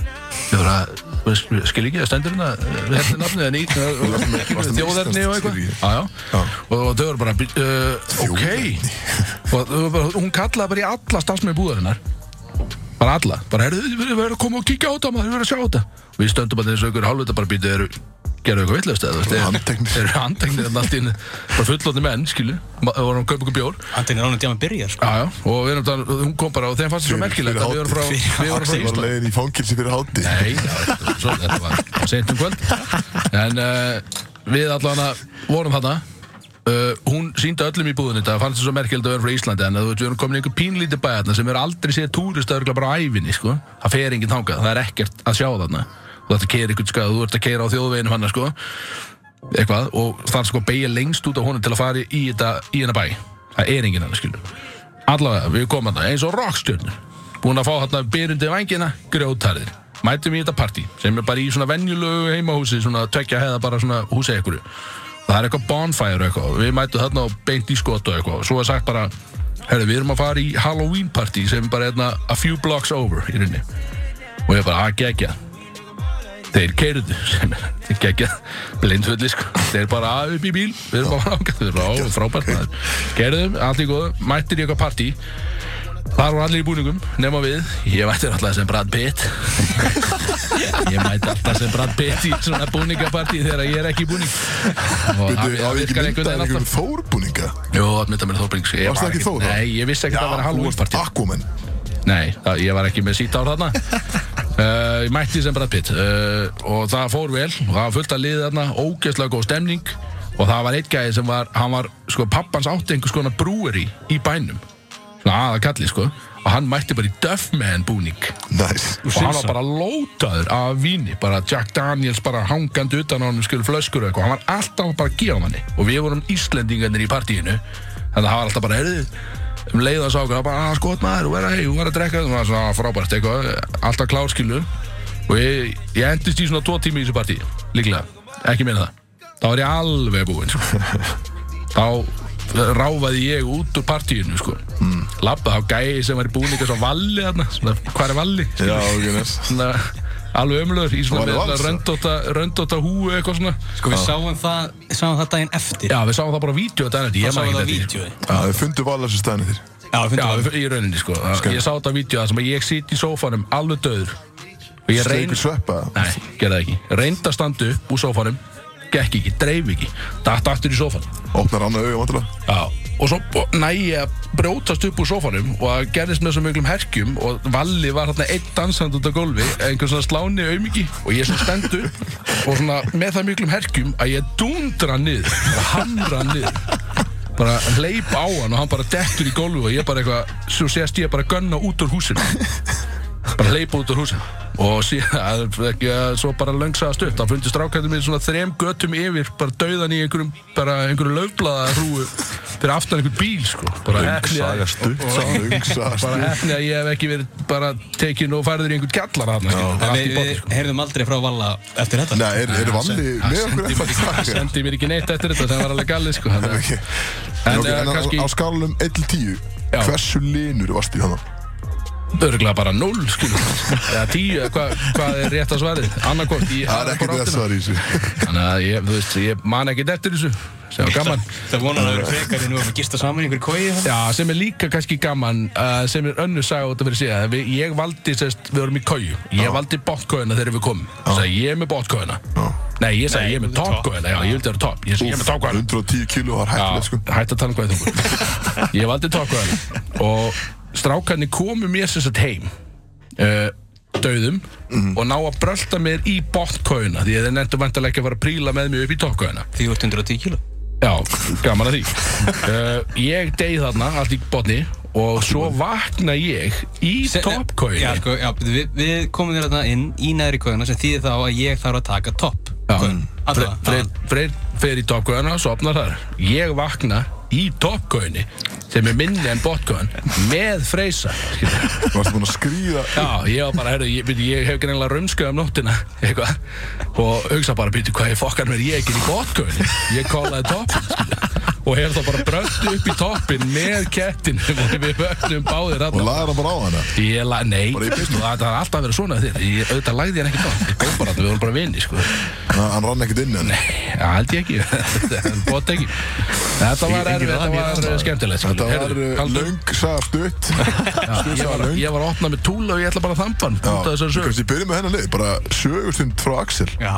[SPEAKER 2] Ég var að skilningi, það stendur hérna við hérna nafnið en í
[SPEAKER 1] varstu með
[SPEAKER 2] þjóðerni og
[SPEAKER 1] íslenskt
[SPEAKER 2] eitthvað
[SPEAKER 1] skilríki?
[SPEAKER 2] Já, já. og þau eru bara "Bíddu, uh, ok og þau voru bara, hún kallaði bara í alla starfsmenn búðarinnar bara alla, bara herðu, við verðum að koma og kíkja á þetta maður, við verðum að sjá þetta við stöndum bara eins og ykkur hálfvita bara býtu eru gerðu eitthvað vitlaust eða, þú veist,
[SPEAKER 1] Handteknir.
[SPEAKER 2] eru handteknir en allt í henni, bara fullotni menn, skilu Ma- og vorum að kaupa ykkur bjór,
[SPEAKER 3] Hann tegir ráðan tíma að byrja sko.
[SPEAKER 2] já, já, og við erum þann, hún kom bara og þeim fannst þetta svo
[SPEAKER 1] Fyrir-
[SPEAKER 2] merkilegt
[SPEAKER 1] fyrir
[SPEAKER 2] að við erum frá,
[SPEAKER 1] hátíð.
[SPEAKER 2] við erum
[SPEAKER 1] Ég
[SPEAKER 2] frá
[SPEAKER 1] var
[SPEAKER 2] Íslandi
[SPEAKER 1] leiðin í fangilsi fyrir hátti
[SPEAKER 2] Nei, já, þetta var svo- þetta var sent um kvöld En uh, við allan að vorum þarna uh, Hún síndi öllum í búðinu þetta fannst þetta svo merkilegt að vera frá Íslandi En þú veit, við erum komin í einhver pínlítið bæ þarna sem er aldrei séð túrist að bara á ævinni, sko Það fer enginn þangað, það er ekkert að sjá þarna Þú ert að keira ykkur, sko, þú ert að keira á þjóðveginum hann, sko Eitthvað, og það er sko að beigja lengst út á honum til að fara í þetta, í hennar bæ Það er enginn hann, skilur Allavega, við komum þarna eins og rockstjörnur Búin að fá þarna byrjandi vangina Grjótarðir Mætum í þetta partí Sem er bara í svona venjulegu heimahúsi Svona tvekja heða bara svona húsi ekkur Það er eitthvað bonfire og eitthvað Við mætum þarna og beint í skot og eitthvað Svo er sagt bara herru, við erum að fara í Halloween party sem er bara hérna a few blocks over í rauninni og ég bara, að gegja þeir keirðu sem er þeir gegja blindfulli sko þeir bara að upp í bíl, við erum bara ágætt þeir bara, ó, frábært maður gerðu, allt í góðu, mættir í eitthvað partí Þar var allir í búningum, nema við Ég mætti alltaf sem Brad Pitt Ég mætti alltaf sem Brad Pitt í svona búningapartí þegar ég er ekki í búning Og það
[SPEAKER 1] Byrju, á ég
[SPEAKER 2] það
[SPEAKER 1] ekki myndað
[SPEAKER 2] virkar einhvern veginn
[SPEAKER 1] einhvern
[SPEAKER 2] alltaf
[SPEAKER 1] þórbúninga?
[SPEAKER 2] Jó, það mynda mér Þórbring
[SPEAKER 1] Varstu
[SPEAKER 2] Ég var
[SPEAKER 1] ekki
[SPEAKER 2] ekkert-
[SPEAKER 1] Þór þá?
[SPEAKER 2] Nei, ég vissi ekki að það var Halloween-partí
[SPEAKER 1] Aquaman
[SPEAKER 2] Nei, það, ég var ekki með sítt ár þarna uh, Ég mætti sem Brad Pitt uh, Og það fór vel Og það var fullt að liða þarna Ógeðslega góð stemning Og það var eitt gæði sem var Hann var, sko, pappans átti einhvers konar brúeri í bænum Svona aða kalli, sko Og hann mætti bara í Duffman búning
[SPEAKER 1] Nice
[SPEAKER 2] Og hann var bara lótaður af víni Bara Jack Daniels bara hangandi utan á hann Skil flöskur og eitthvað Hann var alltaf bara að gefa manni Og við vorum Íslendingarnir í partíinu Þannig að það var alltaf bara erðið Um leið og sá okkur, það var bara að skot maður og vera hei, hún var að drekka og það var svona "Ah, frábært eitthvað Alltaf klárskilu Og ég, ég endist í svona tvo tími í þessu partí Líklega, ekki meina það Þá var ég alveg búinn sko. Þá ráfaði ég út úr partíinu sko. mm. Labba þá gæi sem var í búin eitthvað svo valli þarna svona, Hvað er valli?
[SPEAKER 1] Já, ok, nice
[SPEAKER 2] svona, alveg ömlöður í svona
[SPEAKER 1] Var
[SPEAKER 2] með
[SPEAKER 1] það
[SPEAKER 2] svona
[SPEAKER 1] vals?
[SPEAKER 2] röndóta, röndóta húu eitthvað svona
[SPEAKER 3] Sko við sáum það, sáum það daginn eftir
[SPEAKER 2] Já, við sáum það bara á vídeo þetta ennætti, ég
[SPEAKER 3] sáum
[SPEAKER 2] maður
[SPEAKER 3] það á
[SPEAKER 2] ekki þetta
[SPEAKER 3] vídeoi.
[SPEAKER 1] Já, þau fundu valar sem stæðinni þér
[SPEAKER 3] Já, við
[SPEAKER 2] Já,
[SPEAKER 3] fundum það
[SPEAKER 2] í rauninni sko Ég sá þetta á vídeo það sem að ég sitt í sófanum alveg döður og ég reyn
[SPEAKER 1] Streikur sveppa
[SPEAKER 2] Nei, gerði það ekki Reyndi að standa upp úr sófanum Gekk ekki, dreif ekki Datt aftur í sófanum
[SPEAKER 1] Opnar annað auga vantilega
[SPEAKER 2] Já, og svo bo- næ ég að brjótast upp úr sófanum og það gerðist með svo miklum herkjum og Valli var hérna einn dansand út á gólfi einhvern svona sláni aumingi og ég svo stend upp og svona með það miklum herkjum að ég dundra niður bara hamra niður bara hleyp á hann og hann bara dettur í gólfi og ég bara eitthvað, svo sést ég bara gunna út úr húsinu bara hleypa út úr húsinu og síðan, ekki, að- svo bara löngsaðast upp þá fundi strákættum minn svona þrem götum yfir bara dauðan í einhverjum bara einhverju löfblaða hrúu fyrir aftan einhvern bíl sko bara hefni að,
[SPEAKER 4] Saga stutt
[SPEAKER 1] Ungsast
[SPEAKER 2] bara hefni að ég hef ekki verið bara tekin og færður í einhvern sko. gjallar hann
[SPEAKER 3] En við, við heyrðum aldrei frá Valla eftir þetta
[SPEAKER 1] Nei, er, er valli með okkur eitthvað
[SPEAKER 2] það sendi mér ekki neitt eftir þetta það var alveg gallið sko þannig að-
[SPEAKER 1] Ok.
[SPEAKER 2] en
[SPEAKER 1] En, okay,
[SPEAKER 2] eh,
[SPEAKER 1] en
[SPEAKER 2] kannski
[SPEAKER 1] á, á skálum 1-10
[SPEAKER 2] Já.
[SPEAKER 1] Hversu linur varst í hana?
[SPEAKER 2] örgla bara 0 skilur eða 10 eða hvað hvað er rétt að svarið annarkort í
[SPEAKER 1] Það er ekkert
[SPEAKER 2] aðra
[SPEAKER 1] þess að það er í þessu
[SPEAKER 2] þannig að ég, þú veist, ég man ekki eftir þessu sem var gaman
[SPEAKER 3] Það vonar að það eru frekar en við varum að gista saman í einhverju hérna. kói
[SPEAKER 2] Já, sem er líka kannski gaman uh, sem er önnu saga út af fyrir síðan við, ég valdi, sest, við vorum í kóju ég valdi bottkóina þegar við komum ah. sagði, ég er með bottkóina nei, ég sagði ég er með toppkóina, já, ég vildi vera topp ég sagði ég er með toppkóina
[SPEAKER 1] 110 kíló var
[SPEAKER 2] Já,
[SPEAKER 1] hættilega sko
[SPEAKER 2] hætt að tala um hvað þú þungur Ég valdi tókvæðan Og strákarnir komu mér sem sagt heim uh, Dauðum Og ná að brölda mér í bottkóina Því að þeir nefndu vantarlega ekki að fara að príla með mér upp í tókvæðina
[SPEAKER 3] Því þú ert 110 kíló
[SPEAKER 2] Já, gaman að því uh, Ég deyð þarna, allt í botni Og svo vakna ég í
[SPEAKER 3] Se- Já,
[SPEAKER 2] toppkóina
[SPEAKER 3] sko, já, við, við komum þér þarna inn í neðri kóina sem þýðir þá að ég þarf að taka topp kóin. Alla vega.
[SPEAKER 2] Freyr Freyr fer í toppkóina og sopnar þar Ég vakna í toppkóini sem er minni en bottkóin með freysa skilurðu.
[SPEAKER 1] Varst búin að skrýða
[SPEAKER 2] Já, ég var bara, heyrðu, ég, byrju, ég hef greinlega rumskuð um nóttina, eitthvað og hugsa bara, býtu, hvað ég fokkar mér, ég er ekki í botkunni ég kólaði toppin og hef þá bara bröndu upp í toppin með kettin og við vögnum báðir
[SPEAKER 1] og
[SPEAKER 2] aðna
[SPEAKER 1] lagar hann bara á hana
[SPEAKER 2] Ég la, nei,
[SPEAKER 1] Bara í
[SPEAKER 2] það
[SPEAKER 1] business.
[SPEAKER 2] það er alltaf verið svona þér ég, auðvitað lagði hann ekki tótt, ég góð bara þarna, við vorum bara vini, sko
[SPEAKER 1] Hann hann rann ekkert inn en
[SPEAKER 2] Já, held ég ekki, bótt ekki Þetta var erfið, þetta var eh, skemmtilegt sko.
[SPEAKER 1] Þetta var
[SPEAKER 2] Heyrðu,
[SPEAKER 1] uh,
[SPEAKER 2] kaldu-
[SPEAKER 1] löng saga stutt
[SPEAKER 2] Já,
[SPEAKER 1] Stutt
[SPEAKER 2] ég
[SPEAKER 1] saga
[SPEAKER 2] var-
[SPEAKER 1] löng
[SPEAKER 2] Ég var að opna með túla og ég ætla bara að þampa hann út af þessari sögu
[SPEAKER 1] Kanski byrjum með hennar leið Bara sögustund frá Axel
[SPEAKER 3] Já,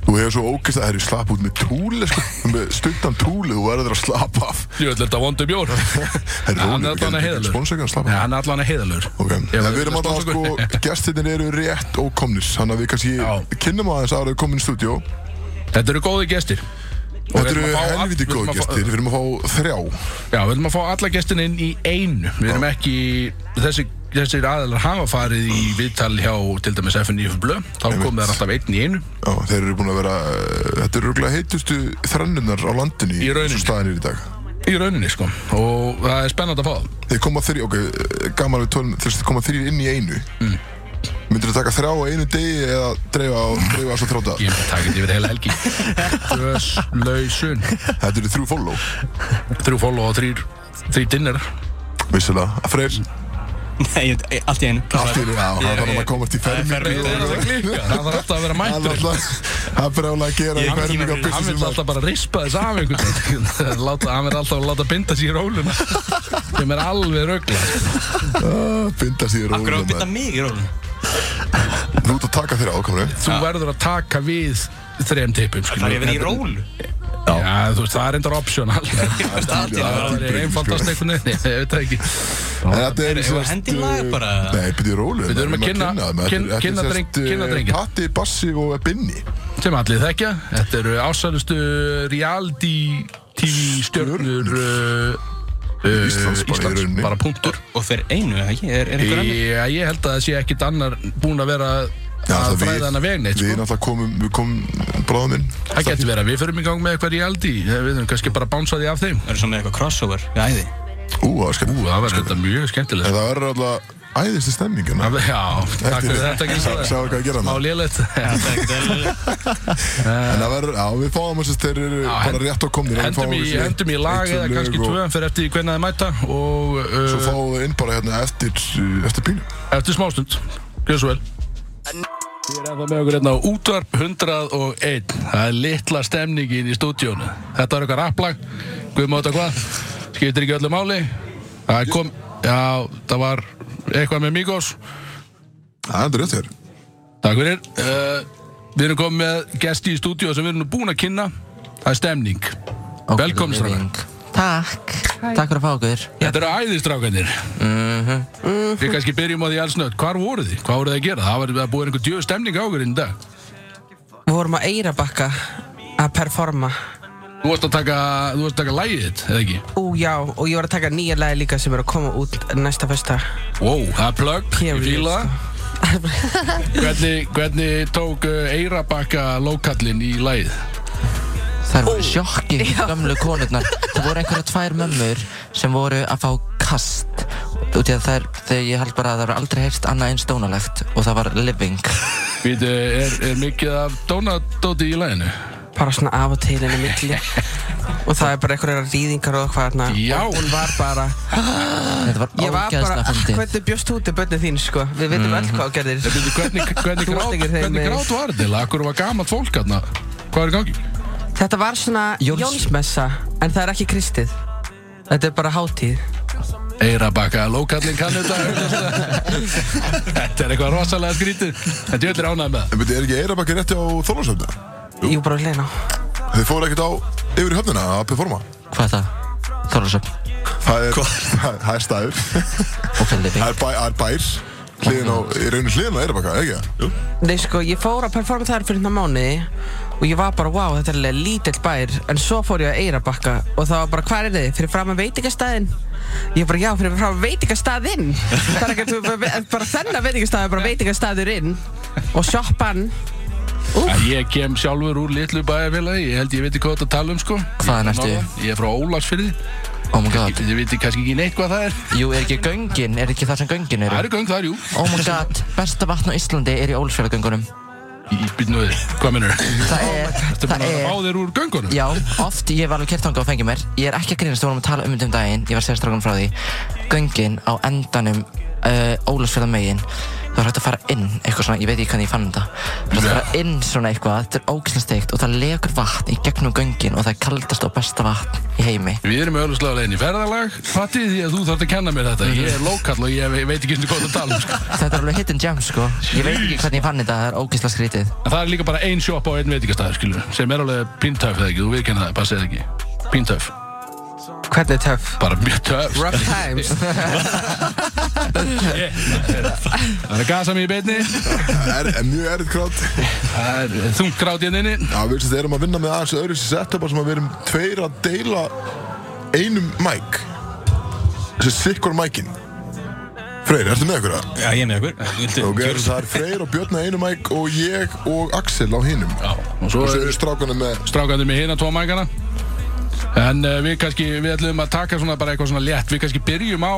[SPEAKER 1] Þú hefur svo ógist að herri slapp út með túli sko Með stundan túli Þú verður að slappa af
[SPEAKER 2] Ég ætla þetta vondu bjór
[SPEAKER 1] Herri,
[SPEAKER 2] Hann
[SPEAKER 1] rólegur,
[SPEAKER 2] er allan að
[SPEAKER 1] ekki-
[SPEAKER 2] heiðalur
[SPEAKER 1] ekki sponsa ekki, hann slappa af.
[SPEAKER 2] Hann er allan að heiðalur
[SPEAKER 1] Ok, en við erum alltaf sko, gestinir eru rétt ókomnir Þannig að við kannski
[SPEAKER 2] Já.
[SPEAKER 1] kynnum aðeins að það eru komin í stúdíó
[SPEAKER 2] Þetta eru góði gestir Og
[SPEAKER 1] Þetta
[SPEAKER 2] við
[SPEAKER 1] eru
[SPEAKER 2] erum að fá all-
[SPEAKER 1] helviti
[SPEAKER 2] við erum
[SPEAKER 1] góð
[SPEAKER 2] að fá-
[SPEAKER 1] gestir, við erum að fá þrjá
[SPEAKER 2] Já, við erum að fá alla gestin inn í einu Við erum ekki Þessi, þessir aðalar hafa farið í viðtal hjá til dæmis FNF Blö Þá kom þær alltaf einn í einu
[SPEAKER 1] Já, þeir eru búin að vera, eh, þetta eru röglega heitustu þrennunar á landinu
[SPEAKER 2] Í rauninni.
[SPEAKER 1] eins og staðan er í dag
[SPEAKER 2] Í rauninni sko Og það er spennandi að fá það
[SPEAKER 1] Þeir koma þrjir, ok, eh, gaman við tölum, þeir koma þrjir inn í einu mm. Myndir taka þrjá á einu degi eða dreifa á, dreifa svo þrjóta
[SPEAKER 2] Ég er takit yfir heila helgi Þöslausun
[SPEAKER 1] Þetta eru þrjú follow
[SPEAKER 2] Þrjú follow og þrýr Þrý dinner
[SPEAKER 1] Vissilega, Freyr,
[SPEAKER 2] Mm.
[SPEAKER 3] Nei, ég- ég- allt í einu
[SPEAKER 1] allt í einu, já, hann þarf hann að komast í fermingu
[SPEAKER 4] fermingu,
[SPEAKER 1] og-
[SPEAKER 2] Það var alltaf að vera
[SPEAKER 1] Hann
[SPEAKER 2] mættur
[SPEAKER 1] alltaf, hann brjála að gera í
[SPEAKER 4] Ég-
[SPEAKER 1] fermingu að
[SPEAKER 2] Hann
[SPEAKER 1] byrja
[SPEAKER 2] vil
[SPEAKER 1] sér
[SPEAKER 2] alltaf bara rispa þess af einhvern veginn Láta- Hann vil alltaf að láta binda sér í róluna sem er alveg röggla
[SPEAKER 1] maður Ah, Binda sér í
[SPEAKER 3] Akkur á að
[SPEAKER 1] rólum
[SPEAKER 3] byrja mig í rólun
[SPEAKER 1] Þú ert að taka þér ákominu
[SPEAKER 2] Þú verður að taka við þrem tippum skilur.
[SPEAKER 3] Það er að vera í rólu
[SPEAKER 2] Já, þú veist, það er endur optional Það
[SPEAKER 3] Allt í einu
[SPEAKER 2] er einfaldast einhvern veginn, ég veit það ekki
[SPEAKER 1] En þetta er eh,
[SPEAKER 3] Ef að hendi lag bara
[SPEAKER 1] Nei, byrja rólu
[SPEAKER 2] Við þurfum að kynna- kyn- kynna dreng- kynna drenginn.
[SPEAKER 1] eh, Patti, Bassi og Binni
[SPEAKER 2] sem allir þekkja Þetta eru ásælustu reality TV stjörnur uh, uh,
[SPEAKER 1] Íslands bara í rauninni.
[SPEAKER 2] bara punktur
[SPEAKER 3] Og þeir einu, eða ekki? Er, er einhver annar?
[SPEAKER 2] Já, ég held að það sé ekkit annar búin að vera
[SPEAKER 1] Já,
[SPEAKER 2] að
[SPEAKER 1] það við-
[SPEAKER 2] fræða hana vegni
[SPEAKER 1] Við
[SPEAKER 2] sko.
[SPEAKER 1] náttúrulega komum, við komum bráðum inn
[SPEAKER 2] Það getur verið að við förum í gang með eitthvað reality Við þurfum kannski bara að bánsa því af þeim
[SPEAKER 3] Það eru svona eitthvað crossover Já, æði
[SPEAKER 1] Ú, það var skemmt
[SPEAKER 2] Ú, það var þetta mjög skemmtilegt
[SPEAKER 1] En það verður alltaf æðisti stemmingin
[SPEAKER 2] Það- Já, takk fyrir þetta ekki
[SPEAKER 1] Sjáðu
[SPEAKER 2] svo
[SPEAKER 1] hvað ég gera
[SPEAKER 2] Má
[SPEAKER 1] hann
[SPEAKER 2] lélegt
[SPEAKER 3] Það er ekkert vel
[SPEAKER 1] En það verður, já við fáum þess að þeir eru bara
[SPEAKER 2] hend-
[SPEAKER 1] rétt á komnir
[SPEAKER 2] Hendum í, hendum í lag eða kannski tvö en fyrir eftir því hvernig þið mæta og
[SPEAKER 1] Svo
[SPEAKER 2] uh,
[SPEAKER 1] fáum við inn bara hérna eftir, eftir bílum
[SPEAKER 2] eftir smástund Gjör svo vel Við erum það með okkur hérna á útvarp 101 Það er litla stemningin í stúdíónu Þetta var eitthvað rapplag Guðmáta hvað Skiptir ekki öllu máli Það kom Já, það var eitthvað með Migos
[SPEAKER 1] Það endur rétt hér
[SPEAKER 2] Takk fyrir uh, Við erum komið með gesti í stúdíó sem við erum nú búin að kynna Það er stemning Velkomin, strákar.
[SPEAKER 5] Takk, takk fyrir að fá okkur
[SPEAKER 2] Þetta eru æðistrákanir Við kannski byrjum á því alls nött Hvar voruð þið? Hvað voruð þið að gera? Það var það búið einhver djöðu stemning á okkur inn í dag
[SPEAKER 5] Við vorum að Eyrabakka að performa
[SPEAKER 2] Þú varst að taka, þú varst að taka lægið þitt, eða ekki?
[SPEAKER 5] Ú já, og ég var að taka nýja lagi líka sem er að koma út næsta festa
[SPEAKER 2] Wow, það er plögg, ég
[SPEAKER 5] Period, sko.
[SPEAKER 2] fíla það Hvernig, hvernig tók uh, Eyrabakka lókallinn í lægið?
[SPEAKER 6] Þær voru sjokkið gamlu konurnar Það voru einhverja tvær mömmur sem voru að fá kast Út í að þær, þegar ég held bara að það var aldrei heyrst annað eins dónalegt Og það var living
[SPEAKER 2] Við, eh, er, er mikið af dónadóti í læginu?
[SPEAKER 5] bara svona af og til inn í milli og það er bara einhverjar rýðingar og hvað hérna
[SPEAKER 2] Já.
[SPEAKER 5] og hún var bara
[SPEAKER 6] Þetta var
[SPEAKER 5] ég var bara,
[SPEAKER 6] ógeðslega Mhm. fyndið
[SPEAKER 5] hvernig bjóst út er bönnið þín sko við veitum öll hvað þú gerðir
[SPEAKER 2] Nei, byrju, Eh, Hvernig, hvernig,
[SPEAKER 5] Þú varst
[SPEAKER 2] grát,
[SPEAKER 5] ekki hrein
[SPEAKER 2] hvernig
[SPEAKER 5] með-
[SPEAKER 2] grát var þetta? Akkur var gamalt fólk hérna? Hvað er í gangi?
[SPEAKER 5] þetta var svona
[SPEAKER 6] Jóns-
[SPEAKER 5] Jónsmessa en það er ekki kristið þetta er bara hátíð
[SPEAKER 2] Eyrabakka, lókallinn kannu þetta Þetta er eitthvað rosalega skrítið En djöðlir ánægð með það
[SPEAKER 1] En betur, er ekki Eirabakki rétt á Þorlósöfna?
[SPEAKER 5] ég var bara að leina
[SPEAKER 1] Þið fóru ekkert á yfir í höfnina að performa
[SPEAKER 6] Hvað er það? Þorlásöp
[SPEAKER 1] Það er, það er staður
[SPEAKER 6] Ok, living
[SPEAKER 1] Það er bæ- það er bær Hliðin á, í rauninu hliðin á Eirabakka, ekki? Jú
[SPEAKER 5] Nei sko, ég fór að performa þar fyrir hérna mánuði og ég var bara, wow, þetta er alveg lítill bær en svo fór ég að Eyrabakka og það var bara, hvað er þið? Fyrir fram að veitingastæðin? Ég bara, já, fyrir fram að veitingastæðin Það er ekki, þú- bara- bara þennan veitingastæð er bara veitingastæðurinn og shoppan
[SPEAKER 2] Að Ég kem sjálfur úr litlu bæjarfélagi, ég held ég veit ekki hvað þetta tala um sko
[SPEAKER 6] Hvaðan
[SPEAKER 2] Ég er frá Norðan, Ég er
[SPEAKER 6] ertu?
[SPEAKER 2] frá Ólagsfyrði,
[SPEAKER 6] Oh my god
[SPEAKER 2] ég, ég veit kannski ekki neitt hvað það er
[SPEAKER 6] Jú, er ekki göngin? Er ekki það sem göngin
[SPEAKER 2] Það
[SPEAKER 6] eru?
[SPEAKER 2] eru göng þar, jú
[SPEAKER 6] Oh my god Besta vatn á Íslandi er í Ólfsfjörðagöngunum
[SPEAKER 2] Ég býtt nú við, hvað mennur?
[SPEAKER 6] Það er,
[SPEAKER 2] Þetta
[SPEAKER 6] það
[SPEAKER 2] er bara
[SPEAKER 6] er
[SPEAKER 2] báðir úr göngunum
[SPEAKER 6] Já, oft ég var alveg kertanga og fengið mér Ég er ekki að grínast, við vorum að tala um þetta um daginn Ég var að segja strákunum frá því Göngin á endanum uh, Ólafsfjörða megin Það var hægt að fara inn, eitthvað svona, ég veit ekki hvernig ég fann þetta Það var hægt að fara inn svona eitthvað, þetta er ógæslega steikt Og það legur vatn í gegnum göngin Og það er kaldast og besta vatn í heimi
[SPEAKER 2] Við erum auðvitað leginn í ferðalag, fattið því að þú þarf að kenna mér þetta Ég er lokall og ég veit ekki hvað þetta tala um sko
[SPEAKER 6] Þetta er alveg hidden gem sko Ég veit ekki hvernig ég fann þetta, það er ógæslega skrítið
[SPEAKER 2] En það er líka bara ein sjoppa og ein veitingastæður skilur Sem er alveg píntöf eða ekki, þú viðkenna það, passið ekki Píntöf,
[SPEAKER 5] Hvernig er töff?
[SPEAKER 2] bara mjög töf
[SPEAKER 5] Rough times
[SPEAKER 2] Það er að gasa mig í beinni,
[SPEAKER 1] er, er mjög errið krátt
[SPEAKER 2] það er þungt grát hérna inni
[SPEAKER 1] Já, við veist, erum um að vinna með aðeins öðru setupar sem að við erum tveir að deila einum mæk þessi sikkur mækin Freyr, ertu með ykkur það?
[SPEAKER 3] Já, ég er með okkur Viltu
[SPEAKER 1] Ok,
[SPEAKER 3] gjöra
[SPEAKER 1] það er Freyr og Björn að einum mæk og ég og Axel á hinum
[SPEAKER 2] Já, og svo
[SPEAKER 1] og svo
[SPEAKER 2] er
[SPEAKER 1] eru strákunum með
[SPEAKER 2] strákandi með hérna tvo mækana en uh, við kannski, við ætlum að taka svona bara eitthvað svona létt, við kannski byrjum á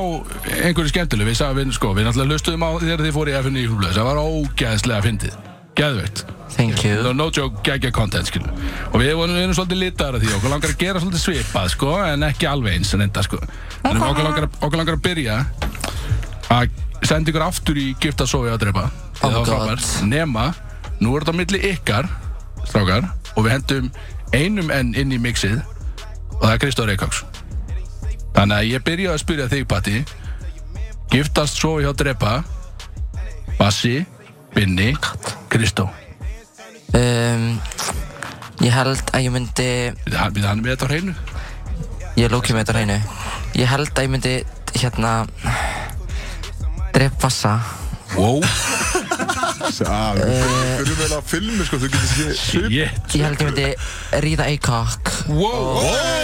[SPEAKER 2] einhverju skemmtileg, við sagðum við, sko, við náttúrulega hlustuðum á þegar þið fóru í FN í Hjúflöðs, það var ógæðslega fyndið geðveikt
[SPEAKER 6] Thank you
[SPEAKER 2] No, no joke, geggja content, skilur Og við vorum, við erum svolítið litaðar af því Okkur langar að gera svolítið svipað, sko En ekki alveg eins, en enda, sko En okkur langar, að- okkur langar að byrja Að senda ykkur aftur í gift að sofa að drepa
[SPEAKER 6] Oh
[SPEAKER 2] Það var
[SPEAKER 6] my God.
[SPEAKER 2] frábært. Nema, nú er þetta á milli ykkar Strákar Og við hendum einum enn inn í mixið Og það er Kristóð Reykjáks Þannig að ég byrja að spyrja þig, Patti Giftast sofa hjá drepa Bassi, Binni, Kristó
[SPEAKER 6] um, Ég held að ég myndi
[SPEAKER 2] Við hann, við hann er með þetta á hreinu
[SPEAKER 6] Ég er lókið með þetta á hreinu Ég held að ég myndi hérna Dref Bassa
[SPEAKER 2] Wow,
[SPEAKER 1] Já, við þurfum Eh, vel að filmi sko, þú getur ekki
[SPEAKER 2] shit
[SPEAKER 6] Ég held að ég myndi ríða Eikok
[SPEAKER 2] Wow,
[SPEAKER 1] Oi!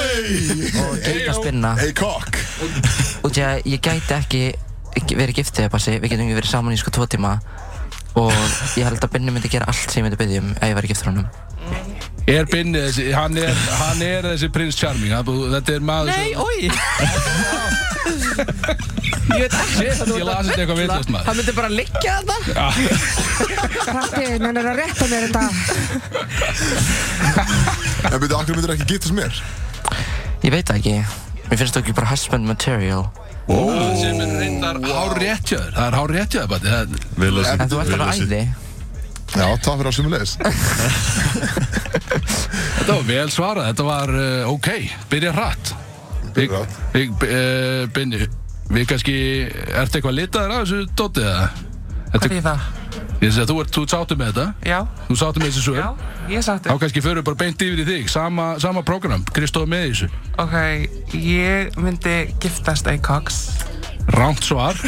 [SPEAKER 6] og gæta spinna
[SPEAKER 1] Hey cock
[SPEAKER 6] Út í að ég gæti ekki ekki verið giftið Bassi, við getum ekki verið saman í sko tvo tíma og ég held að Binni myndi gera allt sem ég myndi byggja um ef ég væri giftur honum
[SPEAKER 2] er Binni þessi, hann er, hann er þessi prins Charming hann- Þetta er maður
[SPEAKER 5] Nei,
[SPEAKER 2] sem-
[SPEAKER 5] oi Ég veit ekki
[SPEAKER 2] Shit,
[SPEAKER 5] hvað þú
[SPEAKER 2] ég
[SPEAKER 5] ert að
[SPEAKER 2] las þetta eitthvað
[SPEAKER 5] bulla.
[SPEAKER 2] vitlaust, maður.
[SPEAKER 5] Hann myndi bara liggja þetta
[SPEAKER 7] Ratti, menn er að rétta mér þetta
[SPEAKER 1] En byrju, akkur myndir ekki giftast mér?
[SPEAKER 6] Ég veit það ekki, mér finnst þú ekki bara husband material
[SPEAKER 2] sem er reyndar hár réttjöður Það er hár réttjöður bara það,
[SPEAKER 4] Vel að
[SPEAKER 6] en þú ert
[SPEAKER 4] vel að sé.
[SPEAKER 6] alveg æði
[SPEAKER 1] Já, það fyrir að sumulegis
[SPEAKER 2] Þetta var vel svarað, þetta var uh, ok Byrja hratt Big-
[SPEAKER 1] hratt.
[SPEAKER 2] Big- B- eh, Binni, við kannski Ertu eitthvað litaður af þessu dótið eða?
[SPEAKER 8] Hvað er það?
[SPEAKER 2] Ég sé að þú ert, þú sáttu með þetta
[SPEAKER 8] Já,
[SPEAKER 2] Þú sáttu með þessi svör
[SPEAKER 8] já, ég sagt
[SPEAKER 2] Þá
[SPEAKER 8] þér.
[SPEAKER 2] kannski förum við bara beint yfir í þig Sama, sama program, Kristóð með í þessu
[SPEAKER 8] Ok, ég myndi giftast Acox,
[SPEAKER 2] Ránt svar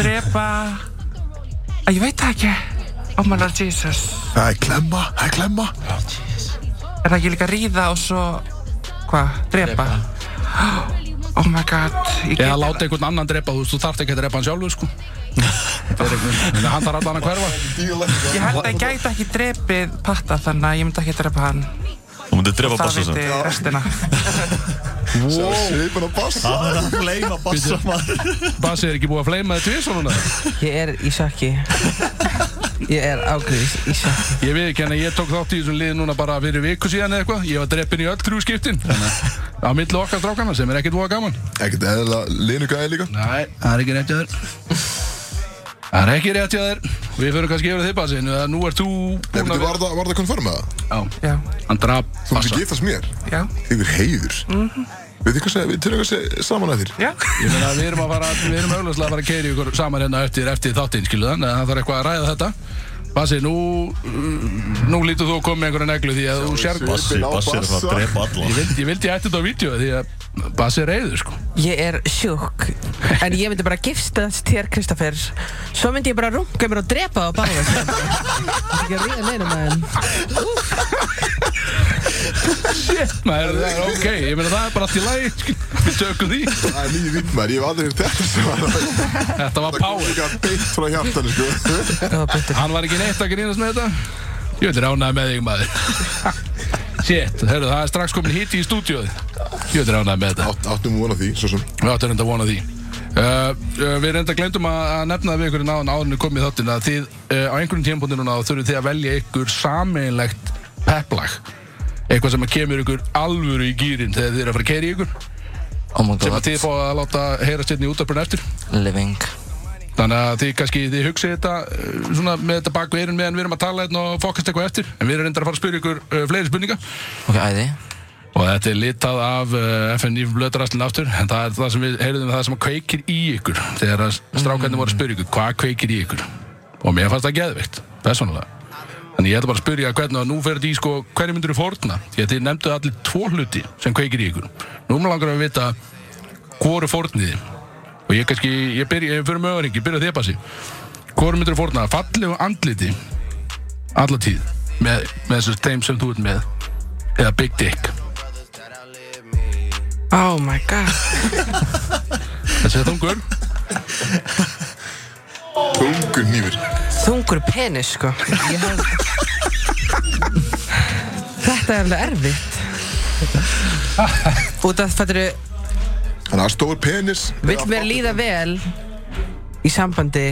[SPEAKER 8] drepa... Að ég veit það ekki. Oh my lord Jesus.
[SPEAKER 1] Það er klemma, það er klemma
[SPEAKER 8] Er það ekki líka ríða og svo... Hvað? Drepa? Oh my god, ég
[SPEAKER 2] Eða
[SPEAKER 8] get-
[SPEAKER 2] láta einhvern annan drepa, þú, veist, þú þarft ekki að drepa hann sjálfur sko Það er einhvern veginn, hann þarf allan að hverfa
[SPEAKER 8] Ég held að ég gæti ekki drepið patta þannig að ég myndi ekki drepa hann.
[SPEAKER 4] Þú myndir drefa
[SPEAKER 8] Það
[SPEAKER 4] bassa sem
[SPEAKER 8] viti restina.
[SPEAKER 1] Svipin og bassa
[SPEAKER 4] Það er að fleima bassa maður
[SPEAKER 2] Basi er ekki búið að fleima þið tvið svona
[SPEAKER 5] Ég er í sjokki Ég er ágríðis í sjokki
[SPEAKER 2] Ég veit ekki, en ég tók þátt í þessum lið núna bara fyrir viku síðan eða eitthvað Ég var drepin í öll þrjú skiptin Þannig að- á milli okkar strákana sem er ekkert voða gaman
[SPEAKER 1] Ekkert eðla linu gæði líka
[SPEAKER 2] Nei, það er ekki rétt hjá þér Það er ekki rétt hjá þér Við fyrir kannski yfir á þig Basi, en nú ert þú
[SPEAKER 1] Nei,
[SPEAKER 2] búin
[SPEAKER 1] byrju,
[SPEAKER 2] að
[SPEAKER 1] var það, var það konfirm með það?
[SPEAKER 2] Já,
[SPEAKER 8] Já,
[SPEAKER 2] hann drap
[SPEAKER 1] Þú myndir
[SPEAKER 2] Bassa
[SPEAKER 1] giftast mér?
[SPEAKER 8] já,
[SPEAKER 1] Þið er heiður
[SPEAKER 2] Mhm.
[SPEAKER 1] Við þið hvað segja, við tökum eitthvað saman að þér
[SPEAKER 8] já.
[SPEAKER 2] Ég meina að við erum að fara, við erum auðvitað að fara að keiri ykkur saman hérna eftir, eftir þáttinn, skiluðan, en það þarf eitthvað að ræða þetta. Basi, nú, uh, nú lítur þú að koma með einhverja neglu því að þú sér,
[SPEAKER 4] Bassi,
[SPEAKER 1] Svipinn á
[SPEAKER 4] bassi er að fara að drepa
[SPEAKER 2] ég
[SPEAKER 4] alla
[SPEAKER 2] vildi, ég vildi ætti þetta á vídeo því að Basi er reyður, sko.
[SPEAKER 5] Ég er sjúk En ég myndi bara giftast þér, Kristoffer Svo myndi ég bara runga mér og drepa það á báða sko. Ég er ekki að ríða neinum að henn
[SPEAKER 2] Það er, það er ok, ég meina það er bara allt í lagi, skil, við tökum því.
[SPEAKER 1] Það er nýju vipmær, ég hef aldrei hirt þetta sem var
[SPEAKER 2] Þetta var
[SPEAKER 1] Það kom
[SPEAKER 2] power.
[SPEAKER 1] líka beint frá hjartan, sko
[SPEAKER 5] Það var betur
[SPEAKER 2] Hann var ekki neitt að grínast með þetta. Ég vil ránaði með þig, maður. Shit, hörru, það er strax komin hitti í stúdíóið. Ég vil ránaði með þetta.
[SPEAKER 1] Átt- Áttum vona því, svo sem
[SPEAKER 2] Við áttum reynda að vona því uh, uh, Við reynda glemdum að, að nefna við ykkur náðan áðurinn komið þáttinn að þið uh, á einhverjum tímpóndi núna þá þurfið þið að velja ykkur sameinlegt pepplag eitthvað sem að kemur ykkur alvöru í gýrin þegar þið eru að fara að keira í ykkur
[SPEAKER 6] oh my
[SPEAKER 2] sem að
[SPEAKER 6] god,
[SPEAKER 2] þið fá að láta heyrast hérna í útöpun eftir
[SPEAKER 6] living
[SPEAKER 2] þannig að þið kannski þið hugsið þetta uh, svona með þetta baku eyrun meðan við erum að tala hérna og fokast eitthvað eftir en við erum reynda að fara að spyrja ykkur uh, fleiri spurninga
[SPEAKER 6] ok, æði
[SPEAKER 2] og þetta er litað af uh, FNF blöðdrastlinn aftur en það er það sem við heyrðum það sem kveikir í ykkur þegar að strákarnir voru að spyrja ykkur hvað kveikir í ykkur og mér fannst það geðvikt, persónulega þannig ég ætla bara að spyrja hvernig að nú ferði í sko hverju myndir þú fórna því að þið nefnduð allir tvo hluti sem kveikir í ykkur nú mér langar að vita hvoru fórniði og ég kannski, ég byrja, ég fyrir með öðringi byrja þér basi, hvoru myndir þú fórna fallegu andliti alla tíð með, með þessu þeim sem þú ert með eða Big Dick
[SPEAKER 8] Oh my god.
[SPEAKER 2] Þessi er þungur
[SPEAKER 1] Tungur nýfur
[SPEAKER 5] Þungur penis, sko Ég hef... Þetta er alveg erfitt Út af fættiru
[SPEAKER 1] Þannig að stór penis
[SPEAKER 5] Vill mér líða vel Í sambandi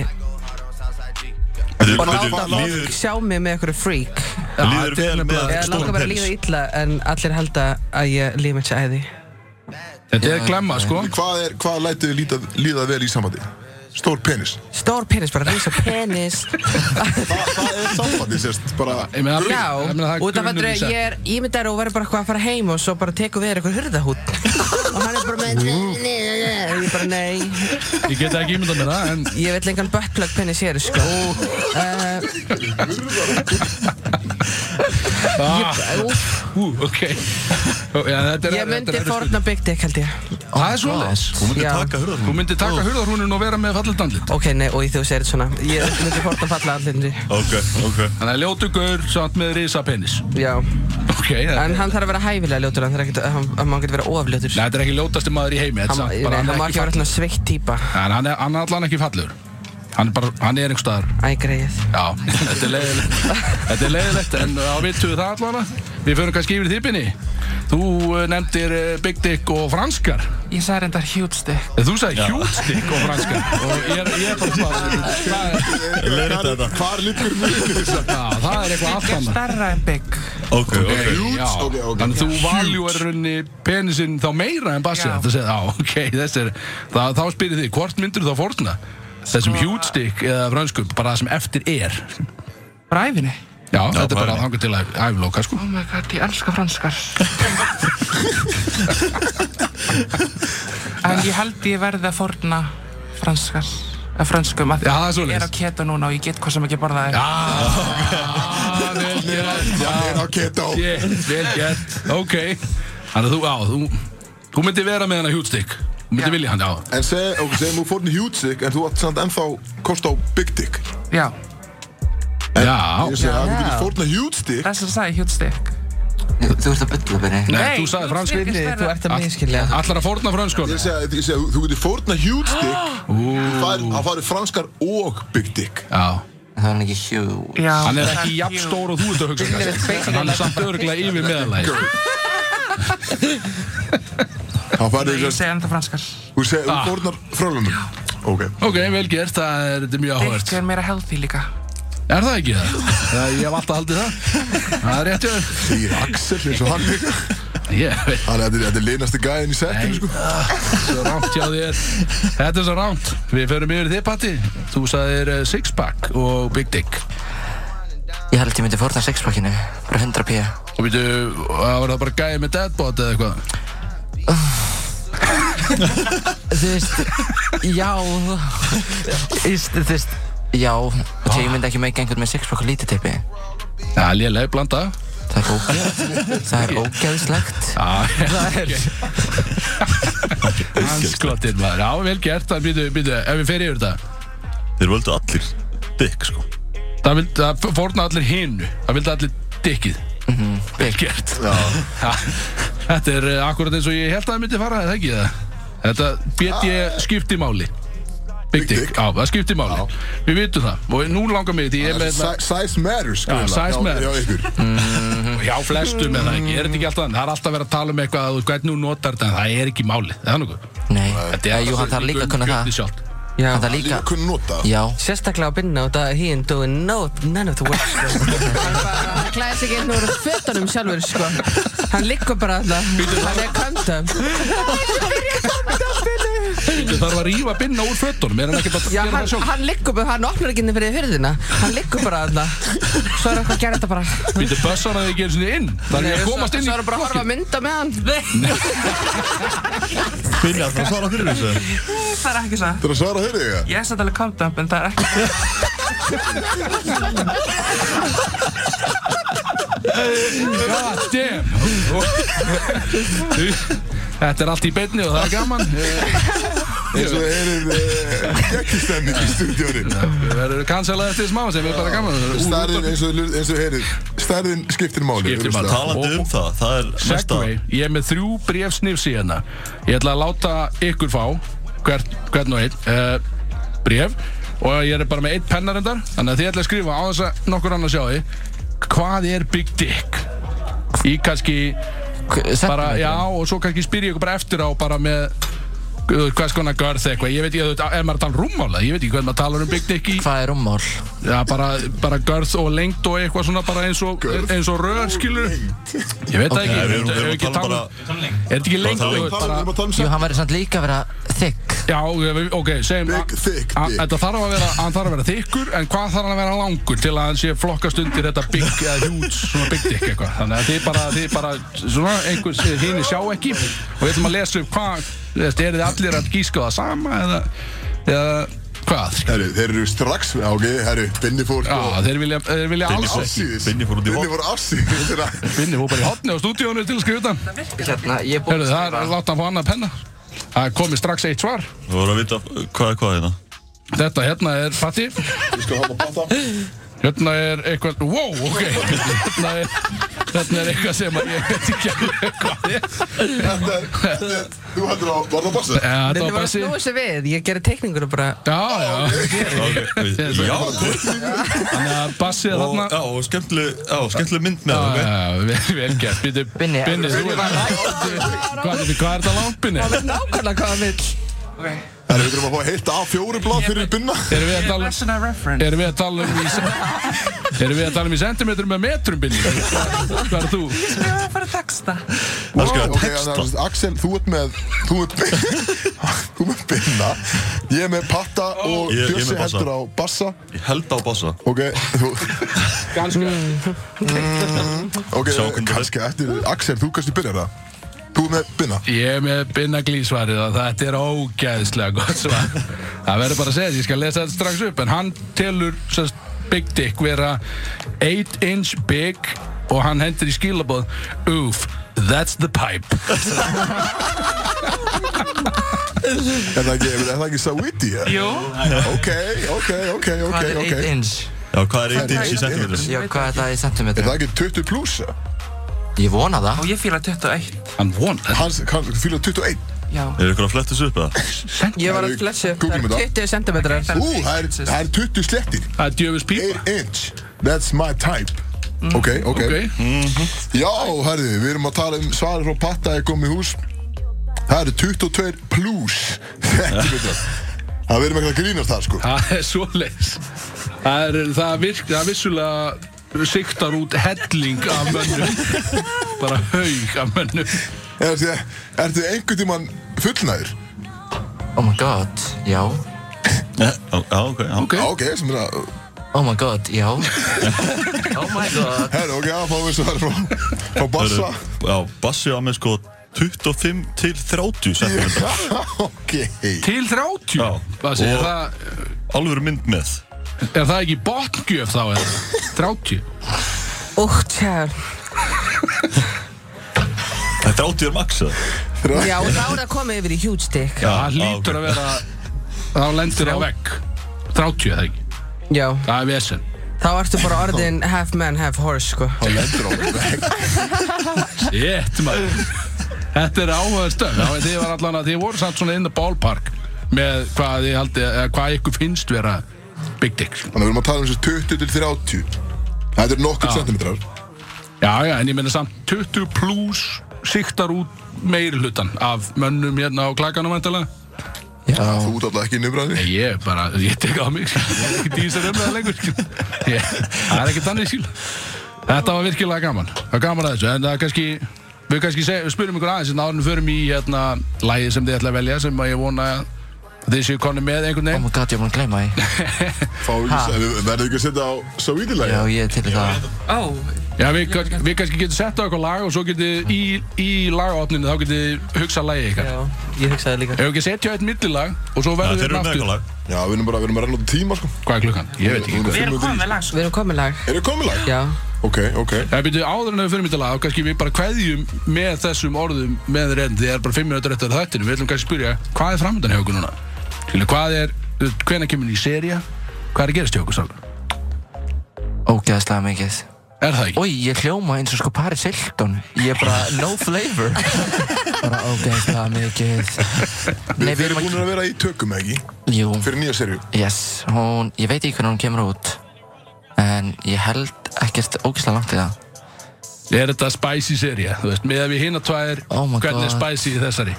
[SPEAKER 4] Þetta Byrju, byrju,
[SPEAKER 5] Og láta
[SPEAKER 4] líður-
[SPEAKER 5] fólk sjá mig með einhverju freak
[SPEAKER 4] Líður
[SPEAKER 2] þetta er
[SPEAKER 4] vel með
[SPEAKER 5] Ég langar
[SPEAKER 4] stóran
[SPEAKER 5] bara að líða
[SPEAKER 4] penis
[SPEAKER 5] illa en allir halda að ég líði með þessi æði
[SPEAKER 2] Þetta er glemma, sko
[SPEAKER 1] Hvað, er, hvað lætið þið líða, líða vel í sambandi? Stór penis
[SPEAKER 5] Stór penis, bara rísa penis
[SPEAKER 1] Þa, Það er sambandi sérst bara
[SPEAKER 2] Ég meina,
[SPEAKER 5] Já,
[SPEAKER 2] ég meina, það er
[SPEAKER 5] út af
[SPEAKER 2] grunnur í
[SPEAKER 5] að
[SPEAKER 2] sex.
[SPEAKER 5] ég er ímyndar og verður bara eitthvað að fara heim og svo bara tekur við þér eitthvað hurðahút og hann er bara með nei, nei, nei, og ég bara nei
[SPEAKER 2] Ég get ekki ímyndað mér það, en
[SPEAKER 5] ég vil lengan buttplug penis hér sko uh,
[SPEAKER 2] ah,
[SPEAKER 5] úff.
[SPEAKER 2] Ú, ok Já, þetta er
[SPEAKER 5] Ég
[SPEAKER 2] þetta
[SPEAKER 5] myndi Oh,
[SPEAKER 2] er-
[SPEAKER 5] forna Big Dick held ég
[SPEAKER 2] Það er svoleiðis
[SPEAKER 4] Þú myndir
[SPEAKER 5] Já.
[SPEAKER 4] taka
[SPEAKER 2] Þú
[SPEAKER 4] hurðarhúnum
[SPEAKER 2] myndir taka hurðarhúnin og vera með fallit andlit
[SPEAKER 5] Ok, nei, og í þú segir þetta svona Ég myndi forna falla allir
[SPEAKER 4] Ok, ok
[SPEAKER 2] Þannig að ljótu gaur samt með risa penis
[SPEAKER 5] Já,
[SPEAKER 2] Ok, það
[SPEAKER 5] en
[SPEAKER 2] er
[SPEAKER 5] hann þarf að vera hæfilega ljótur Hann þarf ekki að, hann- hann má ekki vera ofljótur
[SPEAKER 2] Nei, þetta er ekki ljótasti maður í heimi þetta er
[SPEAKER 5] Hann,
[SPEAKER 2] samt
[SPEAKER 5] nei,
[SPEAKER 2] bara-
[SPEAKER 5] hann má
[SPEAKER 2] er
[SPEAKER 5] ekki vera
[SPEAKER 2] fallegur.
[SPEAKER 5] svona sveitt típa
[SPEAKER 2] En hann er, hann er allan ekki fallur Hann er bara, hann er einhver staðar
[SPEAKER 5] Æ, greið
[SPEAKER 2] Já, þetta er leiðilegt Þetta er leiðilegt, en á vittu við það allan Við förum kannski yfir í þýpinni Þú eh, nefndir eh, Big Dick og franskar Eh,
[SPEAKER 8] Ég sagði reyndar huge stick.
[SPEAKER 2] Þú sagði huge dick og franskar Og ég er, ég er bara bara það er,
[SPEAKER 4] Leiðrétta þetta.
[SPEAKER 1] Hvar liggur munur þess að
[SPEAKER 2] Já, það er eitthvað allt
[SPEAKER 8] Ég er
[SPEAKER 2] annað
[SPEAKER 8] starra en big.
[SPEAKER 4] Ok, ok
[SPEAKER 1] Huge,
[SPEAKER 2] Já,
[SPEAKER 1] ok, ok.
[SPEAKER 2] Þannig þú valjúar runni penisinn þá meira en bassi
[SPEAKER 8] Já.
[SPEAKER 2] Þetta segir, á, ok, þess er það, Þá spyrir þið, hvort myndir þú þá fórna? Þessum
[SPEAKER 8] Sko-
[SPEAKER 2] huge dick eða franskum Bara það sem eftir er Já,
[SPEAKER 8] Bara æfinni.
[SPEAKER 2] þetta er bara
[SPEAKER 4] bara-
[SPEAKER 2] að hanga til að æfloka sko.
[SPEAKER 8] Oh my god, ég elska franskar. en ég held ég verði að forna franskar. Eða franskum. að
[SPEAKER 2] Já, það er
[SPEAKER 8] Ég er á
[SPEAKER 2] svoleiðis
[SPEAKER 8] keto núna og ég get hvað sem ekki borða þér.
[SPEAKER 2] Já, Ah, vel gert
[SPEAKER 1] Hann er á keto
[SPEAKER 2] Shit, Vel gert, ok Þannig að þú, á, þú Þú myndir vera með hana huge dick Þú myndir
[SPEAKER 8] Já.
[SPEAKER 2] vilja hann, já
[SPEAKER 1] En seg, ok, segjum þú fórn í huge dick En þú átt samt ennþá kost á big dick
[SPEAKER 8] Já,
[SPEAKER 2] Já,
[SPEAKER 1] Ég segi að þú
[SPEAKER 5] Já.
[SPEAKER 1] getur fórn að huge dick
[SPEAKER 8] þess að sagði huge stick.
[SPEAKER 6] Þú, þú ert að bylla byrni.
[SPEAKER 2] nei, þú sagði
[SPEAKER 8] huge
[SPEAKER 2] fransku
[SPEAKER 8] stick er
[SPEAKER 5] Þú
[SPEAKER 8] stærra.
[SPEAKER 5] ert að miskilja
[SPEAKER 2] Allar að fórna franskun
[SPEAKER 1] Ég segi að ég segi að þú getur fórn að huge dick Þú fær- Hann farið franskar og big dick
[SPEAKER 2] Já
[SPEAKER 6] Það var hann ekki huge.
[SPEAKER 8] Já,
[SPEAKER 2] Hann er
[SPEAKER 8] það
[SPEAKER 2] ekki jafn
[SPEAKER 8] huge.
[SPEAKER 2] stór og þú ert að hugsa kannski. Hann er samt örgulega yfir meðalæg
[SPEAKER 1] Hann
[SPEAKER 8] Nei,
[SPEAKER 1] farið
[SPEAKER 8] Ég segi enda franskar.
[SPEAKER 1] Þú segi að þú fórnar frálunum Ok
[SPEAKER 2] Ok, vel gert, það er, þetta er mjög áhört
[SPEAKER 8] Dick er meira healthy líka.
[SPEAKER 2] Er það ekki það? það? Ég hef alltaf haldið það Það er rétt hjá
[SPEAKER 1] Þegar Axel eins og hann líka
[SPEAKER 2] Ég veit
[SPEAKER 1] Þannig
[SPEAKER 2] Ah,
[SPEAKER 1] að þetta er- þetta er leinasti gæðin í settinu sko
[SPEAKER 2] Svo rámt hjá þér Þetta er svo rámt Við förum yfir í þig, Patti Þú sagðir uh, Sixpack og Big Dick
[SPEAKER 6] Ég held ég myndi forna sexpackinu. Bara 100 p.
[SPEAKER 2] Og veitu, það var það bara gæði með deadbot eða eitthvað
[SPEAKER 6] Þú veist, já. Íst, Þú veist, já. Og því ég myndi ekki meika einhvern með sexpack og lítið tippi.
[SPEAKER 2] Já, léleg blanda
[SPEAKER 6] Það er ógeð. Það er ógeðslegt.
[SPEAKER 2] Já, það er Hans skottir maður Já, vel gert Það býtu, býtu Ef við fer yfir þetta
[SPEAKER 4] Þeir völdu allir dick, sko
[SPEAKER 2] Það, vild, það fórna allir hinnu Það vildi allir dikkið Vel gert Ha, Þetta er uh, akkurat eins og ég held að það myndi fara eða ekki það Þetta bet ég skipti máli Ah. Big Dick,
[SPEAKER 1] Dick.
[SPEAKER 2] já, það skipti máli Við vitum það og nú langar mig því ég er með
[SPEAKER 1] Si- Size matters
[SPEAKER 2] Já,
[SPEAKER 1] greinilega.
[SPEAKER 2] size
[SPEAKER 1] Já,
[SPEAKER 2] matters.
[SPEAKER 1] Já, ykkur
[SPEAKER 2] hjá flestum eða ekki, er þetta ekki alltaf þannig? það er alltaf verið að tala um eitthvað að þú- hvernig hún notar þetta en það er ekki máli, það er nokkuð
[SPEAKER 6] Nei.
[SPEAKER 2] Þetta
[SPEAKER 6] Já, jú, hann þarf líka að kunna
[SPEAKER 2] Gutti
[SPEAKER 6] það.
[SPEAKER 2] sjálft.
[SPEAKER 5] Já,
[SPEAKER 6] Hann þarf líka,
[SPEAKER 1] Líka kunn nota
[SPEAKER 6] já.
[SPEAKER 5] sérstaklega á binna og það he ain't doing no, none of the work sko. Hann bara, hann klæðir sig einn úr fötunum sjálfur sko. Hann liggur bara alltaf Hann er kandam
[SPEAKER 2] Þú þarf að rífa binna úr fötunum er hann ekki bara að
[SPEAKER 5] Já,
[SPEAKER 2] gera
[SPEAKER 5] hann,
[SPEAKER 2] það sjálf
[SPEAKER 5] hann liggur bara, hann opnar ekki inn fyrir hurðina Hann liggur bara alltaf Svo er eitthvað að gera þetta bara
[SPEAKER 2] Býttu bössar að þið gerir sinni inn Það er
[SPEAKER 5] Nei,
[SPEAKER 2] að
[SPEAKER 5] svo-
[SPEAKER 2] komast inn í
[SPEAKER 5] Svo er bara að
[SPEAKER 2] blokkina.
[SPEAKER 5] horfa að mynda með hann Nei
[SPEAKER 4] Finni að það svara fyrir þessu
[SPEAKER 8] Það er ekki svo.
[SPEAKER 1] Þú er að svara eh, þeirri þegar
[SPEAKER 8] Ég er satt alveg count up, en það er ekki.
[SPEAKER 2] God damn Þetta er allt í beinni og það er gaman Eh,
[SPEAKER 1] eins og erum gekkistemning í stúdíónu
[SPEAKER 2] Við verðum kansalað eftir smá sem er bara gaman
[SPEAKER 1] Stærðin eins og eins og heyrið Stærðin skiptir máli
[SPEAKER 2] Skiptir máli.
[SPEAKER 1] augljóslega.
[SPEAKER 4] Talandi um það, það er næsta
[SPEAKER 2] Segway, ég er með þrjú bref snifsi hérna Ég ætla að láta ykkur fá hvern, hvern og einn uh, bref og ég er bara með eitt pennarendar þannig að þið ætla að skrifa á þess að nokkur annar sjá þið Hvað er Big Dick? Í kannski
[SPEAKER 6] K-
[SPEAKER 2] bara,
[SPEAKER 6] sentimeter.
[SPEAKER 2] já, og svo kannski spyr ég ykkur bara eftir á bara með þú veist, hvers konar görð eitthvað ég veit ekki, þú veist, er maður að tala um rúmmála ég veit ekki hvað maður talar um Big Dick í
[SPEAKER 6] Hvað er rúmmál?
[SPEAKER 2] Já, bara, bara görð og lengt og eitthvað svona bara eins og, eins og rör, skilur Ég veit það
[SPEAKER 4] Nei,
[SPEAKER 2] ekki, ég
[SPEAKER 4] við erum- við
[SPEAKER 2] hef
[SPEAKER 4] erum
[SPEAKER 2] ekki
[SPEAKER 4] að tala
[SPEAKER 2] talað um-
[SPEAKER 4] bara
[SPEAKER 2] Er þetta ekki lengt?
[SPEAKER 4] tala um
[SPEAKER 2] þú
[SPEAKER 4] lengt.
[SPEAKER 1] Tala-
[SPEAKER 2] veist, bara-
[SPEAKER 1] Við erum að tala um
[SPEAKER 6] Jú,
[SPEAKER 1] sex.
[SPEAKER 6] hann væri samt líka að vera þykk
[SPEAKER 2] Já, við- ok, segjum
[SPEAKER 1] Big thick
[SPEAKER 2] að-
[SPEAKER 1] dick.
[SPEAKER 2] Þetta þarf að vera, hann þarf að vera þykkur En hvað þarf hann að vera langur til að hann sé flokkast undir þetta big, eða huge, svona big dick eitthvað Þannig að þið bara, þið bara, svona einhvers hini sjá ekki Og við ætlum að lesa upp hvað, þú veist, eru þið allir að gíska á það sama eða, eða hvað?
[SPEAKER 1] Herru, þeir eru strax, já, ok, herru, Binni fór
[SPEAKER 2] Já, þeir vilja, þeir vilja
[SPEAKER 4] Binni
[SPEAKER 2] alls
[SPEAKER 4] fór-
[SPEAKER 1] afsíðis
[SPEAKER 4] Binni fór út í
[SPEAKER 1] Binni
[SPEAKER 4] vopn.
[SPEAKER 1] fór hérna. afsíðis þeirra.
[SPEAKER 2] Binni fór bara í hotni á stúdíónu til að skrifa utan
[SPEAKER 6] Hérna, ég er búinn
[SPEAKER 2] Herðu,
[SPEAKER 6] að
[SPEAKER 2] það
[SPEAKER 6] skrifa-
[SPEAKER 2] er láta hann fá annað penna Það komið strax eitt svar
[SPEAKER 4] Þú voru að vita hvað er hvað hérna
[SPEAKER 2] Þetta hérna er Patti
[SPEAKER 1] Við skulum hafa bátt af
[SPEAKER 2] Hérna er eitthvað Wow, ok Hérna er, hérna er eitthvað sem að ég veit ekki alveg hvað er
[SPEAKER 1] Þetta er, þetta er- þú heldur á, var það bassa?
[SPEAKER 2] Já, þetta
[SPEAKER 5] Þetta
[SPEAKER 2] var
[SPEAKER 5] var að
[SPEAKER 2] Bassi
[SPEAKER 5] snúa sér við, ég gerði teikningur og bara
[SPEAKER 2] Já, já
[SPEAKER 4] Ok, Já,
[SPEAKER 2] Þannig að Bassi er
[SPEAKER 4] og,
[SPEAKER 2] þarna
[SPEAKER 4] já, og skemmtileg, já, skemmtileg mynd með það, ok?
[SPEAKER 2] Já, vel- vel gert Binni,
[SPEAKER 6] Binni,
[SPEAKER 2] Binni, þú er Hvað er þetta langt, Binni?
[SPEAKER 5] Nákvæmlega hvað það vil
[SPEAKER 1] Herru, við þurfum að fá heilt A4 blad fyrir Binna
[SPEAKER 2] Erum við að tala um
[SPEAKER 8] Personal reference
[SPEAKER 2] Erum við að tala um í Erum við að tala um í sentimetrum með metrum, Binni? Hvað er þú?
[SPEAKER 8] Ég var að fara að texta
[SPEAKER 4] Það
[SPEAKER 1] Ok,
[SPEAKER 4] skal að texta
[SPEAKER 1] þannig að Axel, þú ert með Þú ert með, þú með Binna Ég er með Patta og
[SPEAKER 4] Ég- ég með
[SPEAKER 1] Bjössi
[SPEAKER 4] Bassa.
[SPEAKER 1] heldur á Bassa
[SPEAKER 4] Ég held á bassa
[SPEAKER 1] Ok, þú Ok,
[SPEAKER 4] Sjá hvernig
[SPEAKER 1] kannski eftir Axel, þú kannski byrjar það Þú ert með Binna
[SPEAKER 2] Ég er með binnaglísvarið og þetta er ógæðslega gott svar. Það verður bara að segja, ég skal lesa þetta strax upp, en hann telur sérst, Big Dick vera 8 inch big og hann hendur í skilabóð Oof, that's the pipe.
[SPEAKER 1] Er það ekki, er það ekki Sawiti? Jú Ok, ok, ok, ok,
[SPEAKER 6] Hvað er
[SPEAKER 1] ok
[SPEAKER 6] 8 inch?
[SPEAKER 4] Já, hvað er eitt inch í sentimetrum?
[SPEAKER 6] Já, hvað er það í
[SPEAKER 1] Er
[SPEAKER 6] centimetrum?
[SPEAKER 1] það ekki 20 pluss?
[SPEAKER 6] Ég vona það
[SPEAKER 8] Og ég fýla 21
[SPEAKER 2] Hann von,
[SPEAKER 1] Hans, hann fylgir 21
[SPEAKER 8] Já
[SPEAKER 4] Er ykkur að fletta þessu upp eða?
[SPEAKER 5] Ég var
[SPEAKER 1] Herru,
[SPEAKER 5] að flesja upp,
[SPEAKER 1] googlum
[SPEAKER 5] það
[SPEAKER 1] þetta.
[SPEAKER 5] er 20 centimetrar
[SPEAKER 1] Ú, það er, það er 20 slettir
[SPEAKER 2] það er djöfus pípa.
[SPEAKER 1] 8 inch, that's my type Ok, ok,
[SPEAKER 2] Ok,
[SPEAKER 1] Já, herðu, við erum að tala um svarið frá Patta er komið í hús Það eru 22 pluss Sentimetrar Það verðum eitthvað að grínast það, sko
[SPEAKER 2] það er svoleiðis. Það er, það virk, það vissulega siktar út helling af mönnum. bara haug af mönnum.
[SPEAKER 1] Ertu, ertu einhvern tímann fullnæður?
[SPEAKER 6] Oh my god, já
[SPEAKER 4] Já, Eh, já, ok, já
[SPEAKER 2] Ok,
[SPEAKER 1] Já, ok, sem er að
[SPEAKER 6] Oh my god, já Oh my god
[SPEAKER 1] Herru, ok, það fáum við svarið frá, frá Bassa
[SPEAKER 4] Eru- Já, bassi á með sko 25 til 30 sentimetrum
[SPEAKER 1] Ok
[SPEAKER 2] til 30.
[SPEAKER 4] Já.
[SPEAKER 2] Bassi, er
[SPEAKER 4] Og-
[SPEAKER 2] það...
[SPEAKER 4] Alvöru mynd með
[SPEAKER 2] Er það ekki botngjöf þá eða? 30?
[SPEAKER 5] Úh, tjær
[SPEAKER 4] En 30 er max eða?
[SPEAKER 5] Já, þá er það komið yfir í huge dick
[SPEAKER 4] Já,
[SPEAKER 2] Það
[SPEAKER 4] já,
[SPEAKER 2] hlýtur
[SPEAKER 4] ok.
[SPEAKER 2] að vera Þá lendir á vegg 30 eða ekki?
[SPEAKER 5] Já,
[SPEAKER 2] Það er vesen
[SPEAKER 5] þá ertu bara orðin half man, half horse, sko
[SPEAKER 1] Þá lendur á vegg
[SPEAKER 2] Jétt maður Þetta er áhugaður stöð Þið var allan að þið voru samt svona in the ballpark með hvað þið haldið eða hvað ykkur finnst vera Big Dick sko.
[SPEAKER 1] Þannig að við erum að tala um þessi 20 til 30 Þetta er nokkur sentimetrar
[SPEAKER 2] Já já en ég meina samt 20 pluss siktar út meiri hlutan af mönnum hérna á klakanum væntalega
[SPEAKER 1] Þú út alltaf ekki nýmræðinni
[SPEAKER 2] Ég er bara, ég tek á mig skil. Ég er ekki dýsar umlega lengur skil. ég, Það er ekki þannig skil Þetta var virkilega gaman Það var gaman að þessu En það er kannski Við kannski seg, spyrum ykkur aðeins En áðurinn förum í hérna Lægið sem þið ætla að velja Sem að ég vona að Þið séu konni með einhvern
[SPEAKER 6] Oh
[SPEAKER 2] veginn
[SPEAKER 6] my god, ég er búinn að gleyma því
[SPEAKER 1] Fá ekki, við verðum ekki að setja á
[SPEAKER 6] Já,
[SPEAKER 1] Savítilægi
[SPEAKER 6] ég er til í það
[SPEAKER 8] Ó
[SPEAKER 2] Já, við, kann- við kannski getum sett á eitthvað lag Og svo getið í, í lagaopninu Þá getið hugsað lægið ykkar
[SPEAKER 5] Já, ég hugsaði líka
[SPEAKER 2] Ef við ekki setja eitt millilag Og svo
[SPEAKER 4] Já,
[SPEAKER 2] verðum við
[SPEAKER 4] þeir eru með
[SPEAKER 2] náttu
[SPEAKER 4] eitthvað lag
[SPEAKER 1] Já, við erum bara, við erum að renna út í tíma, sko
[SPEAKER 2] Hvað er klukkan? Ég veit ekki
[SPEAKER 8] Við erum komið langs
[SPEAKER 5] Við erum komið lag
[SPEAKER 1] Erum við komið lag?
[SPEAKER 5] Já,
[SPEAKER 1] Ok, ok
[SPEAKER 2] Það byrju áður en að við fyrir mitt að laga og kannski við bara kveðjum með þessum orðum með þér enn því það er bara 5 minútur eftir þættinu við ætlum kannski að spyrja hvað er framöndan hjá okkur núna Skilu, hvað er, hvenær kemur ný seria hvað er að gerast hjá okkur sálega
[SPEAKER 6] Ógeðaslega mikið
[SPEAKER 2] Er það ekki?
[SPEAKER 6] Új, ég hljóma eins og sko Paris Hilton Ég er bara no flavor Bara ógeðaslega mikið Nei,
[SPEAKER 1] Þeir
[SPEAKER 6] við
[SPEAKER 1] eru
[SPEAKER 6] erum
[SPEAKER 1] búin
[SPEAKER 6] ekki
[SPEAKER 1] að vera í tökum, ekki?
[SPEAKER 6] Jú,
[SPEAKER 1] Fyrir nýja serju
[SPEAKER 6] yes, hún, ég veit ekki hvernig hún kemur út En ég held ekkert ógeðslega langt í það
[SPEAKER 2] Er þetta spicy seria? Þú veist, með að við hinna tvær
[SPEAKER 6] Oh my
[SPEAKER 2] hvernig er
[SPEAKER 6] God.
[SPEAKER 2] spicy í þessari?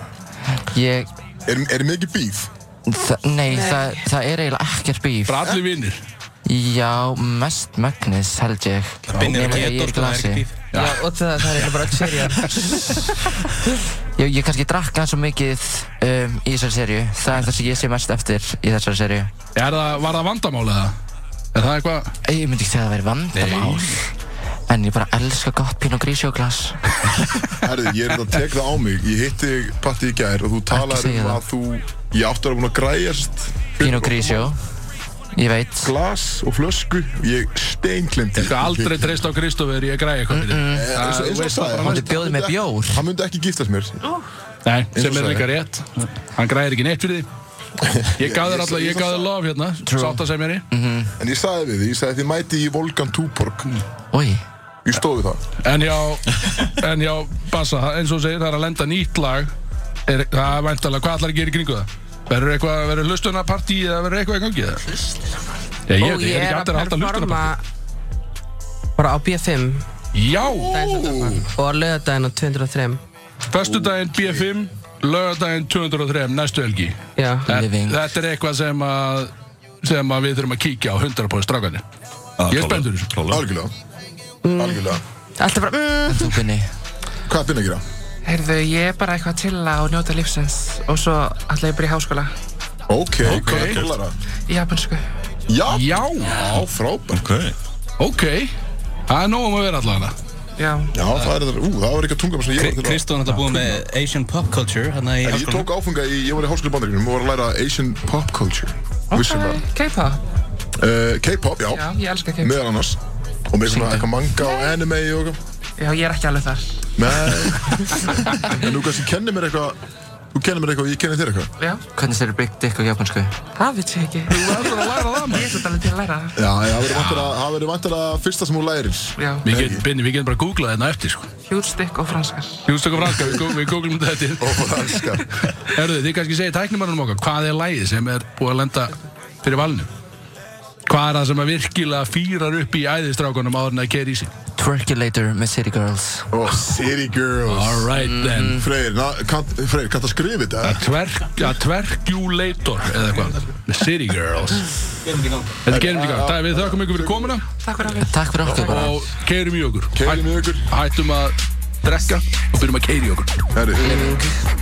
[SPEAKER 6] Ég
[SPEAKER 1] Er, er mikið bíf?
[SPEAKER 6] Þa, nei, það, það er eiginlega ekkert bíf
[SPEAKER 2] Bara allir vinnir
[SPEAKER 6] Já, mest mögnis held ég
[SPEAKER 3] Binnir og
[SPEAKER 6] Nema þegar ég
[SPEAKER 3] getur, sko,
[SPEAKER 6] er í
[SPEAKER 3] það er
[SPEAKER 6] glasi
[SPEAKER 3] ekki bíf
[SPEAKER 5] Já, og það, það er eitthvað bara öll serið
[SPEAKER 6] Ég, ég kannski drakk aðeins og mikið um, í þessari serju Það er það sem ég sé mest eftir í þessari serju
[SPEAKER 2] Er það, var það vandamál eða? Er það eitthvað?
[SPEAKER 6] Ég myndi ekki segja að það væri vandamál En ég bara elska gott pín og grísjóglas
[SPEAKER 1] Herði, ég er þetta að tek það á mig Ég hitti þig, patti í gær og þú talar
[SPEAKER 6] segja
[SPEAKER 1] um
[SPEAKER 6] það.
[SPEAKER 1] að þú Ég átti að vera búin að græjast
[SPEAKER 6] Pín og grísjó Ég veit
[SPEAKER 1] Glas og flösku Ég steinklimti
[SPEAKER 2] Ég skal aldrei treyst á Kristófur í að græja eitthvað fyrir
[SPEAKER 1] Eh,
[SPEAKER 2] Það- þú veist það bara
[SPEAKER 6] Hann bjóði með bjór.
[SPEAKER 1] Hann myndi ekki giftast mér
[SPEAKER 2] Nei, sem er
[SPEAKER 1] sagði.
[SPEAKER 2] líka rétt Hann græðir ekki neitt fyrir því Ég gaf
[SPEAKER 1] ég-
[SPEAKER 2] þér alltaf,
[SPEAKER 1] ég-
[SPEAKER 2] ég gaf þér lof hérna Sátt að segja mér í
[SPEAKER 1] En ég sagði við því, ég sagði þið mæti í Volgan Túborg
[SPEAKER 6] Úi,
[SPEAKER 1] Ég stóð við það
[SPEAKER 2] En já, en já, Bassa, það- eins og þú segir, það er að lenda nýtt lag er, Það er væntalega, hvað ætlar að gera í kringu það? Verður eitthvað, verður hlustunarpartí eða verður eitthvað í gangi það? Já, ég, veit,
[SPEAKER 5] Og
[SPEAKER 2] ég er ekki alltaf að halda hlustunarpartí
[SPEAKER 5] bara á B5
[SPEAKER 2] Já,
[SPEAKER 5] og á lögadaginn á 203
[SPEAKER 2] föstudaginn B5, lögadaginn 203, næstu helgi
[SPEAKER 5] Já,
[SPEAKER 2] Þetta
[SPEAKER 6] Living.
[SPEAKER 2] þetta er eitthvað sem að sem að við þurfum að kíkja á 100% strákanir Ég er spenntur þessu.
[SPEAKER 1] Algjörlega Algjörlega
[SPEAKER 5] alltaf bara mm,
[SPEAKER 6] þú Binni
[SPEAKER 1] Hvað er þinn að gera?
[SPEAKER 8] Heyrðu, ég er bara eitthvað til að og njóta lífsins og svo ætla ég bara í háskóla
[SPEAKER 1] Ok, hvað er kólara?
[SPEAKER 8] í japansku.
[SPEAKER 1] Já,
[SPEAKER 2] Já,
[SPEAKER 1] já, frábært
[SPEAKER 4] Ok,
[SPEAKER 2] ok Það er nógum að vera allavega
[SPEAKER 8] Já,
[SPEAKER 1] Já, það er þetta, ú, það var ekki að tunga sem ég var til að
[SPEAKER 3] Kristón ætla búið með Asian Pop Culture hérna í
[SPEAKER 1] Ég
[SPEAKER 3] háskólanum.
[SPEAKER 1] tók áfunga í, ég var í háskóli bandaríkjum og var að læra Asian pop culture Vissulega
[SPEAKER 8] K-pop.
[SPEAKER 1] uh, K-pop, já,
[SPEAKER 8] Já, ég elska K-pop.
[SPEAKER 1] meðal annars og með svona eitthvað manga og anime og eitthvað
[SPEAKER 8] Já, ég er ekki alveg þar.
[SPEAKER 1] Nei, en þú kannski kennir mér eitthvað þú kennir mér eitthvað og ég kennir þér eitthvað
[SPEAKER 8] Já,
[SPEAKER 6] Hvernig styrir Big Dick á japansku?
[SPEAKER 8] það veit ég ekki.
[SPEAKER 2] Þú verður að læra það maður
[SPEAKER 8] Ég er svolítið alveg til að læra það.
[SPEAKER 1] Já, já, það verður vantar að- það verður vantar að fyrsta sem þú lærir
[SPEAKER 8] Já,
[SPEAKER 2] Við getum, Binni, við getum bara að googla þetta á eftir, sko.
[SPEAKER 8] hjúlstykk og franskar.
[SPEAKER 2] Hjústöku franska, við, gú- við googlum þetta eftir.
[SPEAKER 1] og það elskar
[SPEAKER 2] Herðu, þið kannski segir tæknumannunum okkar, hvað er lægið sem er búið að lenda fyrir valinu? Hvað er það sem að virkilega fýrar upp í æðistrákunum áður en að kera í sig?
[SPEAKER 6] Twerkulator með City Girls
[SPEAKER 1] og City Girls
[SPEAKER 2] Alright then.
[SPEAKER 1] Freyr, na, kann, Freyr, kannst að skrifa þetta?
[SPEAKER 2] Tverk, Mhm. að tverkjulator, eða eitthvað. City Girls. Þetta gerum við í gang. Það er við þökkum ykkur fyrir komuna
[SPEAKER 8] Takk fyrir að við.
[SPEAKER 6] Takk fyrir okkur bara
[SPEAKER 2] og keirum í okkur.
[SPEAKER 1] Keirum í okkur.
[SPEAKER 2] Hættum að drekka og byrjum að keira í okkur.
[SPEAKER 1] Herri,